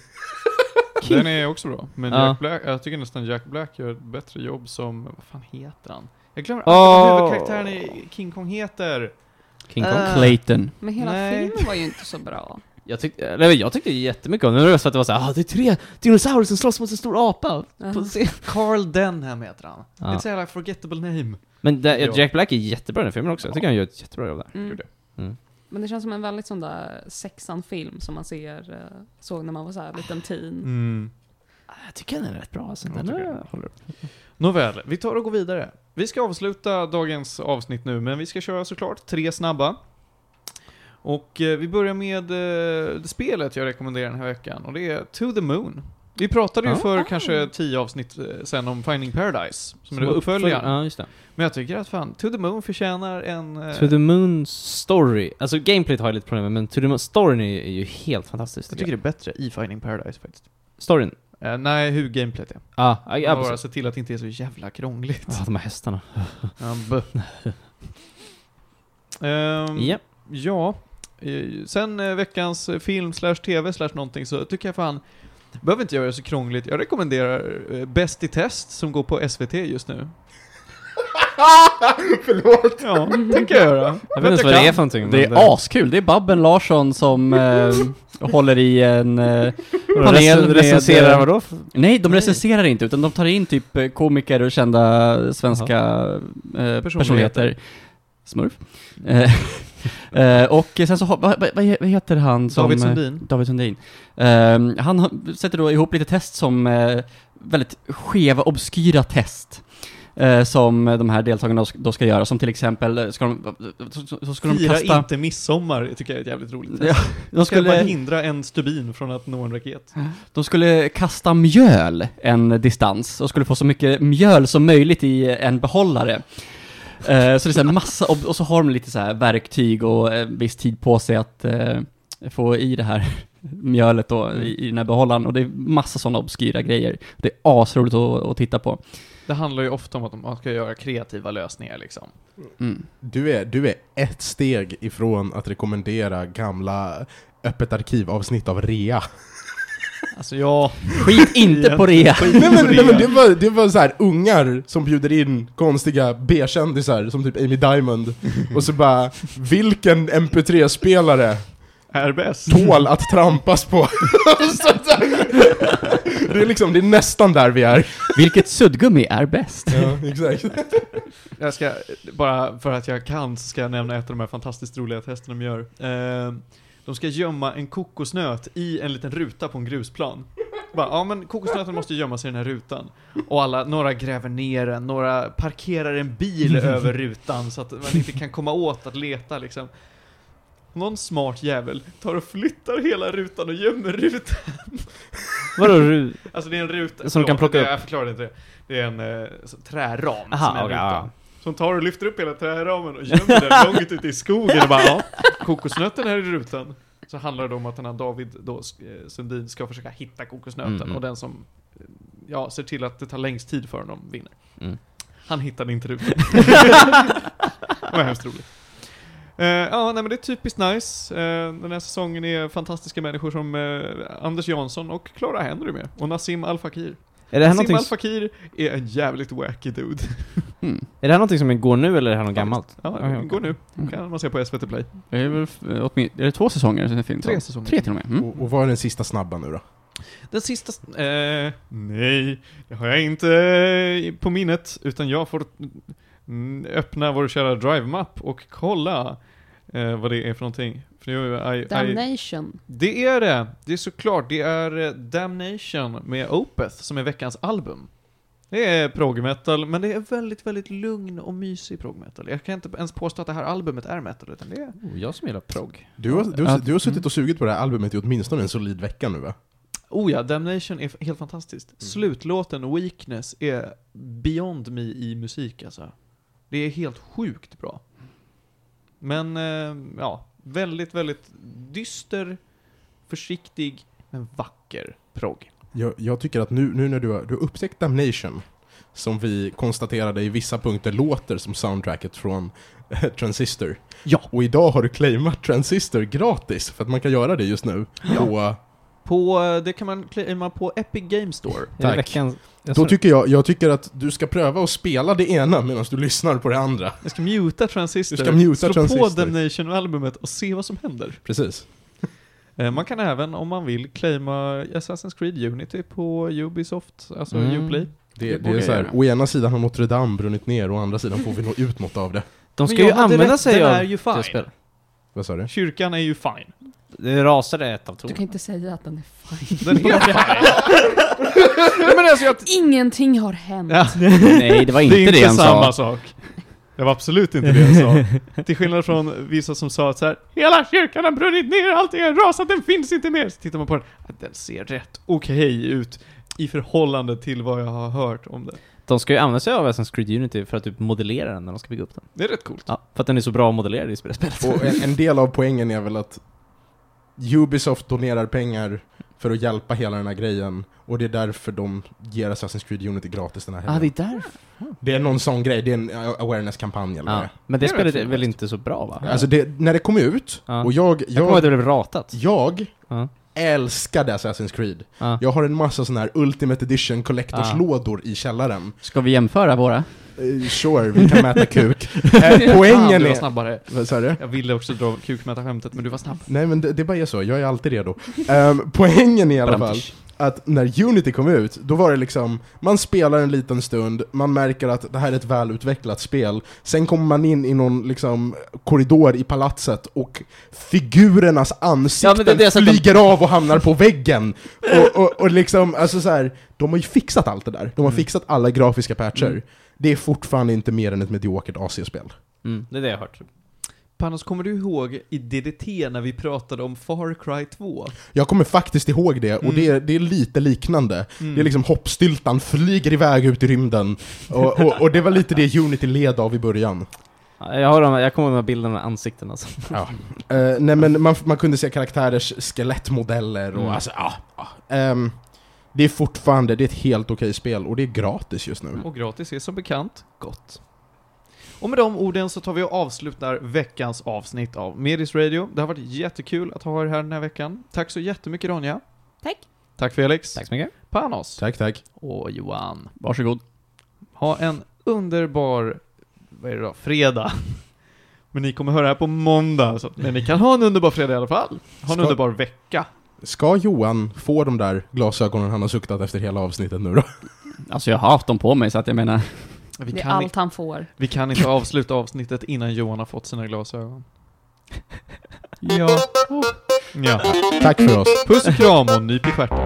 Speaker 3: Den är också bra. Men
Speaker 6: Ja.
Speaker 3: Jack Black, jag tycker nästan Jack Black gör ett bättre jobb som, vad fan heter han? Jag glömmer
Speaker 6: Åh.
Speaker 3: alltid vad huvudkaraktären i King Kong heter.
Speaker 6: King Kong.
Speaker 3: Äh.
Speaker 2: Clayton.
Speaker 4: Men hela
Speaker 3: Nej.
Speaker 4: filmen var ju inte så bra.
Speaker 6: Jag, tyckte, eller, jag tyckte jättemycket om den, det var så att det var såhär ah, det är tre dinosaurier som slåss mot en stor apa!
Speaker 4: Ah.
Speaker 6: På scen."
Speaker 3: Carl Denham heter han.
Speaker 6: Ja.
Speaker 3: It's a like forgettable name.
Speaker 6: Men det,
Speaker 3: Ja.
Speaker 6: Jack Black är jättebra i den filmen också, jag tycker han gör ett jättebra jobb där.
Speaker 4: Mm.
Speaker 3: Gjorde.
Speaker 6: Mm.
Speaker 4: Men det känns som en väldigt sån där sexan-film som man ser, eh, såg när man var så här liten teen.
Speaker 3: Mm.
Speaker 6: Jag tycker den är rätt bra alltså.
Speaker 3: Ja,
Speaker 6: Den
Speaker 3: tycker
Speaker 6: är,
Speaker 3: jag.
Speaker 6: håller upp.
Speaker 3: Nåväl, vi tar och går vidare. Vi ska avsluta dagens avsnitt nu, men vi ska köra såklart tre snabba. Och eh, vi börjar med eh, det spelet jag rekommenderar den här veckan, och det är To the Moon. Vi pratade ju
Speaker 6: Ah.
Speaker 3: för
Speaker 4: Ah.
Speaker 3: kanske tio avsnitt eh, sen om Finding Paradise, som, är
Speaker 6: var
Speaker 3: uppföljaren.
Speaker 6: Ja, just det.
Speaker 3: Men jag tycker att fan, To the Moon förtjänar en... eh,
Speaker 6: To the Moon Story, alltså gameplayt har jag lite problem med, men To the Moon Storyn är, är ju helt fantastisk.
Speaker 3: jag tycker det är bättre i Finding Paradise faktiskt.
Speaker 6: Storyn?
Speaker 3: Eh, nej, hur gameplayt är.
Speaker 6: Ah, ja, ja,
Speaker 3: Man bara
Speaker 6: precis.
Speaker 3: se till att det inte är så jävla krångligt.
Speaker 6: Ah, de här hästarna.
Speaker 3: Ja, bö. Ehm,
Speaker 6: Ja.
Speaker 3: Ja, eh, sen eh, veckans eh, film slash tv slash någonting så tycker jag fan, behöver inte göra det så krångligt. Jag rekommenderar eh, Bäst i test som går på SVT just nu. Förlåt! Ja, tänker jag göra.
Speaker 6: Jag vet inte vad det är för någonting.
Speaker 2: Det
Speaker 6: men
Speaker 1: eh,
Speaker 2: är askul, det är Babben Larsson som eh, håller i en... Eh,
Speaker 6: Vadå,
Speaker 2: panel
Speaker 6: rec-
Speaker 2: med,
Speaker 6: Recenserar
Speaker 2: eh,
Speaker 6: vadå? för-
Speaker 2: nej, de recenserar inte, utan de tar in typ eh, komiker och kända svenska eh, personligheter. Smurf. Eh, eh, och sen så, har- vad vad- vad heter han som...
Speaker 3: David
Speaker 2: eh,
Speaker 3: Sundin.
Speaker 2: David Sundin. Ehm, han har- sätter då ihop lite test som eh, väldigt skeva, obskyra test. eh, som de här deltagarna då- då ska göra, som till exempel, eh, ska de, så- så, så ska de
Speaker 3: Fira
Speaker 2: kasta...
Speaker 3: inte midsommar tycker jag är ett jävligt roligt
Speaker 2: Ja,
Speaker 3: test.
Speaker 2: de,
Speaker 3: Ska bara
Speaker 2: skulle,
Speaker 3: hindra en stubin från att nå en raket.
Speaker 2: de skulle kasta mjöl en distans och skulle få så mycket mjöl som möjligt i en behållare. Eh, så det är så här massa, och, och så har de lite så här verktyg och eh, viss tid på sig att eh, få i det här mjölet då, i, i den här behållaren. Och det är massa sådana obskyra grejer. Det är asroligt att, att titta på.
Speaker 3: Det handlar ju ofta om att man ska göra kreativa lösningar liksom.
Speaker 2: Mm.
Speaker 1: Du är, du är ett steg ifrån att rekommendera gamla öppet arkivavsnitt av rea.
Speaker 3: Alltså ja,
Speaker 2: Skit inte på det!
Speaker 1: Nej men, nej, men det var, det var så här ungar som bjuder in konstiga B-kändisar som typ Amy Diamond och så bara Vilken MP3-spelare
Speaker 3: är bäst.
Speaker 1: tål att trampas på? Så där. det, är liksom, det är nästan där vi är.
Speaker 2: Vilket suddgummi är bäst?
Speaker 1: Ja, exakt.
Speaker 3: Jag ska, bara för att jag kan, så ska jag nämna ett av de här fantastiskt roliga testerna de gör. Eh, de ska gömma en kokosnöt i en liten ruta på en grusplan. Bara, ja men kokosnöten måste ju gömma sig i den här rutan. Och alla, några gräver ner den, några parkerar en bil över rutan så att man inte kan komma åt att leta liksom. Någon smart jävel tar och flyttar hela rutan och gömmer rutan.
Speaker 6: Vadå? ru-
Speaker 3: Alltså det är en ruta.
Speaker 6: Som du kan plocka
Speaker 3: det-
Speaker 6: upp.
Speaker 3: Jag förklarade inte det. Det är en eh, så- träram
Speaker 6: Aha,
Speaker 3: som är en
Speaker 6: okej,
Speaker 3: ruta.
Speaker 6: ja.
Speaker 3: Som tar och lyfter upp hela träramen och gömmer den långt ute i skogen och bara ja, kokosnöten här i rutan. Så handlar det om att den här David då, eh, Sundin ska försöka hitta kokosnöten
Speaker 6: Mm, mm.
Speaker 3: och den som eh, ja, ser till att det tar längst tid för honom vinner.
Speaker 6: Mm.
Speaker 3: Han hittade inte rutan. det var hemskt roligt. Eh, ja, nej men det är typiskt nice. Eh, den här säsongen är fantastiska människor som eh, Anders Jansson och Clara Henry med. Och Nassim Al Fakir.
Speaker 6: Är det här
Speaker 3: Nassim
Speaker 6: någonting...
Speaker 3: Al Fakir är en jävligt wacky dude.
Speaker 2: Mm.
Speaker 6: Är det här någonting som går nu eller är det här något gammalt?
Speaker 3: Ja,
Speaker 6: Okej, okej.
Speaker 3: gå nu.
Speaker 2: Mm.
Speaker 3: Kan man se på SVT Play.
Speaker 2: Det är väl f- åtminstone, är det två säsonger som det finns?
Speaker 12: Tre säsonger.
Speaker 2: Tre till och med. Mm.
Speaker 1: Och, och vad är den sista snabba nu då?
Speaker 3: Den sista... s- Eh, nej, det har jag inte eh, på minnet. Utan jag får mm, öppna vår kära Drive-mapp och kolla eh, vad det är för någonting. För nu, är I, I,
Speaker 4: Damnation.
Speaker 3: det är det! Det är såklart. Det är eh, Damnation med Opeth som är veckans album. Det är prog-metal, men det är väldigt, väldigt lugn och mysig prog-metal. Jag kan inte ens påstå att det här albumet är metal, utan det är...
Speaker 6: Oh, jag som gillar prog.
Speaker 1: Du har, du, har,
Speaker 2: Att-
Speaker 1: du har suttit och sugit på det här albumet i åtminstone en solid vecka nu va?
Speaker 3: Oh ja, Damnation är f- helt fantastiskt.
Speaker 1: Mm.
Speaker 3: Slutlåten Weakness är beyond me i musik alltså. Det är helt sjukt bra. Men, eh, ja, väldigt, väldigt dyster, försiktig, men vacker progg.
Speaker 1: Jag, jag tycker att nu, nu när du har, du har upptäckt Damnation, som vi konstaterade i vissa punkter låter som soundtracket från eh, Transistor.
Speaker 3: Ja.
Speaker 1: Och idag har du claimat Transistor gratis, för att man kan göra det just nu. Och,
Speaker 3: På, eh, det kan man claima på Epic Games Store.
Speaker 6: Är det
Speaker 1: Tack.
Speaker 6: veckans...
Speaker 1: då tycker jag, jag tycker att du ska pröva att spela det ena medan du lyssnar på det andra.
Speaker 3: Jag ska muta Transistor,
Speaker 1: Du ska muta
Speaker 3: slå på
Speaker 1: Transistor.
Speaker 3: Damnation-albumet och se vad som händer.
Speaker 1: Precis.
Speaker 3: Eh, Man kan även, om man vill, claima Assassin's Creed Unity på Ubisoft, alltså
Speaker 6: Mm.
Speaker 3: Uplay.
Speaker 1: Det,
Speaker 2: Det
Speaker 1: det
Speaker 2: borde
Speaker 1: är
Speaker 2: jag
Speaker 1: så här,
Speaker 2: göra.
Speaker 1: å ena sidan har Notre Dame brunnit ner, å andra sidan får vi nå ut något av det.
Speaker 6: De
Speaker 3: Men
Speaker 6: ska
Speaker 3: jag
Speaker 6: ju
Speaker 3: hade
Speaker 6: använda
Speaker 3: rätt,
Speaker 6: sig
Speaker 3: den
Speaker 6: av
Speaker 3: är ju fine.
Speaker 6: det spelet.
Speaker 1: Vad sa du?
Speaker 3: Kyrkan är ju fine.
Speaker 6: Det rasade ett av
Speaker 4: Du
Speaker 6: tornen.
Speaker 4: kan inte säga att den är fine.
Speaker 3: Den är fine. men alltså jag...
Speaker 4: Ingenting har hänt.
Speaker 3: Ja,
Speaker 2: Nej, det var
Speaker 3: det är inte,
Speaker 2: inte det han
Speaker 3: samma
Speaker 2: sa.
Speaker 3: sak. Det var absolut inte det jag sa. Till skillnad från vissa som sa att så här, Hela kyrkan har brunnit ner, allting har rasat, den finns inte mer. Så tittar man på den, att den ser rätt okej ut i förhållande till vad jag har hört om det.
Speaker 6: De ska ju använda sig av Assassin's Creed Unity för att typ modellera den när de ska bygga upp den.
Speaker 3: Det är rätt coolt.
Speaker 6: Ja, för att den är så bra modellerad i spelet.
Speaker 1: Och en, en del av poängen är väl att Ubisoft donerar pengar för att hjälpa hela den här grejen och det är därför de ger Assassin's Creed Unity gratis den här
Speaker 6: Ah, det Ah.
Speaker 1: helgen.
Speaker 6: är därför.
Speaker 1: det... är någon sån grej, det är en eh, awareness-kampanj eller
Speaker 6: Ja.
Speaker 1: ja.
Speaker 6: Men det,
Speaker 3: Det är
Speaker 6: spelet
Speaker 3: rätt
Speaker 6: är väl inte så bra va?
Speaker 1: Alltså det, när det kom ut,
Speaker 6: Ja.
Speaker 1: och jag,
Speaker 6: jag kommer ihåg att
Speaker 1: jag,
Speaker 6: det blev ratat.
Speaker 1: jag
Speaker 6: Ja.
Speaker 1: älskade Assassin's Creed.
Speaker 6: Ja.
Speaker 1: Jag har en massa såna här Ultimate Edition Collectors-lådor i källaren.
Speaker 2: Ska vi jämföra våra?
Speaker 1: Eh, sure, vi kan mäta kuk. Eh, poängen
Speaker 3: du var
Speaker 1: är...
Speaker 3: snabbare.
Speaker 1: Vad sa du?
Speaker 3: Jag ville också dra kukmätarskämtet, men du var snabb.
Speaker 1: Nej men det, det bara är så, jag är alltid redo. Ehm, poängen i alla fall, att när Unity kom ut, då var det liksom, man spelar en liten stund, man märker att det här är ett välutvecklat spel, sen kommer man in i någon liksom korridor i palatset och figurernas
Speaker 2: Ja, men
Speaker 1: ansikten
Speaker 2: det är det som-
Speaker 1: flyger av och hamnar på väggen. Och, och, och liksom, alltså så här, de har ju fixat allt det där. De har
Speaker 2: Mm.
Speaker 1: fixat alla grafiska patcher. Det är fortfarande inte mer än ett mediokert AC-spel.
Speaker 6: Mm, det är det jag har hört.
Speaker 3: Panos, kommer du ihåg i DDT när vi pratade om Far Cry 2?
Speaker 1: Jag kommer faktiskt ihåg det, och
Speaker 3: Mm.
Speaker 1: det, är, det är lite liknande.
Speaker 3: Mm.
Speaker 1: Det är liksom hoppstyltan flyger iväg ut i rymden. Och, och, och det var lite det Unity led av i början.
Speaker 6: Ja, Jag, har de, jag kommer ihåg de här bilderna med ansikten alltså.
Speaker 1: Eh, nej men man, man kunde se karaktärers skelettmodeller och
Speaker 6: Mm.
Speaker 1: alltså, ah, ah. Ehm, Det är fortfarande, det är ett helt okej spel och det är gratis just nu.
Speaker 3: Och gratis är som bekant gott. Och med de orden så tar vi och avslutar veckans avsnitt av Medis Radio. Det har varit jättekul att ha er här den här veckan. Tack så jättemycket Ronja.
Speaker 4: Tack.
Speaker 3: Tack Felix.
Speaker 6: Tack så mycket.
Speaker 3: Panos.
Speaker 1: Tack tack.
Speaker 3: Och Johan.
Speaker 2: Varsågod.
Speaker 3: Ha en underbar, vad är det då, fredag. Men ni kommer höra det här på måndag, så att, men ni kan ha en underbar fredag i alla fall. Ha en
Speaker 1: Ska-
Speaker 3: underbar vecka.
Speaker 1: Ska Johan få de där glasögonen han har suktat efter hela avsnittet nu då?
Speaker 2: Alltså jag har haft dem på mig så att jag menar,
Speaker 3: Vi
Speaker 4: det är
Speaker 3: kan, i-
Speaker 4: allt han får.
Speaker 3: vi kan inte avsluta avsnittet innan Johan har fått sina glasögon. Ja. Ja.
Speaker 1: Tack för oss.
Speaker 3: Puss och kram och nyp i stjärten.